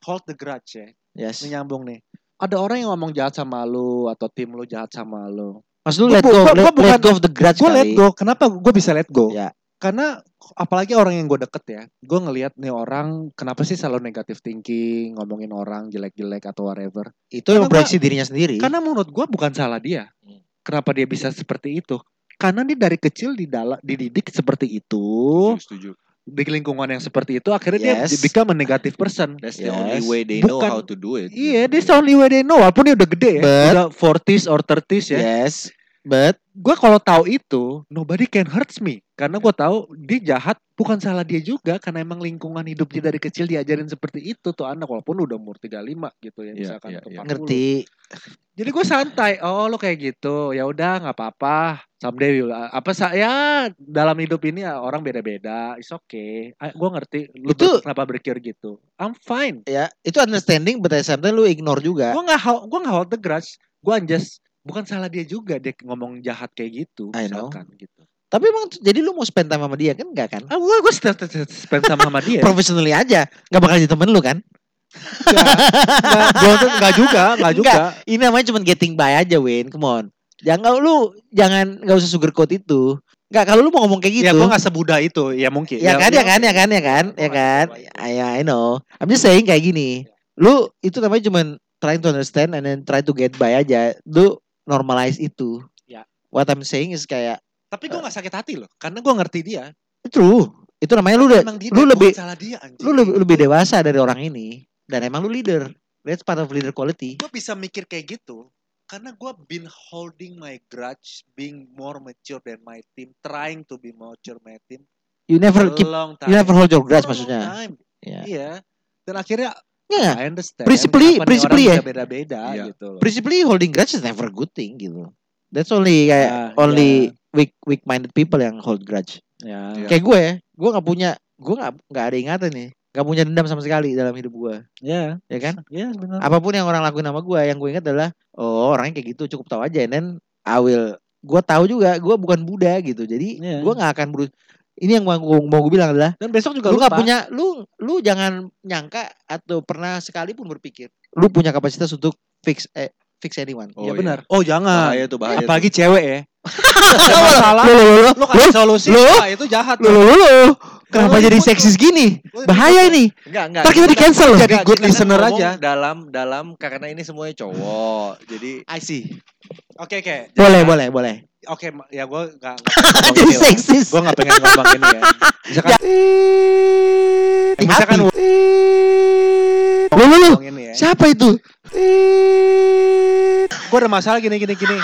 C: hold the grudge ya.
B: Yes.
C: Ini nyambung nih. Ada orang yang ngomong jahat sama lu atau tim lu jahat sama lu.
B: Maksud lu
C: Gua
B: let
C: bu-
B: go
C: gua-
B: let,
C: gua bukan-
B: let go of the grudge
C: Gue let
B: kali.
C: go. Kenapa gue bisa let go?
B: Ya.
C: Karena apalagi orang yang gue deket ya. Gue ngelihat nih orang kenapa sih selalu negative thinking, ngomongin orang jelek-jelek atau whatever.
B: Itu yang
C: Karena
B: proyeksi dirinya sendiri. Iya.
C: Karena menurut gue bukan salah dia.
A: Hmm.
C: Kenapa dia bisa seperti itu? Karena dia dari kecil didala- dididik seperti itu,
A: Setuju, setuju.
C: di lingkungan yang seperti itu, akhirnya
B: Yes.
C: dia become a negative person.
A: That's the only
B: Yes.
A: way they know
C: Bukan-
A: how to do it. Hmm.
C: Iya, that's the only way they know. Walaupun dia udah gede ya,
B: But-
C: udah 40s or 30s
A: Iya,
C: ya.
B: Yes. But
C: Gue kalau tahu itu, nobody can hurts me. Karena gue tahu dia jahat bukan salah dia juga karena emang lingkungan hidup dia dari kecil diajarin seperti itu tuh anak walaupun udah umur 35 gitu
A: Iya,
C: ya, misalkan
A: iya,
C: atau
A: iya.
C: 40.
B: ngerti.
C: Jadi gue santai. Oh lo kayak gitu. Ya udah nggak apa-apa. Someday will- uh, apa saya dalam hidup ini ya, orang beda-beda. It's okay. Ah, Gue ngerti. Lu
B: Itu-
C: ber- kenapa berpikir gitu? I'm fine.
B: Ya, itu understanding but at the same time lu ignore juga.
C: Gue nggak hol- gue nggak hold the grudge. Gue just bukan salah dia juga dia ngomong jahat kayak gitu.
B: I know.
C: Misalkan gitu.
B: Tapi emang t- jadi lu mau spend time sama dia kan enggak kan?
C: Ah gue gue spend sama sama dia.
B: Professionally aja, nggak bakal jadi temen lu kan?
C: Nggak- nggak- nggak juga, nggak juga.
B: Ini namanya cuma getting by aja, Win. Come on. Jangan lu jangan nggak usah sugarcoat itu. Nggak kalau lu mau ngomong kayak gitu.
C: Ya gue nggak sebudah itu. Ya mungkin.
B: ya, kan, ya kan, ya kan, ya kan,
C: Gua
B: ya
C: nggak
B: kan.
C: sebudah itu. Iya.
B: Ya, I know. I'm just saying kayak gini. Lu itu namanya cuman trying to understand and then try to get by aja. Lu normalize itu.
C: Ya.
B: What I'm saying is kayak
C: Tapi gue nggak sakit hati loh. Karena gue ngerti dia.
B: true. Itu namanya Ya, lu udah
C: Emang dia
B: lu
C: bukan
B: lebih
C: salah dia anjing.
B: lu lebih, lebih dewasa dari orang ini dan emang lu leader. That's part of leader quality.
C: gue bisa mikir kayak gitu karena gue been holding my grudge, being more mature than my team, trying to be mature my team
B: You never
C: for
B: keep
C: long time.
B: you never hold your grudge
C: For a long
B: maksudnya.
C: time,
B: Iya.
C: Iya. Dan akhirnya
B: Iya.
C: I understand.
B: Principally-
C: kenapa nih orang
B: principally
C: bisa
B: ya.
C: Beda-beda
A: Iya.
C: gitu loh.
B: Principally holding grudge is never a good thing gitu. That's only kayak
C: Ah,
B: only weak weak minded people yang hold grudge.
C: Ya.
A: Iya.
B: Kayak gue, gue nggak punya, gue nggak nggak ada ingatan nih, nggak punya dendam sama sekali dalam hidup gue,
A: Iya.
C: Ya.
B: ya kan?
C: Ya, benar.
B: Apapun yang orang lakuin sama gue, yang gue ingat adalah, oh orangnya kayak gitu, cukup tahu aja, and then I will, gue tahu juga, gue bukan Buddha gitu, jadi
C: Iya.
B: gue nggak akan berus. Ini yang gua- gua- mau gue bilang adalah,
C: Dan besok juga
B: lu nggak
C: lupa.
B: punya, lu lu jangan nyangka atau pernah sekalipun berpikir, lu punya kapasitas untuk fix eh, fix anyone.
A: Oh,
C: ya
A: iya.
C: benar. Oh jangan.
A: Bahaya tuh bahaya. tuh.
C: Apalagi cewek ya. Ada masalah.
B: Lu, lu, lu,
C: Lu kasih solusi.
B: lu-
C: Wah itu jahat.
B: lu, lu, lu, lu. kenapa
C: Lu
B: jadi
C: ikut
B: seksis gini?
C: Lu-
B: Bahaya ini.
A: Enggak, enggak.
B: Ntar kita di cancel loh.
C: jadi
A: Oh, iya. Ya,
C: good
A: kita kan
C: listener
A: ngomong
C: aja.
A: Dalam dalam karena ini semuanya cowok. Jadi
B: I see.
C: Oke, oke.
B: Boleh, boleh, boleh.
C: Oke, ma- ya gue gak,
B: Jadi seksis.
C: Gue gak pengen ngomong ini ya. Misalkan, misalkan
B: Misalkan lu, lu,
C: gua
B: lu.
C: ngomong ini ya.
B: Siapa itu?
C: Gue ada masalah gini, gini, gini.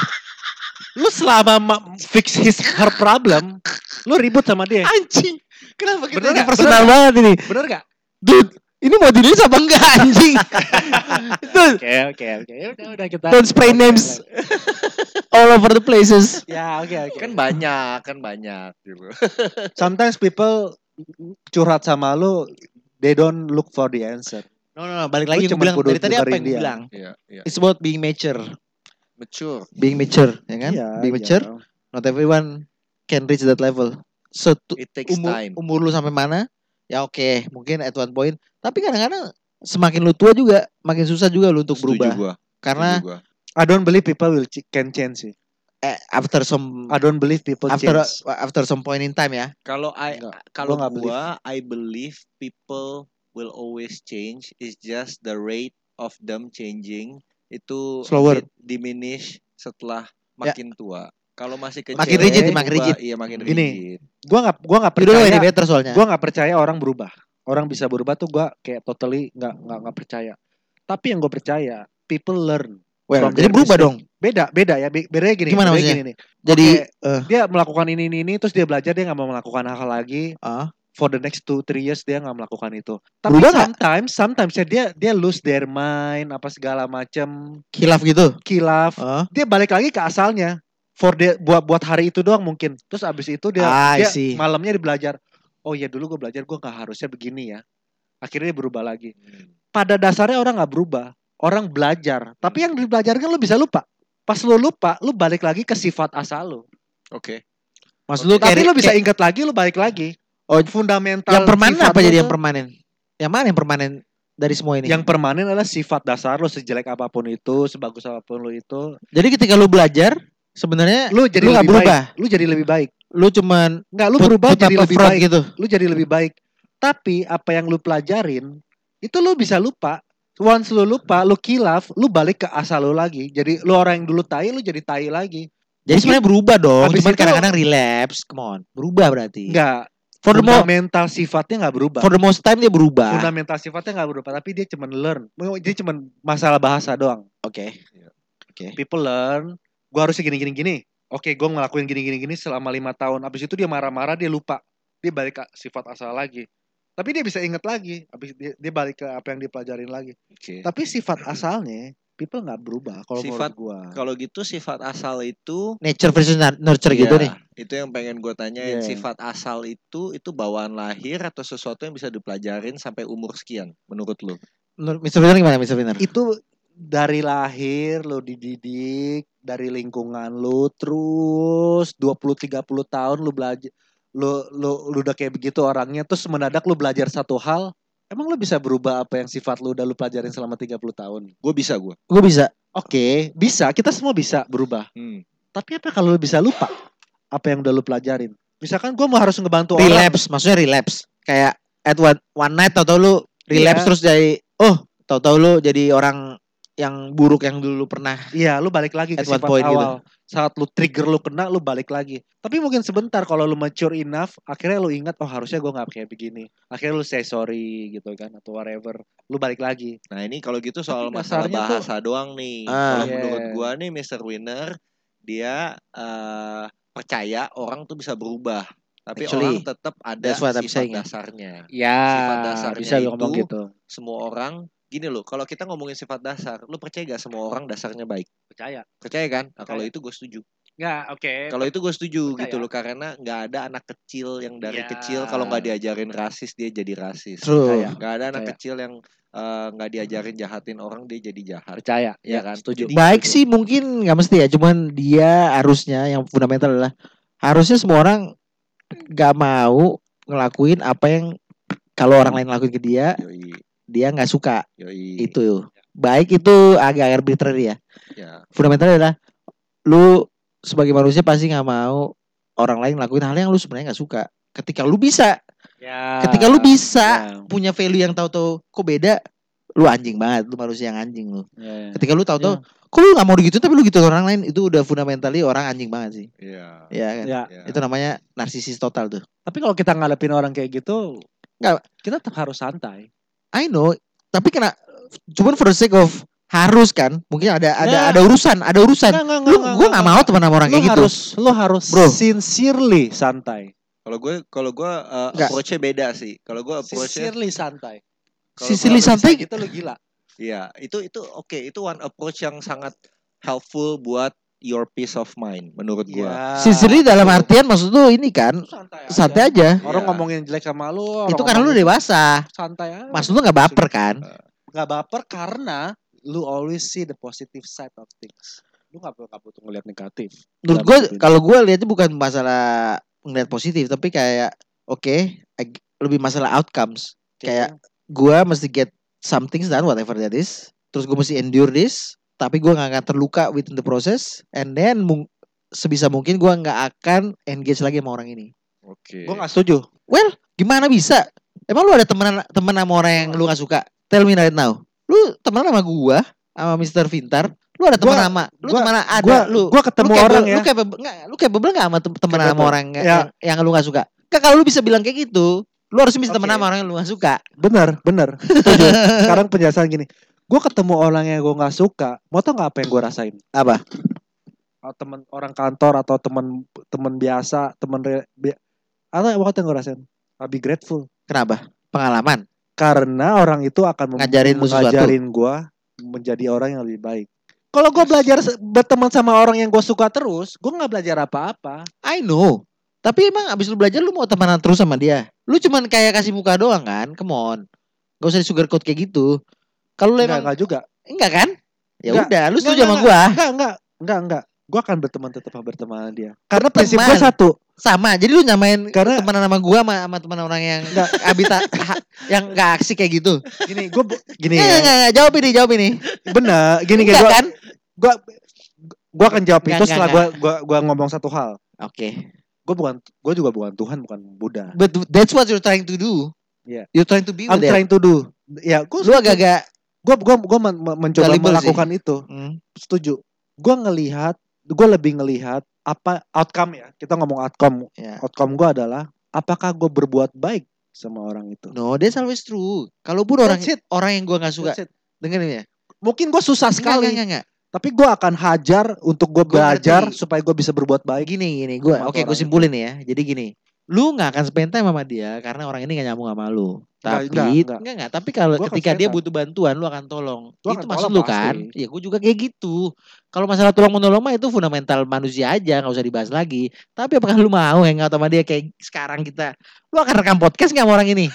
C: Lu selama ma- fix his her problem, lu ribut sama dia.
B: Anjing. Kenapa kita
C: Bener
B: ini
C: nggak?
B: personal
C: Bener
B: banget ini?
C: Bener gak?
B: Dude, ini mau dirilis apa enggak anjing? Dude,
C: Oke, oke, oke. Ya Udah, udah kita.
B: don't spray
C: oke,
B: names all over the places.
C: oke. Ya, oke, oke.
A: kan banyak, kan banyak gitu.
C: Sometimes people curhat sama lu, they don't look for the answer.
B: No, no, no. Balik
C: Lu
B: lagi yang
C: cuman
B: gue bilang
C: kudu
B: dari tadi apa
C: dengerin
B: yang gue
C: dia.
B: bilang?
A: Iya, iya.
B: It's about being mature.
A: Mature.
B: Being mature, ya kan?
C: Iya,
B: being
C: iya.
B: mature, not everyone can reach that level. So, to-
A: It takes
B: umur
A: time.
B: umur lu sampai mana ya oke mungkin at one point tapi kadang-kadang semakin lu tua juga makin susah juga lu untuk
A: Setuju
B: berubah
A: gua.
B: karena
A: setuju gua.
C: I don't believe people will ch- can change sih.
B: eh, after some
C: I don't believe people
B: after
C: change.
B: after some point in time ya
A: Kalau I
C: Enggak,
A: kalau
C: gua nggak
A: gua, I believe people will always change. It's just the rate of them changing itu a
B: Slower.
A: bit diminish setelah makin tua. Kalau masih kecil,
B: Makin
C: rigid ya,
B: makin
A: berubah,
B: rigid.
A: Iya, makin
C: Gini,
A: rigid.
C: Gua nggak gua nggak
B: you don't know any
C: percaya.
B: better soalnya
C: Gua nggak percaya orang berubah. Orang bisa berubah tuh gua kayak totally nggak nggak nggak percaya. Tapi yang gue percaya, people learn.
B: Well,
C: From
B: jadi
C: their
B: berubah
C: mistake.
B: dong.
C: beda beda ya be- bedanya gini
B: Gimana
C: bedanya
B: maksudnya?
C: gini nih
B: Jadi eh,
C: dia melakukan ini ini ini terus dia belajar dia nggak mau melakukan hal lagi
B: Ah.
C: for the next two three years dia nggak melakukan itu tapi
B: Berubah nggak?
C: sometimes sometimes ya dia dia lose their mind apa segala macem
B: kilaf gitu.
C: kilaf
B: Heeh.
C: dia balik lagi ke asalnya for the buat buat hari itu doang mungkin terus abis itu dia,
B: Ah, I
C: dia
B: see.
C: malamnya dia belajar oh ya dulu gue belajar gue nggak harusnya begini ya akhirnya dia berubah lagi pada dasarnya orang nggak berubah orang belajar tapi yang dibelajarkan lo bisa lupa pas lo lupa lo balik lagi ke sifat asal lo
A: Oke.
B: Maksud lu
C: tapi
B: kayak-
C: lo bisa
B: kayak-
C: ingat lagi lo balik lagi
B: Oh,
C: fundamental
B: yang permanen
C: sifat
B: apa
C: lo
B: jadi yang
C: tuh-
B: permanen? Yang mana yang permanen dari semua ini?
C: yang permanen adalah sifat dasar lo sejelek apapun itu sebagus apapun lo itu
B: Jadi ketika lu belajar sebenarnya
C: lo jadi
B: Eh, Lu nggak
C: lebih baik
B: berubah?
C: lo jadi lebih baik
B: lu cuman
C: nggak lo
B: put-
C: berubah
B: put up
C: jadi
B: a
C: lebih
B: front
C: baik
B: gitu.
C: lu jadi lebih baik. Tapi apa yang lu pelajarin itu lu bisa lupa. Once lu lupa, lu kilaf, lu balik ke asal lu lagi. Jadi lu orang yang dulu tai, lu jadi tai lagi.
B: Jadi sebenarnya berubah dong,
C: Habis
B: cuman
C: itu-
B: kadang-kadang relapse. Come on, berubah berarti.
C: Enggak,
B: For the mo-
C: fundamental sifatnya nggak berubah.
B: for the most time dia berubah.
C: Fundamental sifatnya nggak berubah, tapi dia cuman learn. Dia cuman masalah bahasa doang.
B: Oke.
C: People learn, gua harusnya gini gini gini. Oke, gua ngelakuin gini gini gini selama lima tahun. Habis itu dia marah-marah, dia lupa. Dia balik ke sifat asal lagi. Tapi dia bisa inget lagi. Habis dia, dia balik ke apa yang dia pelajarin lagi.
A: Oke.
C: Tapi sifat asalnya people nggak berubah kalau
A: Sifat-
C: menurut gua.
A: Kalau gitu sifat asal itu
B: Nature versus na- nurture gitu
A: Iya,
B: nih.
A: Itu yang pengen gue tanyain
C: Iya.
A: sifat asal itu itu bawaan lahir atau sesuatu yang bisa dipelajarin sampai umur sekian menurut lu?
B: Menurut Mr. Winner gimana Mr. Winner?
C: Itu dari lahir lo dididik, dari lingkungan lo terus 20 30 tahun lo belajar lo lo lo udah kayak begitu orangnya terus mendadak lo belajar satu hal, emang lo bisa berubah apa yang sifat lo udah lo pelajarin selama 30 tahun?
A: Gue bisa gue.
B: Gue bisa.
C: Oke, bisa, kita semua bisa berubah.
A: Hmm.
C: Tapi apa kalau lo bisa lupa apa yang udah lo pelajarin? Misalkan gua mau harus ngebantu orang
B: relapse, maksudnya relapse. Kayak at one, one night tau-tau lu relapse
C: Iya.
B: terus jadi oh, tau-tau lu jadi orang yang buruk yang dulu lu pernah.
C: Iya, lu balik lagi ke
B: At one
C: sifat
B: point gitu.
C: awal. Saat lu trigger lu kena, lu balik lagi. Tapi mungkin sebentar kalau lu mature enough, akhirnya lu ingat oh harusnya gua nggak kayak begini. Akhirnya lu say sorry gitu kan atau whatever. Lu balik lagi.
A: Nah ini kalau gitu soal
C: Tapi
A: masalah
C: dasarnya tuh-
A: bahasa doang nih.
B: Ah.
A: kalau
C: Iya.
A: menurut gue nih Mr. Winner dia eh, percaya orang tuh bisa berubah. Tapi
B: Actually,
A: orang tetap ada
B: that's what I'm
A: sifat
B: saying.
A: dasarnya.
C: Ya,
A: Sifat dasarnya
C: bisa
A: itu-
C: ngomong gitu.
A: Semua orang gini loh. Kalau kita ngomongin sifat dasar, lu percaya gak semua orang dasarnya baik?
C: Percaya.
A: Percaya kan? Nah, kalau
C: Percaya.
A: itu gue setuju.
C: Enggak, oke.
A: Kalau itu gue setuju
C: Percaya.
A: gitu loh karena nggak ada anak kecil yang dari
C: Ya.
A: kecil kalau nggak diajarin rasis dia jadi rasis.
B: True.
C: Percaya.
A: Nggak ada anak
C: Percaya.
A: kecil yang eh, nggak diajarin jahatin orang dia jadi jahat.
C: Percaya.
A: Ya kan?
C: Setuju.
A: Jadi-
B: Baik
A: setuju.
B: sih mungkin nggak mesti ya, cuman dia harusnya yang fundamental adalah harusnya semua orang nggak mau ngelakuin apa yang kalau orang lain lakuin ke dia,
A: Yoi,
B: dia nggak suka
A: yoi.
B: itu. Baik itu agak arbitrary ya.
A: Ya,
B: Fundamental adalah lu sebagai manusia pasti nggak mau orang lain lakuin hal yang lu sebenarnya nggak suka. Ketika lu bisa,
C: Ya.
B: ketika lu bisa
C: Ya.
B: punya value yang tahu-tahu kok beda, lu anjing banget, lu manusia yang anjing lu.
C: Ya.
B: Ketika lu tahu-tahu
C: Iya.
B: kok lu nggak mau gitu tapi lu gitu orang lain itu udah fundamentally orang anjing banget sih.
A: ya.
B: Iya kan?
C: Ya.
A: ya.
B: Itu namanya narsisis total tuh.
C: Tapi kalau kita ngadepin orang kayak gitu,
B: Nggak.
C: Kita tetap harus santai.
B: I know, tapi kena cuman for the sake of harus kan? Mungkin ada ada
C: Nah.
B: ada urusan, ada urusan.
C: Nggak, nggak,
B: lu
C: nggak,
B: gue
C: nggak,
B: nggak
C: nggak.
B: mau teman sama orang
C: lu
B: kayak gitu.
C: harus lu harus
B: Bro.
C: sincerely santai
A: Kalau gue kalau gue eh,
B: Nggak.
A: approach-nya beda sih. Kalau gue approach-nya
C: sincerely santai
A: kalau
B: Sincerely
A: gue-
B: santai?
C: itu lu gitu gila
A: Iya, itu itu oke, itu one approach yang sangat helpful buat your peace of mind menurut gue.
B: Sincerely dalam artian maksud lu ini kan
C: Iya. Lu santai aja.
B: santai aja.
C: orang
A: Iya.
C: ngomongin jelek sama lu orang
B: Itu karena lu
C: ngomongin-
B: dewasa.
C: santai aja
B: Maksud lu nggak baper kan?
C: eh, nggak baper karena lu always see the positive side of things lu nggak perlu nggak butuh ngeliat negatif
B: menurut
C: Dalam
B: gue
C: hidup ini.
B: kalau gue lihatnya bukan masalah ngeliat positif tapi kayak oke ag- lebih masalah outcomes Kayak- gue mesti get something done whatever that is terus gue mesti endure this tapi gue nggak akan terluka within the process and then mung- sebisa mungkin gue nggak akan engage lagi sama orang ini
A: Oke.
C: gue nggak setuju
B: gimana bisa emang lu ada temenan temen sama orang yang lu nggak suka tell me right now lu temenan sama gue sama Mr. Vintar lu ada temen
C: Gua-
B: sama lu
C: gua-
B: temen ada
C: gue
B: lu
C: gue ketemu
B: lu capable-
C: orang ya
B: Lu capable enggak? Lu capable enggak sama tem- temenan sama
C: Capable.
B: orang yang-
C: Ya.
B: yang, yang lu enggak suka? Enggak kalau lu bisa bilang kayak gitu, lu harus bisa temenan
C: Oke.
B: sama orang yang lu enggak suka.
C: benar benar setuju sekarang penjelasan gini gue ketemu orang yang gue nggak suka mau tau nggak apa yang gue rasain
B: Apa?
C: atau temen orang kantor atau temen temen biasa temen re, bi- atau waktu yang gue rasain I'll be grateful
B: Kenapa? Pengalaman.
C: karena orang itu akan mem-
B: Ngajarin lu sesuatu.
C: ngajarin gue menjadi orang yang lebih baik kalau gue belajar se- berteman sama orang yang gue suka terus gue nggak belajar apa-apa
B: I know. Tapi emang abis lu belajar lu mau temenan terus sama dia. Lu cuman kayak kasih muka doang kan? Come on. Gak usah di sugarcoat kayak gitu. Kalau lu
C: nggak
B: emang
C: nggak juga
B: enggak kan? Ya
C: Enggak.
B: udah, lu
C: Enggak,
B: setuju sama
C: enggak,
B: gua.
C: Enggak, enggak, enggak, enggak. Gue akan berteman tetap berteman sama dia. Karena prinsip
B: Berteman.
C: gue satu.
B: Sama. Jadi lu nyamain
C: Karena
B: temenan sama gua sama, sama teman orang yang
C: Enggak.
B: habitat ha- yang gak aksi kayak gitu.
C: gini, gue gini
B: Enggak,
C: ya.
B: enggak, enggak. Jawab ini, jawab ini.
C: Bener, gini kayak
B: Enggak
C: gue
B: kan?
C: gua gua akan jawab
B: Enggak,
C: itu
B: enggak,
C: setelah gue gua gua ngomong satu hal.
B: Oke.
C: Gue bukan gue juga bukan Tuhan, bukan Buddha.
B: But that's what you're trying to do.
C: Iya.
B: You're trying to be
C: I'm
B: with them.
C: trying to do. Ya, gue
B: Lu agak-agak
C: gue gue gue men- men- mencoba
B: Gullible sih.
C: melakukan itu.
B: hmm,
C: Setuju. Gue ngelihat, gue lebih ngelihat apa outcome ya. Kita ngomong outcome.
B: ya.
C: Outcome gue adalah apakah gue berbuat baik sama orang itu.
B: No, that's always true. Kalaupun orang
C: That's it.
B: orang yang gua nggak suka,
C: That's it.
B: dengerin ya.
C: Mungkin gue susah
B: Enggak,
C: sekali.
B: enggak, enggak, enggak.
C: Tapi gue akan hajar untuk gue
B: Gua
C: belajar
B: ngerti.
C: supaya gue bisa berbuat baik.
B: Eh, Gini, gini, gua.
C: Sama
B: Oke,
C: orang
B: gua simpulin ya. Jadi gini, lu nggak akan spend time sama dia karena orang ini nggak nyambung sama lu. Tapi
C: enggak, enggak.
B: enggak, enggak. Tapi kalau
C: Gua akan
B: ketika
C: spend
B: dia
C: time.
B: butuh bantuan, lu akan tolong. itu
C: Gua akan
B: maksud
C: tolong
B: lu
C: pasti.
B: kan? Ya, gua juga kayak gitu. Kalau masalah tolong menolong mah itu fundamental manusia aja, nggak usah dibahas lagi. Tapi apakah lu mau hangout sama dia kayak sekarang kita? Lu akan rekam podcast nggak sama orang ini?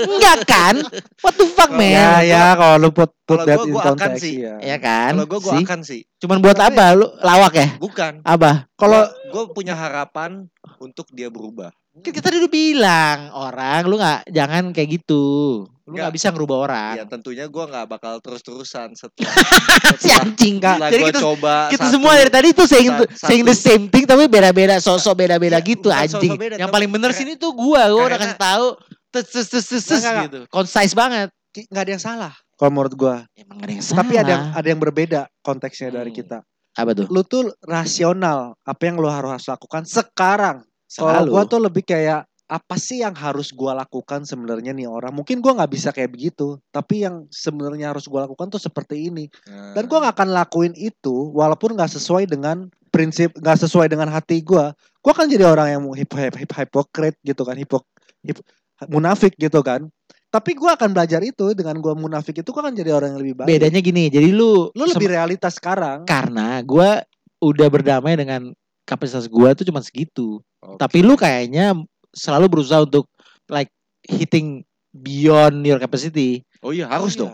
B: enggak kan? What the fuck,
A: Kalau-
B: man?
C: Ya ya kalau lu put, put
A: Kalau
C: that
A: gua-
C: in
A: gua akan
C: context
A: sih.
C: ya.
B: Ya kan?
A: Kalau gue gue
B: See?
A: akan sih.
B: Cuman buat
A: Tapi-
B: apa? Lu lawak ya?
A: Bukan.
B: Apa?
A: Kalau
C: Kalau
A: gue punya harapan untuk dia berubah.
B: Kan
C: gitu.
B: kita tadi udah bilang orang lu nggak jangan kayak gitu. Lu nggak
A: Nggak.
B: bisa ngerubah orang.
A: Ya tentunya gue nggak bakal terus-terusan setelah
C: Iya,
B: si
A: setelah,
B: anjing.
A: setelah
B: Jadi
A: gue
C: gitu,
B: kita
A: coba
B: kita
A: satu.
B: semua dari tadi tuh saying
A: Sa-
B: saying the
A: satu.
B: same thing tapi beda-beda sosok beda-beda
A: Ya,
B: gitu
A: bukan sosok
B: anjing.
A: beda,
B: Yang
A: tapi
B: paling bener
A: keren-
B: sini tuh gua, gua udah
A: karena-
B: kasih tahu tes tes tes tes tes
C: Nggak, nggak,
B: gitu. Concise banget.
A: Ki, nggak ada yang salah.
C: kalau menurut gue,
B: Emang ada yang salah.
C: tapi ada yang ada yang berbeda konteksnya dari
A: Hmm.
C: kita.
B: apa tuh?
C: Lu tuh rasional apa yang lu harus lakukan sekarang. Kalau
B: Selalu.
C: gue tuh lebih kayak apa sih yang harus gue lakukan sebenarnya nih orang? Mungkin gue nggak bisa kayak begitu, tapi yang sebenarnya harus gue lakukan tuh seperti ini. dan gue
A: Nah.
C: nggak akan lakuin itu walaupun nggak sesuai dengan prinsip nggak sesuai dengan hati gue gue akan jadi orang yang hip hip hip hipokrit gitu kan hipok hip, munafik gitu kan tapi gue akan belajar itu dengan gue munafik itu gue akan jadi orang yang lebih baik
B: Bedanya gini. Jadi lu
C: lu lebih realita sekarang
B: karena gua udah berdamai dengan kapasitas gua tuh cuma segitu.
A: Oke.
B: Tapi lu kayaknya selalu berusaha untuk like hitting beyond your capacity.
A: oh iya harus dong.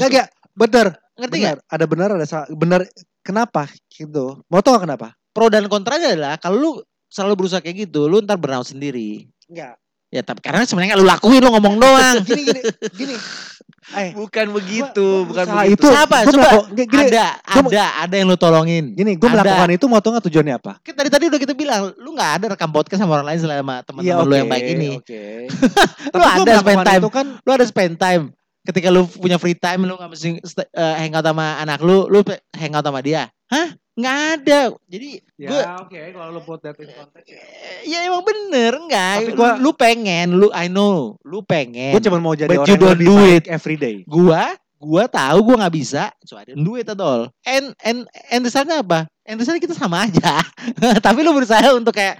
B: Harus
C: gak, gak. Nah, bener
B: Ngerti
C: bener
B: gak?
C: ada bener ada salah bener kenapa gitu mau tau gak kenapa
B: Pro dan kontranya adalah kalau lu selalu berusaha kayak gitu, lu ntar burnout sendiri.
C: Enggak.
B: Ya tapi karena sebenarnya nggak lu lakuin lu ngomong doang.
C: gini gini gini eh
A: Bukan begitu,
C: gua- gua
A: bukan
C: usaha
A: begitu.
C: itu
B: Siapa?
C: gua
B: Coba.
C: melaku- gini, gini,
B: ada,
C: gua-
B: ada, ada yang lu tolongin.
C: gini gue
B: Ada.
C: melakukan itu mau tau gak tujuannya apa
B: Kan tadi tadi udah kita bilang, lu nggak ada rekam podcast sama orang lain selain sama teman-teman
C: Iya,
B: lu yang
C: oke,
B: baik ini.
C: Oke.
B: Lu
C: gua
B: ada
C: melakukan
B: spend time.
C: Itu kan
B: Lu ada spend time. Ketika lu punya free time, lu nggak mesti st- eh, hangout sama anak lu, lu pe- hangout sama dia. Hah? Nggak ada. Jadi
C: Ya.
B: gue
C: oke kalau lu put that in context.
B: Eh, Ya emang bener enggak.
C: Tapi gua-
B: lu pengen, lu I know, lu pengen.
C: Gue cuma mau jadi
B: But
C: orang
B: you
C: yang
B: don't
C: lebih
B: do
C: baik every day.
B: Gua, gua tahu gua nggak bisa. Cuma ada duit atau And and and desainnya apa? And desainnya kita sama aja. Tapi lu berusaha untuk kayak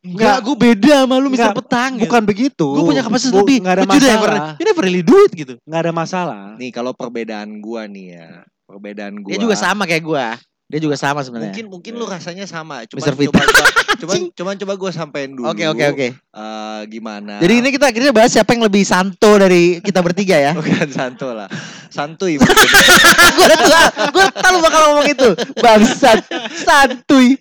C: Nggak.
B: Enggak, gue beda sama lu Mister
C: Nggak,
B: Petang
C: Bukan begitu.
B: Gue punya kapasitas
C: Bu-
B: lebih
C: Nggak ada
B: But you never-
C: masalah.
B: You never really do it gitu
C: Nggak ada masalah.
A: Nih kalau perbedaan gua nih ya, perbedaan gua.
B: Dia juga sama kayak gua Dia juga sama sebenarnya
A: Mungkin mungkin lu rasanya sama, cuman
B: Mr. Fit.
A: coba cuman
B: Cing.
A: cuman coba gua sampein dulu.
B: Oke oke oke
A: eh, gimana?
B: Jadi ini kita akhirnya bahas siapa yang lebih santo dari kita bertiga ya
A: bukan santo lah. Santuy.
B: gue udah gue tahu lu bakal ngomong itu bangsat santuy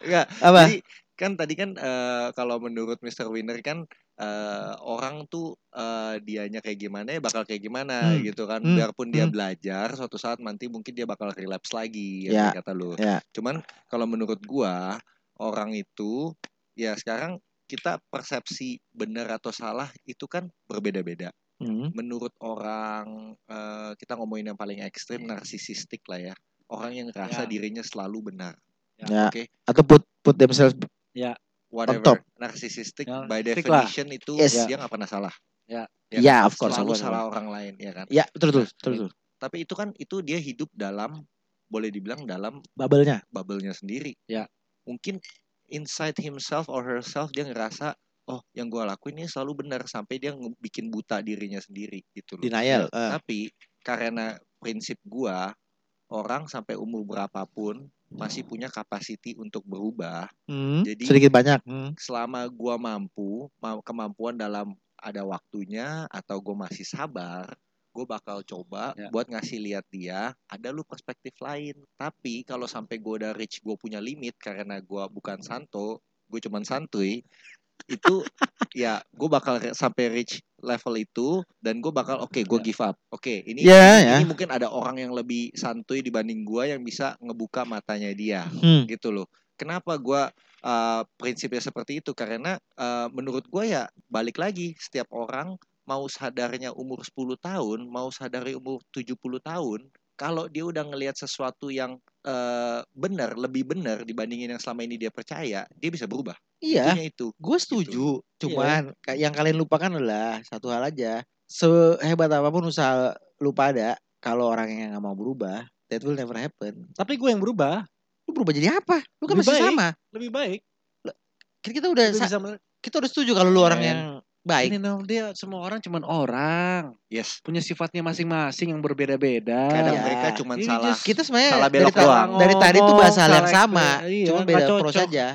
A: Enggak.
B: apa
A: Jadi kan tadi kan eh, kalau menurut Mr. Winner kan eh, orang tuh eh, dianya kayak gimana ya bakal kayak gimana
B: Hmm.
A: gitu kan.
B: Hmm.
A: Biarpun dia
B: Hmm.
A: belajar suatu saat nanti mungkin dia bakal relapse lagi
B: Ya.
A: ya kata lu.
B: Ya.
A: Cuman kalau menurut gua orang itu ya sekarang kita persepsi benar atau salah itu kan berbeda-beda.
B: Hmm.
A: Menurut orang eh, kita ngomongin yang paling ekstrim narsisistik lah ya. Orang yang ngerasa
C: Ya.
A: dirinya selalu benar.
B: ya
A: Oke.
B: atau put put themselves
A: whatever
B: top.
A: narsisistik
C: Ya,
A: by
C: stick lah.
A: definition itu
B: Yes.
A: dia nggak pernah salah.
C: Ya.
A: kan?
B: Ya, of course,
A: Selalu
B: of course, of
A: salah orang lain ya kan.
B: ya terus terus terus terus.
A: Tapi itu kan itu dia hidup dalam boleh dibilang dalam
B: Bubble-nya.
A: bubble-nya sendiri.
B: Ya.
A: Mungkin inside himself or herself dia ngerasa oh yang gua lakuin ini selalu benar sampai dia nge- bikin buta dirinya sendiri gitu loh.
B: Denial. eh.
A: Tapi karena prinsip gua orang sampai umur berapapun masih punya kapasiti untuk berubah.
B: Hmm,
A: Jadi-
B: sedikit banyak. Hmm.
A: Selama gua mampu, ma- kemampuan dalam ada waktunya atau gua masih sabar, gua bakal coba
C: Ya.
A: buat ngasih lihat dia ada lu perspektif lain. Tapi kalau sampai gua udah reach gua punya limit karena gua bukan santo, gue cuman santuy. Itu ya gue bakal re- sampai reach level itu dan gue bakal oke gue give up. Oke, ini
B: Ya,
A: ini-
B: ya.
A: ini mungkin ada orang yang lebih santuy dibanding gua yang bisa ngebuka matanya dia
B: Hmm.
A: gitu loh. Kenapa gua uh, prinsipnya seperti itu? Karena uh, menurut gua ya balik lagi setiap orang mau sadarnya umur 10 tahun, mau sadari umur 70 tahun, kalau dia udah ngelihat sesuatu yang uh, benar, lebih benar dibandingin yang selama ini dia percaya, dia bisa berubah.
B: Iya.
A: Punya itu.
B: Gue setuju, cuman ka- yang kalian lupakan adalah satu hal aja. Sehebat apapun usaha lu pada, kalau orang yang nggak mau berubah, that will never happen.
C: Tapi gue yang berubah
B: Lu berubah jadi apa? Lu kan masih
C: Lebih baik.
B: sama.
C: lebih baik.
B: Kan Kita udah
C: Lebih
B: sa-
C: bisa men-
B: kita udah setuju kalau lu orang
C: Men.
B: yang baik.
C: Iya. Ini Nov, dia semua orang cuman orang
A: Yes.
C: punya sifatnya masing-masing yang berbeda-beda.
A: Kadang
B: Iya.
A: mereka cuman
C: Ini
A: salah.
B: Kita sebenarnya
A: Salah
B: dari,
A: belok
B: ta-
A: doang.
B: dari tadi tuh bahas hal yang
C: Oh, Salah
B: sama,
C: ekspe- iya,
B: cuman
C: nggak
B: beda approach
C: cocok. Hmm.
B: aja.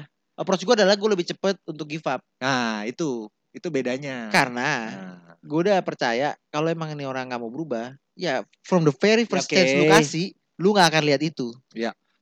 B: Approach gue adalah gue lebih cepet untuk give up
A: Nah, itu itu bedanya.
B: karena
A: Nah,
B: gue udah percaya kalau emang ini orang nggak mau berubah ya from the very first
C: Oke.
B: chance lu kasih lu nggak akan lihat itu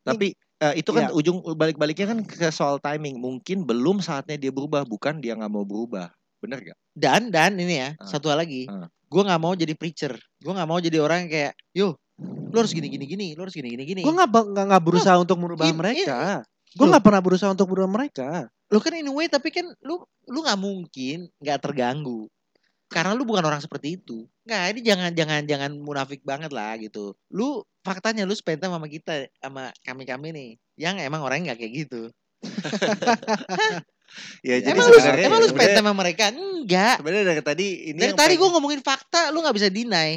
A: tapi eh, itu kan
C: Iya.
A: ujung balik-baliknya kan ke soal timing. Mungkin belum saatnya dia berubah, bukan dia nggak mau berubah. Bener gak?
B: dan dan ini ya
C: Hmm.
A: Ah.
B: satu hal lagi
A: Ah.
B: gue nggak mau jadi preacher gue nggak mau jadi orang yang kayak yo lu harus gini gini gini lu harus gini gini gini
C: Gue nggak ba- nggak nggak berusaha untuk merubah
B: in- in-
C: mereka. Gue
B: Loh.
C: nggak pernah berusaha untuk merubah mereka.
B: lu kan in a way tapi kan lu lu nggak mungkin nggak terganggu karena lu bukan orang seperti itu nggak ini jangan jangan jangan munafik banget lah gitu lu faktanya lu spend time sama kita sama kami kami nih yang emang orangnya nggak kayak gitu
A: Ya, jadi
B: emang lu
A: sebenarnya
B: emang lu spend
A: sebenarnya-
B: time sama mereka enggak
A: sebenarnya dari tadi ini
B: Dari
A: yang
B: tadi
A: pengen-
B: gue ngomongin fakta, lu nggak bisa deny.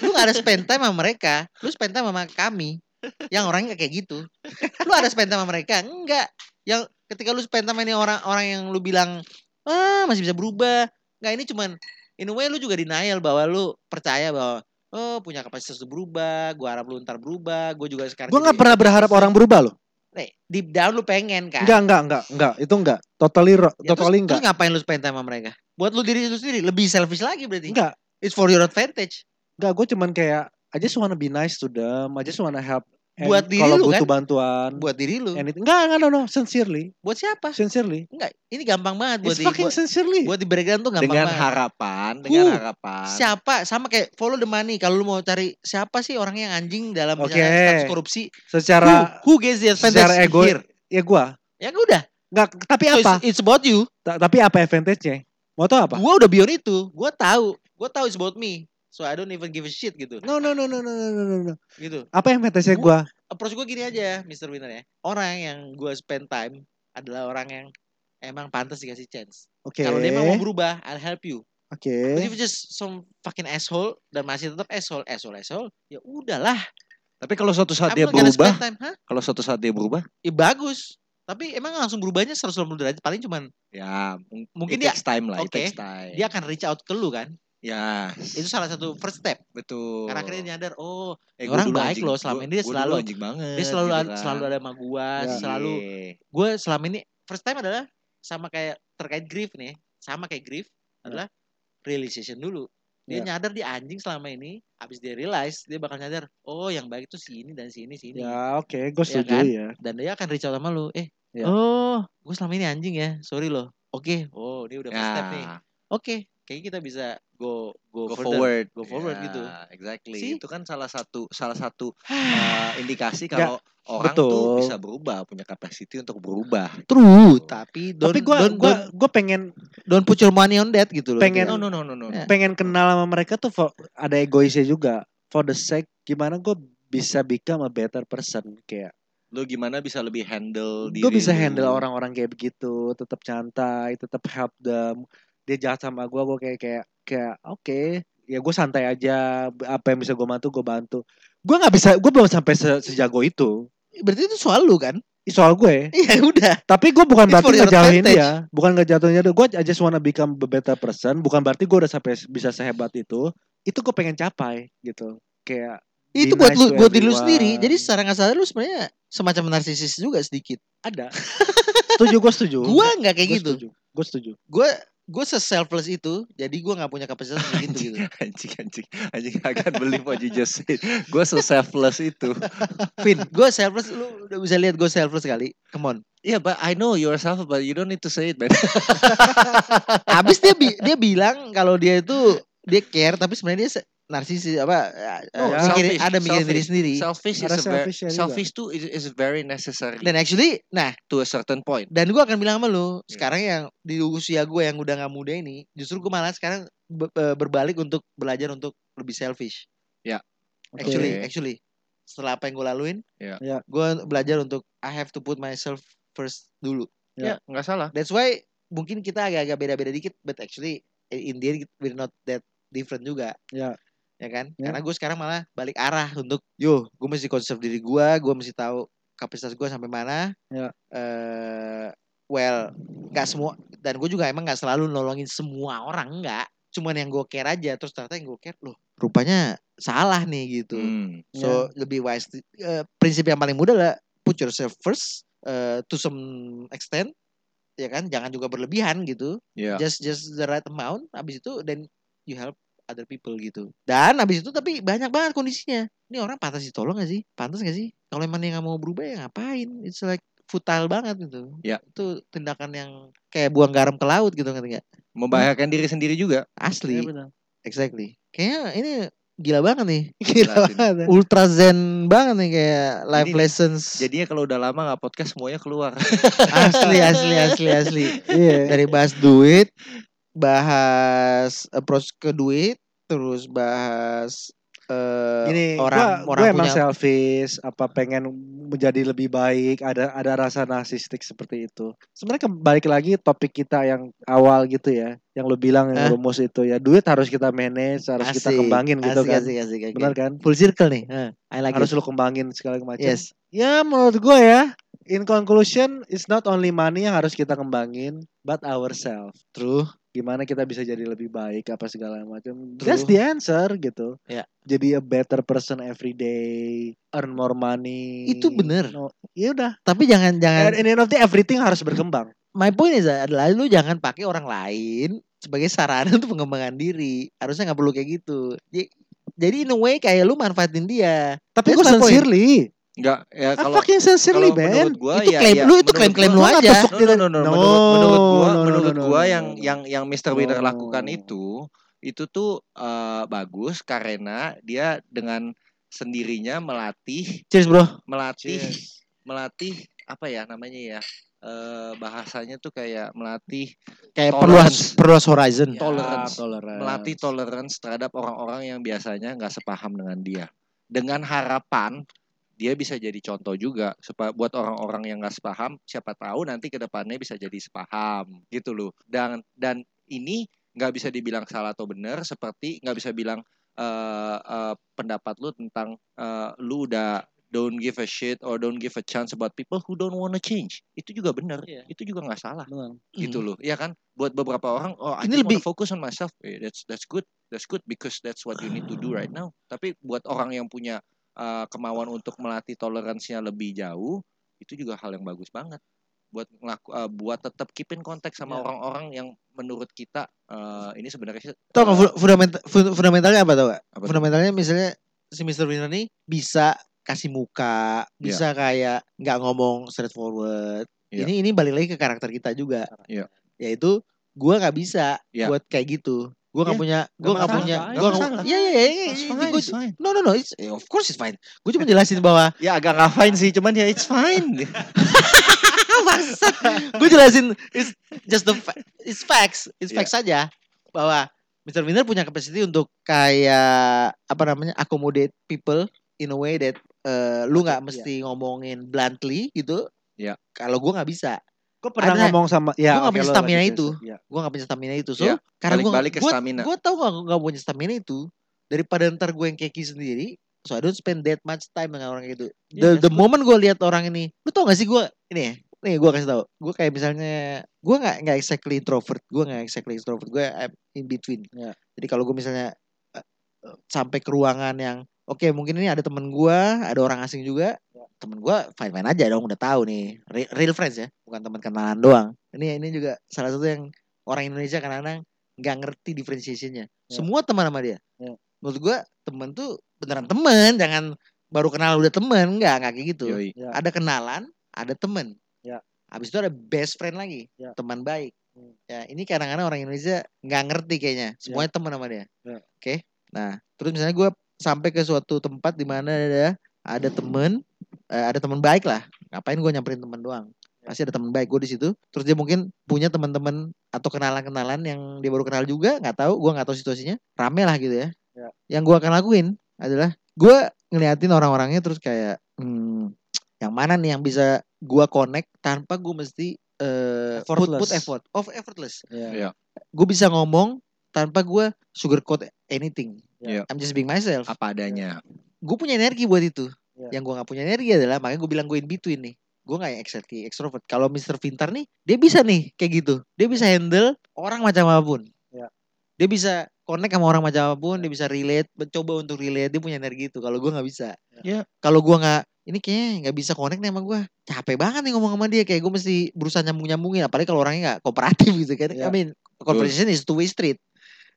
B: Lu nggak ada spend time sama mereka, lu spend time sama kami. Yang orangnya nggak kayak gitu. Lu ada spend time sama mereka? Enggak. Yang ketika lu spend time ini orang-orang yang lu bilang ah masih bisa berubah. Enggak ini cuman in a way lu juga denial bahwa lu percaya bahwa oh punya kapasitas untuk berubah, gua harap lu ntar berubah, gua juga sekarang
C: Gue
B: jadi-
C: nggak pernah berharap orang berubah loh.
B: Nih, deep down lu pengen kan?
C: Enggak, enggak, enggak, enggak. Itu enggak. Totally, ro-
B: Ya, terus,
C: totally
B: terus
C: enggak.
B: ngapain lu spend time sama mereka? Buat lu diri lu sendiri lebih selfish lagi berarti.
C: Enggak,
B: It's for your advantage.
C: enggak. Gue cuman kayak, I just wanna be nice to them. I just wanna help. And
B: Buat diri
C: kalau
B: lu
C: butuh
B: kan?
C: bantuan.
B: Buat diri lu.
C: anything. Enggak, enggak, no, no. Sincerely.
B: Buat siapa?
C: Sincerely.
B: Enggak, ini gampang banget buat
C: It's
B: di
C: fucking
B: buat,
C: sincerely.
B: buat di breakdown tuh gampang
A: dengan
B: banget.
A: harapan, dengan
B: Who?
A: harapan.
B: Siapa sama kayak follow the money kalau lu mau cari siapa sih orang yang anjing dalam
C: Oke.
B: misalnya status korupsi?
C: Secara,
B: who, who gets the advantage
C: secara ego-
B: here?
C: ya gue.
B: Ya udah.
C: Enggak, tapi
B: So,
C: apa?
B: it's, it's about you.
C: Ta- tapi apa advantage-nya? Mau tau apa?
B: Gua udah beyond itu. Gua tahu. Gua tahu it's about me. So I don't even give a shit gitu.
C: No, no, no, no, no, no, no, no, no.
B: Gitu.
C: Apa advantage-nya
B: Gua-
C: gue?
B: Approach gua gini aja, Mr. Winner ya. Orang yang gua spend time adalah orang yang emang pantas dikasih chance.
C: Oke.
B: Kalau dia emang mau berubah, I'll help you.
C: Oke.
A: Eh?
B: But if it's just some fucking asshole dan masih tetap asshole, asshole, asshole, ya udahlah.
A: Tapi kalau suatu saat
B: I'm
A: dia
B: not gonna
A: berubah,
B: spend time, Hah?
A: kalau suatu saat dia berubah,
B: Ya bagus. Tapi emang langsung berubahnya 180 derajat paling cuman
A: ya mung-
B: Mungkin
A: it
B: dia-
A: takes time lah, it
B: Oke.
A: takes time.
B: dia akan reach out ke lu kan.
A: ya,
B: Itu salah satu first step.
A: betul.
B: Karena akhirnya dia nyadar, oh
A: Eh,
B: orang
A: dulu
B: baik
A: anjing-
B: loh, selama
A: gua-
B: ini dia
A: gua dulu
B: selalu-
A: anjing banget,
B: dia selalu
A: gitu
B: ad-
A: kan.
B: selalu ada sama gua,
C: Ya.
B: selalu
A: Iya.
B: gue selama ini first time adalah sama kayak terkait grief nih, sama kayak grief adalah realization dulu.
A: Iya.
B: Dia
C: Ya.
B: nyadar dia anjing selama ini, habis dia realize dia bakal nyadar, oh yang baik itu si ini dan si ini si ini.
C: Ya, oke. Gue
B: Iya
C: setuju
B: kan?
C: ya.
B: dan dia akan reach out sama lu eh
C: Iya.
B: oh gue selama ini anjing ya sorry loh oke oh dia udah first
A: Ya,
B: step nih oke kayaknya kita bisa go go,
A: go
B: further.
A: forward, Ya,
B: Go forward gitu.
A: Exactly.
B: See?
A: Itu kan salah satu salah satu eh, indikasi kalau orang tuh
C: betul.
A: bisa berubah, punya kapasiti untuk berubah.
B: true tapi don't
C: tapi gue
B: don't,
C: gua,
B: don't
C: gua pengen
B: don't put your money on that gitu loh
C: Pengen-
A: No,
B: Ngerti
A: no, no, no, no.
B: Ya.
C: pengen kenal sama mereka tuh for- ada egoisnya juga for the sake gimana gue bisa become a better person kayak
A: Lu gimana bisa lebih handle
C: gue bisa
A: diri lu?
C: handle orang-orang kayak begitu tetap santai tetap help them dia jahat sama gue gue kayak kayak kayak oke ya gue santai aja apa yang bisa gue bantu gue bantu gue nggak bisa gue belum sampai se- sejago itu
B: Berarti itu soal lu kan?
C: Ih, soal gue
B: Iya udah.
C: tapi gue bukan
B: It's
C: berarti
B: for your
C: ngejatuhin
B: advantage.
C: dia bukan ngejatuhin dia gue just wanna become a better person bukan berarti gue udah sampai bisa sehebat itu itu gue pengen capai gitu kayak
B: Itu
C: be
B: buat
C: nice
B: lu
C: to
B: buat diri lu
C: everyone.
B: sendiri. Jadi secara nggak sadar lu sebenarnya semacam narsisis juga sedikit.
C: ada setuju gue setuju
B: Gua nggak kayak
C: Gua
B: gitu.
C: setuju. gue setuju
B: Gue gue se selfless itu. Jadi gue nggak punya kapasitas gitu gitu.
A: anjing anjing anjing akan beli what you just said gue so selfless itu
B: Vin, gue selfless. Lu udah bisa lihat gue selfless kali. Come on.
A: yeah but I know yourself but you don't need to say it man
B: Habis dia bi- dia bilang kalau dia itu dia care tapi sebenarnya dia se- narsisis apa eh,
A: Oh,
B: eh,
A: selfish,
B: mikirin- ada mikirin diri
A: selfish.
B: sendiri.
A: selfish ya is
C: Ada
A: a very,
C: selfishnya juga.
A: selfish too is, is very necessary
B: Dan actually, nah
A: to a certain point
B: dan gue akan bilang sama lu sekarang yang di usia gue yang udah nggak muda ini justru gue malah sekarang be- be- berbalik untuk belajar untuk lebih selfish
C: Oke. Iya,
B: actually
A: Oke.
B: actually setelah apa yang gue laluin
A: Ya.
C: Ya.
B: gue belajar untuk I have to put myself first dulu
A: ya
C: Ya.
A: nggak salah
B: that's why mungkin kita agak-agak beda-beda dikit but actually eh, in the end we're not that different juga
C: Ya.
B: ya kan
C: Ya.
B: karena gue sekarang malah balik arah untuk yo gue mesti konsep diri gue gue mesti tahu kapasitas gue sampai mana
C: Ya.
B: Eh, well nggak semua dan gue juga emang nggak selalu nolongin semua orang nggak cuman yang gue care aja terus ternyata yang gue care loh rupanya salah nih gitu
A: Hmm.
B: So lebih wise. eh, prinsip yang paling mudah lah put yourself first eh, to some extent, ya kan? Jangan juga berlebihan gitu.
A: ya
B: Just just the right amount. Abis itu then you help other people gitu. Dan abis itu tapi banyak banget kondisinya. Ini orang pantas ditolong gak sih? Pantas gak sih? Kalau emang dia nggak mau berubah ya ngapain? It's like futile banget gitu.
A: Ya.
B: Itu tindakan yang kayak buang garam ke laut gitu kan nggak?
A: membahayakan diri sendiri juga
B: Asli.
C: Ya, benar.
B: Exactly. Kayaknya ini gila banget nih.
C: Gila
A: Jelasin.
C: banget.
B: Ultra zen banget nih kayak life
A: Ini nih,
B: lessons.
A: jadinya kalau udah lama nggak podcast semuanya keluar
B: asli asli asli asli.
C: Iya.
B: Dari bahas duit, bahas approach ke duit, terus bahas eh,
C: Gini,
B: orang
C: gua,
B: orang
C: gua emang
B: punya
C: selfish, apa pengen menjadi lebih baik, ada ada rasa narsistik seperti itu. Sebenarnya kembali lagi topik kita yang awal gitu ya, yang lu bilang yang
B: Hah?
C: rumus itu ya, duit harus kita manage, harus kita
B: Asik,
C: kembangin gitu
B: asik,
C: kan.
B: asik, asik, asik.
C: Benar kan?
B: Full circle nih. eh, I like
C: harus
B: it.
C: lu kembangin segala macam.
B: Yes.
C: Ya menurut gue ya, in conclusion, it's not only money yang harus kita kembangin, but ourselves.
B: True.
C: Gimana kita bisa jadi lebih baik apa segala macam.
B: True.
C: That's the answer gitu.
B: Ya.
C: Jadi a better person every day, earn more money.
B: Itu bener.
C: No, ya udah.
B: Tapi jangan jangan
C: And, and end of the day, everything harus berkembang.
B: my point is adalah lu jangan pakai orang lain sebagai sarana untuk pengembangan diri. Harusnya nggak perlu kayak gitu. Jadi- Jadi in a way kayak lu manfaatin dia.
C: Tapi
B: That's
C: gue
B: my point.
C: sincerely.
A: nggak ya
C: I
A: kalau
C: fucking sincerely,
A: kalau
C: Ben.
A: menurut gua
B: itu
A: ya,
B: klaim
A: ya,
B: lu itu
A: menurut gua-
B: klaim-klaim lu
C: Gua nggak
B: aja.
C: tusuk
A: No,
C: di-
A: no, no, no,
C: gitu. No,
A: Menurut, menurut gua,
C: no, no,
A: menurut
C: no, no,
A: gua
C: no,
A: yang
C: no, no.
A: yang yang Mr. Winner
C: No.
A: lakukan itu itu tuh eh, bagus karena dia dengan sendirinya melatih
B: Cheers bro.
A: melatih
C: Cheers.
A: melatih apa ya namanya ya eh, bahasanya tuh kayak melatih
B: Kayak
A: Tolerance.
B: perluas perluas horizon.
A: Ya. Tolerance.
C: tolerance.
A: melatih tolerance terhadap orang-orang yang biasanya nggak sepaham dengan dia dengan harapan dia bisa jadi contoh juga supaya buat orang-orang yang nggak sepaham siapa tahu nanti kedepannya bisa jadi sepaham gitu loh dan dan ini nggak bisa dibilang salah atau benar seperti nggak bisa bilang eh, eh, pendapat lu tentang eh, lu udah don't give a shit or don't give a chance about people who don't wanna change itu juga benar
C: Iya.
A: itu juga nggak salah
C: Benar.
A: gitu loh ya kan buat beberapa orang oh I
B: Iya. Ini
A: just wanna
B: lebih-
A: focus on myself Eh, that's that's good that's good because that's what you need to do right now tapi buat orang yang punya uh, kemauan untuk melatih toleransinya lebih jauh itu juga hal yang bagus banget buat ngelaku, uh, buat tetap keep in contact sama
B: Iya.
C: Ya.
A: orang-orang yang menurut kita uh, ini sebenarnya sih,
B: Tau nggak
A: uh,
B: fun- fundamenta- fun- fundamentalnya apa tau gak?
A: Apa tuh?
B: Fundamentalnya misalnya si Mr. Winner nih bisa kasih muka, bisa kayak nggak ngomong straightforward.
A: Iya.
B: Ini ini balik lagi ke karakter kita juga.
A: Iya.
B: Yaitu gua nggak bisa
A: Iya.
B: buat kayak gitu. Gua nggak
A: Iya,
B: punya, gua
A: nggak
B: nggak
A: masalah,
B: punya,
A: nggak
B: gua nggak.
A: masalah.
B: Iya iya iya, iya.
A: it's
B: itu
A: fine,
B: gua-
A: it's fine.
B: No no no, it's, of course it's fine. Gue cuma jelasin bahwa
A: ya agak nggak fine sih cuman ya it's fine
B: Bangsat. gue jelasin it's just the fa- it's facts it's
A: Iya.
B: facts saja bahwa Mr. Winner punya capacity untuk kayak apa namanya accommodate people in a way that eh, lu nggak
C: Oke,
B: mesti ngomongin bluntly gitu
A: Iya.
B: kalau gue nggak bisa
C: Gue pernah
B: Ada-
C: ngomong sama
B: Gua
C: ya.
B: nggak
C: oke,
B: punya
C: lu
B: stamina
C: lanjutin,
B: itu.
C: Sa. Ya.
B: gue gak punya stamina itu so
A: Iya,
B: karena gue
A: balik-balik ke stamina.
B: gue tau gak, gak punya stamina itu daripada ntar gue yang keki sendiri so I don't spend that much time dengan orang kayak gitu the,
C: Iya,
B: the
C: that's good.
B: moment gue lihat orang ini lu tau gak sih gue ini ya nih gue kasih tau gue kayak misalnya gue gak nggak exactly introvert gue gak exactly introvert gue I'm in between
C: Iya.
B: jadi kalau gue misalnya eh, eh, sampai ke ruangan yang oke mungkin ini ada temen gue ada orang asing juga
C: Iya.
B: temen gue fine fine aja dong udah tahu nih Re- real friends ya bukan teman kenalan doang ini ini juga salah satu yang orang Indonesia kadang-kadang nggak ngerti differentiation-nya.
C: Ya.
B: Semua teman sama dia.
C: Ya.
B: Menurut gua teman tuh beneran teman, jangan baru kenal udah teman, nggak nggak kayak gitu.
A: Yoi.
C: Ya.
B: Ada kenalan, ada teman.
C: Ya.
B: Habis itu ada best friend lagi,
C: Ya.
B: teman baik.
C: Hmm.
B: Ya, ini kadang-kadang orang Indonesia nggak ngerti kayaknya. Semuanya teman sama dia.
C: Ya.
B: Oke. Nah, terus misalnya gua sampai ke suatu tempat di mana ada ada teman, eh, ada teman baik lah. Ngapain gua nyamperin teman doang?
C: Ya.
B: Pasti ada teman baik gue di situ. Terus dia mungkin punya teman-teman atau kenalan-kenalan yang dia baru kenal juga, nggak tahu, gua nggak tahu situasinya. Rame lah gitu ya.
C: Ya.
B: Yang gua akan lakuin adalah gua ngeliatin orang-orangnya terus kayak hmm, yang mana nih yang bisa gua connect tanpa gua mesti eh, put, put
C: Effortless.
B: effort of effortless
C: Ya.
A: Iya.
B: gue bisa ngomong tanpa gua sugarcoat anything
A: Ya.
B: I'm just being myself
A: apa adanya.
B: gue punya energi buat itu
C: Ya.
B: yang gua nggak punya energi adalah makanya gue bilang gue in between nih gue nggak yang exactly extrovert kalau Mr. Pintar nih dia bisa nih kayak gitu dia bisa handle orang macam apapun
C: Ya.
B: dia bisa connect sama orang macam apapun dia bisa relate mencoba untuk relate dia punya energi itu kalau gua nggak bisa
A: Ya.
B: kalau gua nggak ini kayaknya nggak bisa connect nih sama gua capek banget nih ngomong sama dia kayak gue mesti berusaha nyambung nyambungin apalagi kalau orangnya nggak kooperatif gitu kan
C: Ya.
B: I mean conversation is two way street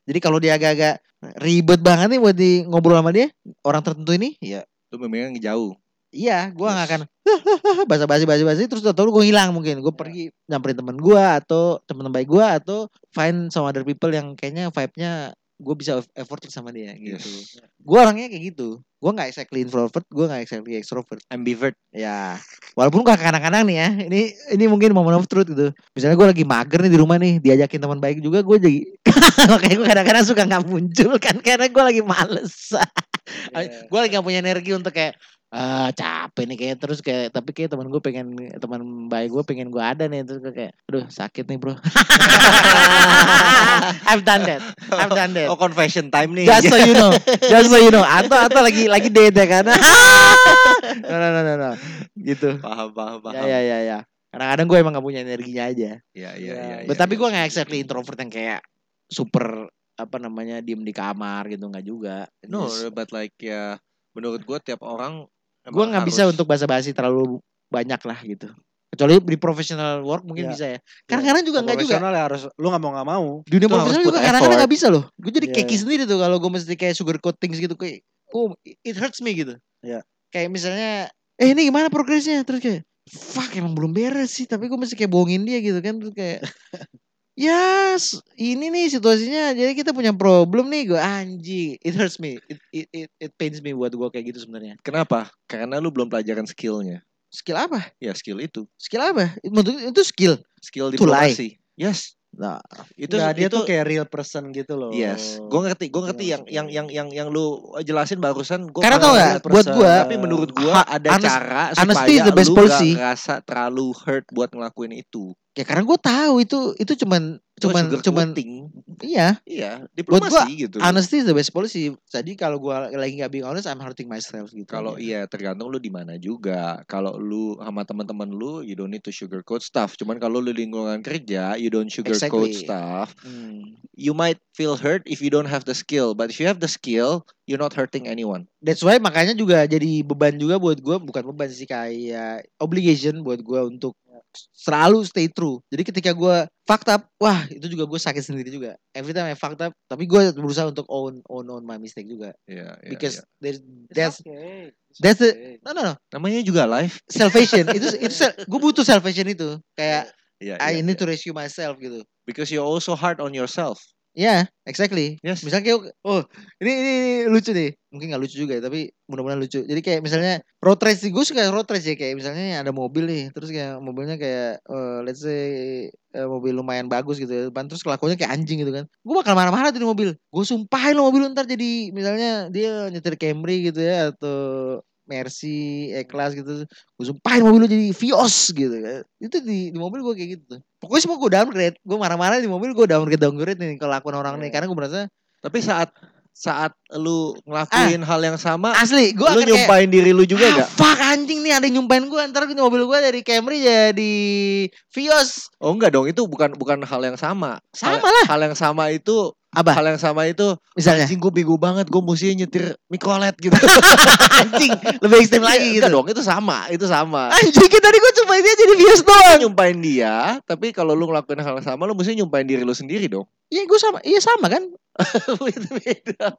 B: jadi kalau dia agak-agak ribet banget nih buat di ngobrol sama dia orang tertentu ini ya
A: Lu memang jauh.
B: Iya, gua
A: Yes.
B: nggak akan basa-basi basi-basi terus atau gue hilang mungkin gue
C: Ya.
B: pergi nyamperin temen gua atau temen baik gua atau find some other people yang kayaknya vibe-nya gue bisa effort sama dia gitu.
A: Yes.
B: Gua orangnya kayak gitu. Gua nggak exactly introvert, gua nggak exactly extrovert.
A: Ambivert.
B: Ya, walaupun gua kadang-kadang nih ya, ini ini mungkin moment of truth gitu. Misalnya gua lagi mager nih di rumah nih, diajakin teman baik juga gue jadi makanya gue kadang-kadang suka nggak muncul kan karena gua lagi males.
A: Iya.
C: Ya.
B: Gue lagi gak punya energi untuk kayak ah capek nih kayak terus kayak tapi kayak teman gue pengen teman baik gue pengen gue ada nih terus gue kayak aduh sakit nih bro I've done that I've done that
A: Oh confession time nih.
B: just so you know just so you know atau atau lagi lagi date ya kan no no no no, no. gitu
A: paham paham paham.
B: ya ya ya ya kadang-kadang gue emang gak punya energinya aja
A: Iya iya
C: Ya,
A: iya.
C: ya.
A: iya,
B: But tapi
A: iya.
B: gue gak exactly introvert yang kayak super apa namanya diem di kamar gitu nggak juga
A: No,
B: Just-
A: but like ya menurut gua tiap orang
B: gue
A: emang
B: nggak bisa
A: harus-
B: untuk basa-basi terlalu banyak lah gitu kecuali di professional work
A: Iya.
B: mungkin
C: Ya.
B: bisa ya kadang-kadang juga nggak juga
C: Profesional ya harus lu nggak mau nggak mau.
B: dunia
A: Itu harus
B: profesional
A: put
B: juga kadang-kadang
A: effort.
B: nggak bisa loh gue jadi
C: Iya,
B: keki
C: iya.
B: sendiri tuh kalau gue mesti kayak sugar coatings gitu kayak oh it hurts me gitu
C: Iya.
B: kayak misalnya eh ini gimana progresnya terus kayak fuck emang belum beres sih tapi gue mesti kayak bohongin dia gitu kan terus kayak ya s- ini nih situasinya jadi kita punya problem nih gue anjing it hurts me it it it, it pains me buat gue kayak gitu sebenarnya
A: Kenapa? Karena lu belum pelajaran skillnya.
B: skill apa
A: Ya skill itu,
B: skill apa Menurut- itu skill
A: skill
B: To lie.
A: diplomasi. Yes,
B: Nah,
A: itu
C: Nggak, dia
A: itu
C: tuh kayak real person gitu loh.
A: yes. Gue ngerti, gue ngerti
C: Itu
A: yang
C: maksudnya.
A: yang yang yang yang lu jelasin barusan. Gua
B: Iya. Karena
A: paham.
B: tau
C: Real
B: gak,
C: person.
B: buat gua,
A: tapi menurut gua
B: Ha-
A: ada
B: honest-
A: cara
B: honesty
A: supaya
B: is the best
A: lu
B: policy.
A: gak ngerasa terlalu hurt buat ngelakuin itu.
B: ya karena gue tahu itu itu cuman
A: Gua
B: cuman
A: Oh, sugar
B: cuman
A: coating.
B: iya
A: iya,
B: Buat
A: diplomasi
B: gua,
A: gitu.
B: honesty is the best policy. Jadi kalau gua lagi nggak being honest, I'm hurting myself gitu.
A: Kalau
B: aja.
A: iya tergantung lu di mana juga. Kalau lu sama teman-teman lu, you don't need to sugarcoat stuff. Cuman kalau lu di lingkungan kerja, you don't sugarcoat
B: Exactly.
A: stuff.
B: Hmm.
A: You might feel hurt if you don't have the skill, but if you have the skill, you're not hurting anyone.
B: That's why makanya juga jadi beban juga buat gua bukan beban sih kayak obligation buat gua untuk selalu stay true. Jadi ketika gua fucked up, wah itu juga gue sakit sendiri juga. Every time I fucked up, tapi gua berusaha untuk own own own my mistake juga.
A: Iya, iya,
B: Because
A: iya.
B: there's
C: It's
B: that's
C: okay. It's
B: that's the-
C: okay.
B: no no no
A: namanya juga life.
B: salvation itu itu gue butuh salvation itu kayak
A: Iya,
B: I
A: iya,
B: need
A: iya.
B: to rescue myself gitu.
A: Because you're also hard on yourself.
B: Ya, exactly.
A: Yes.
B: Misalnya kayak oh ini, ini, ini lucu nih. Mungkin nggak lucu juga ya, tapi mudah-mudahan lucu. Jadi kayak misalnya road race gue suka road race ya kayak misalnya ada mobil nih, terus kayak mobilnya kayak eh, let's say eh, mobil lumayan bagus gitu ya. depan, Terus kelakuannya kayak anjing gitu kan. Gue bakal marah-marah tuh di mobil. Gue sumpahin lo mobil lu ntar jadi misalnya dia nyetir Camry gitu ya atau Mercy, E-Class gitu. Gue sumpahin mobil lu jadi Vios gitu kan. Itu di, di mobil gue kayak gitu. Pokoknya semua gue downgrade. Gue marah-marah di mobil gue downgrade downgrade nih kelakuan orang
A: Iya.
B: nih karena gue merasa
A: Tapi saat saat lu ngelakuin hal yang sama,
B: asli gue
A: lu
B: akan kayak
A: nyumpain diri lu juga
B: ah,
A: gak?
B: Fuck anjing nih ada yang nyumpahin gue ntar gitu mobil gue dari Camry jadi Vios.
A: Oh enggak dong, itu bukan bukan hal yang sama.
B: Sama lah.
A: Hal yang sama itu,
B: Apa?
A: hal yang sama itu,
B: Misalnya
A: anjing gue bego banget, gue mesti nyetir mikrolet gitu. Iya,
B: anjing lebih ekstrim lagi
A: Enggak
B: gitu.
A: dong, itu sama, itu sama.
B: Anjing kan tadi gue sumpahin dia jadi Vios doang.
A: Lu nyumpain dia, tapi kalau lu ngelakuin hal yang sama, lu mesti nyumpain diri lu sendiri dong.
B: Iya gue sama, iya sama kan.
A: itu beda.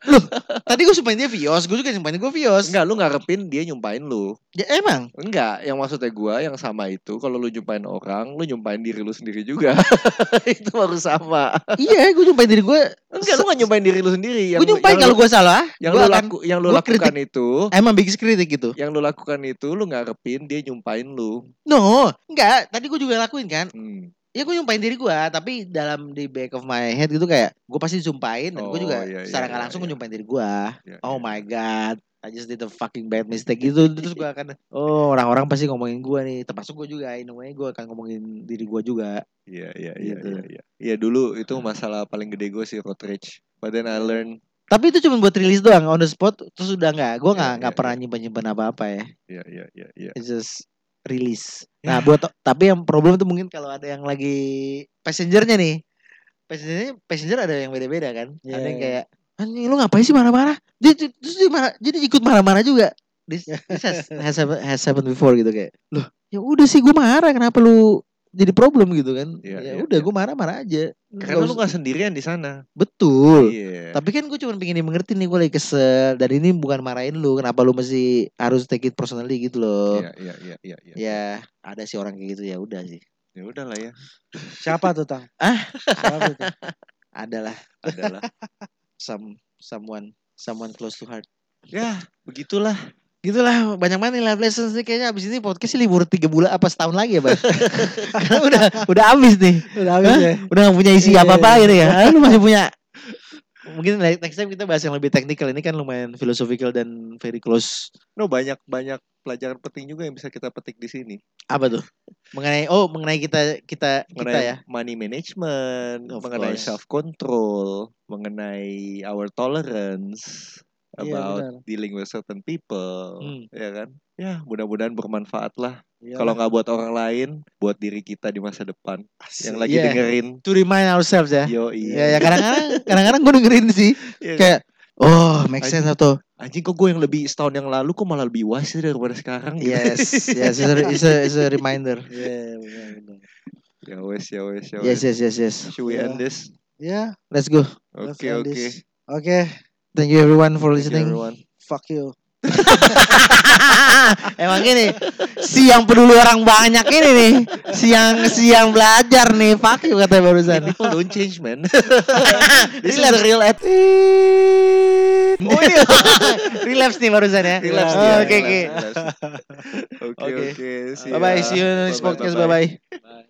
B: Tadi gue sumpahin dia Vios, gue juga sumpahin gue Vios.
A: Enggak, lu ngarepin dia nyumpain lu.
B: Ya, emang.
A: Enggak, yang maksudnya gua yang sama itu, kalau lu nyumpain orang, lu nyumpain diri lu sendiri juga. itu baru sama.
B: iya, gue nyumpahin diri gue.
A: Enggak, lu gak nyumpain diri Iya, ya lu sendiri.
B: Gue nyumpahin kalau gue salah,
A: yang
B: gue
A: lu
B: akan
A: laku, yang lu
B: gua
A: lakukan itu,
B: emang bikin kritik gitu.
A: yang lu lakukan itu lu ngarepin dia nyumpain lu.
B: No, enggak. Tadi gue juga lakuin kan.
A: Hmm.
B: Ya gue nyumpahin diri gue, tapi dalam di back of my head gitu kayak gue pasti sumpahin dan
A: Oh,
B: gue juga
A: iya, iya,
B: secara nggak
A: iya,
B: langsung
A: iya.
B: gue nyumpahin diri gue.
A: Ya,
B: Oh
A: ya.
B: my god. I just did a fucking bad mistake gitu Terus gue akan Oh orang-orang pasti ngomongin gue nih Termasuk gue juga In a way gue akan ngomongin diri gue juga
A: Iya, iya, iya,
B: Gitu.
A: iya, iya. Iya, dulu itu masalah paling gede gue sih road rage. But then I learn,
B: Tapi itu cuma buat rilis doang On the spot Terus udah nggak Gue
A: Iya,
B: nggak nggak
A: iya,
B: pernah nyimpen-nyimpen apa-apa ya
A: iya, iya, iya, iya.
B: It's just release.
A: Ya.
B: Nah, buat tapi yang problem tuh mungkin kalau ada yang lagi passengernya nih. Passengernya passenger ada yang beda-beda kan.
A: Ya.
B: Ada
C: Iya,
B: yang
C: iya.
B: kayak anjing lu ngapain sih marah-marah? Dia dia- terus dia marah, jadi ikut marah-marah juga. This, this has, has, happen- has happened before gitu kayak. Loh, ya udah sih gue marah kenapa lu jadi problem gitu kan.
A: Iya,
B: ya
A: iya,
B: udah
A: iya.
B: gue marah-marah aja.
A: Karena lu
B: usah-
A: gak sendirian di sana.
B: betul.
A: Iya.
B: Tapi kan gue cuma pengen dimengerti nih gue lagi kesel dan ini bukan marahin lu kenapa lu masih harus take it personally gitu loh.
A: Iya, iya, iya, iya, iya.
B: Ya ada sih orang kayak gitu ya udah sih.
A: Ya udahlah ya.
C: Siapa tuh Tang?
B: Ah?
C: Siapa tuh?
B: Adalah
A: Adalah.
B: some someone someone close to heart.
A: ya, begitulah.
B: Gitulah banyak banget nih life lessons nih kayaknya abis ini podcast sih libur tiga bulan apa setahun lagi ya bang? Karena udah udah abis nih,
C: Udah habis ya.
B: udah gak punya isi
C: Iya.
B: apa apa gitu ya. Ah, Lu masih punya mungkin next time kita bahas yang lebih teknikal ini kan lumayan philosophical dan very close
A: No banyak banyak pelajaran penting juga yang bisa kita petik di sini.
B: apa tuh mengenai oh mengenai kita kita kita
A: mengenai
B: ya
A: money management,
B: Of
A: mengenai
B: course.
A: self control, mengenai our tolerance
C: Iya,
A: about
C: benar.
A: dealing with certain people,
B: Hmm.
A: ya kan? Ya, mudah-mudahan bermanfaat lah.
C: Iya.
A: Kalau nggak buat orang lain, buat diri kita di masa depan. Yang lagi
B: Iya.
A: dengerin,
B: to remind ourselves ya
A: yo
B: ya,
A: iya.
B: ya kadang-kadang kadang-kadang gue dengerin sih
A: Iya kan?
B: kayak oh make sense atau
A: Anjing kok gue yang lebih setahun yang lalu kok malah lebih wise sih daripada sekarang. gitu.
B: yes yes it's a, it's a, it's a reminder
C: Iya, benar, benar.
A: ya wes, ya wes, ya
B: yes
A: wes.
B: yes yes yes
A: Should we
C: Ya.
A: end this?
C: Ya,
B: let's go
A: Oke,
C: let's end
A: oke.
C: this. Oke,
B: thank you everyone for
A: Thank you,
B: listening
A: everyone.
C: fuck you.
B: emang ini si yang peduli orang banyak ini nih si yang si yang belajar nih fuck you katanya barusan
A: People Oh, don't change, man.
B: this is a real at
A: oh iya.
B: relapse nih barusan ya
A: Relapse
B: oke
A: dia,
B: oke
A: relapse, relapse. Oke
B: Oke.
A: oke.
B: bye bye see you
A: Bye-bye,
B: in next podcast bye
A: bye-bye.
B: bye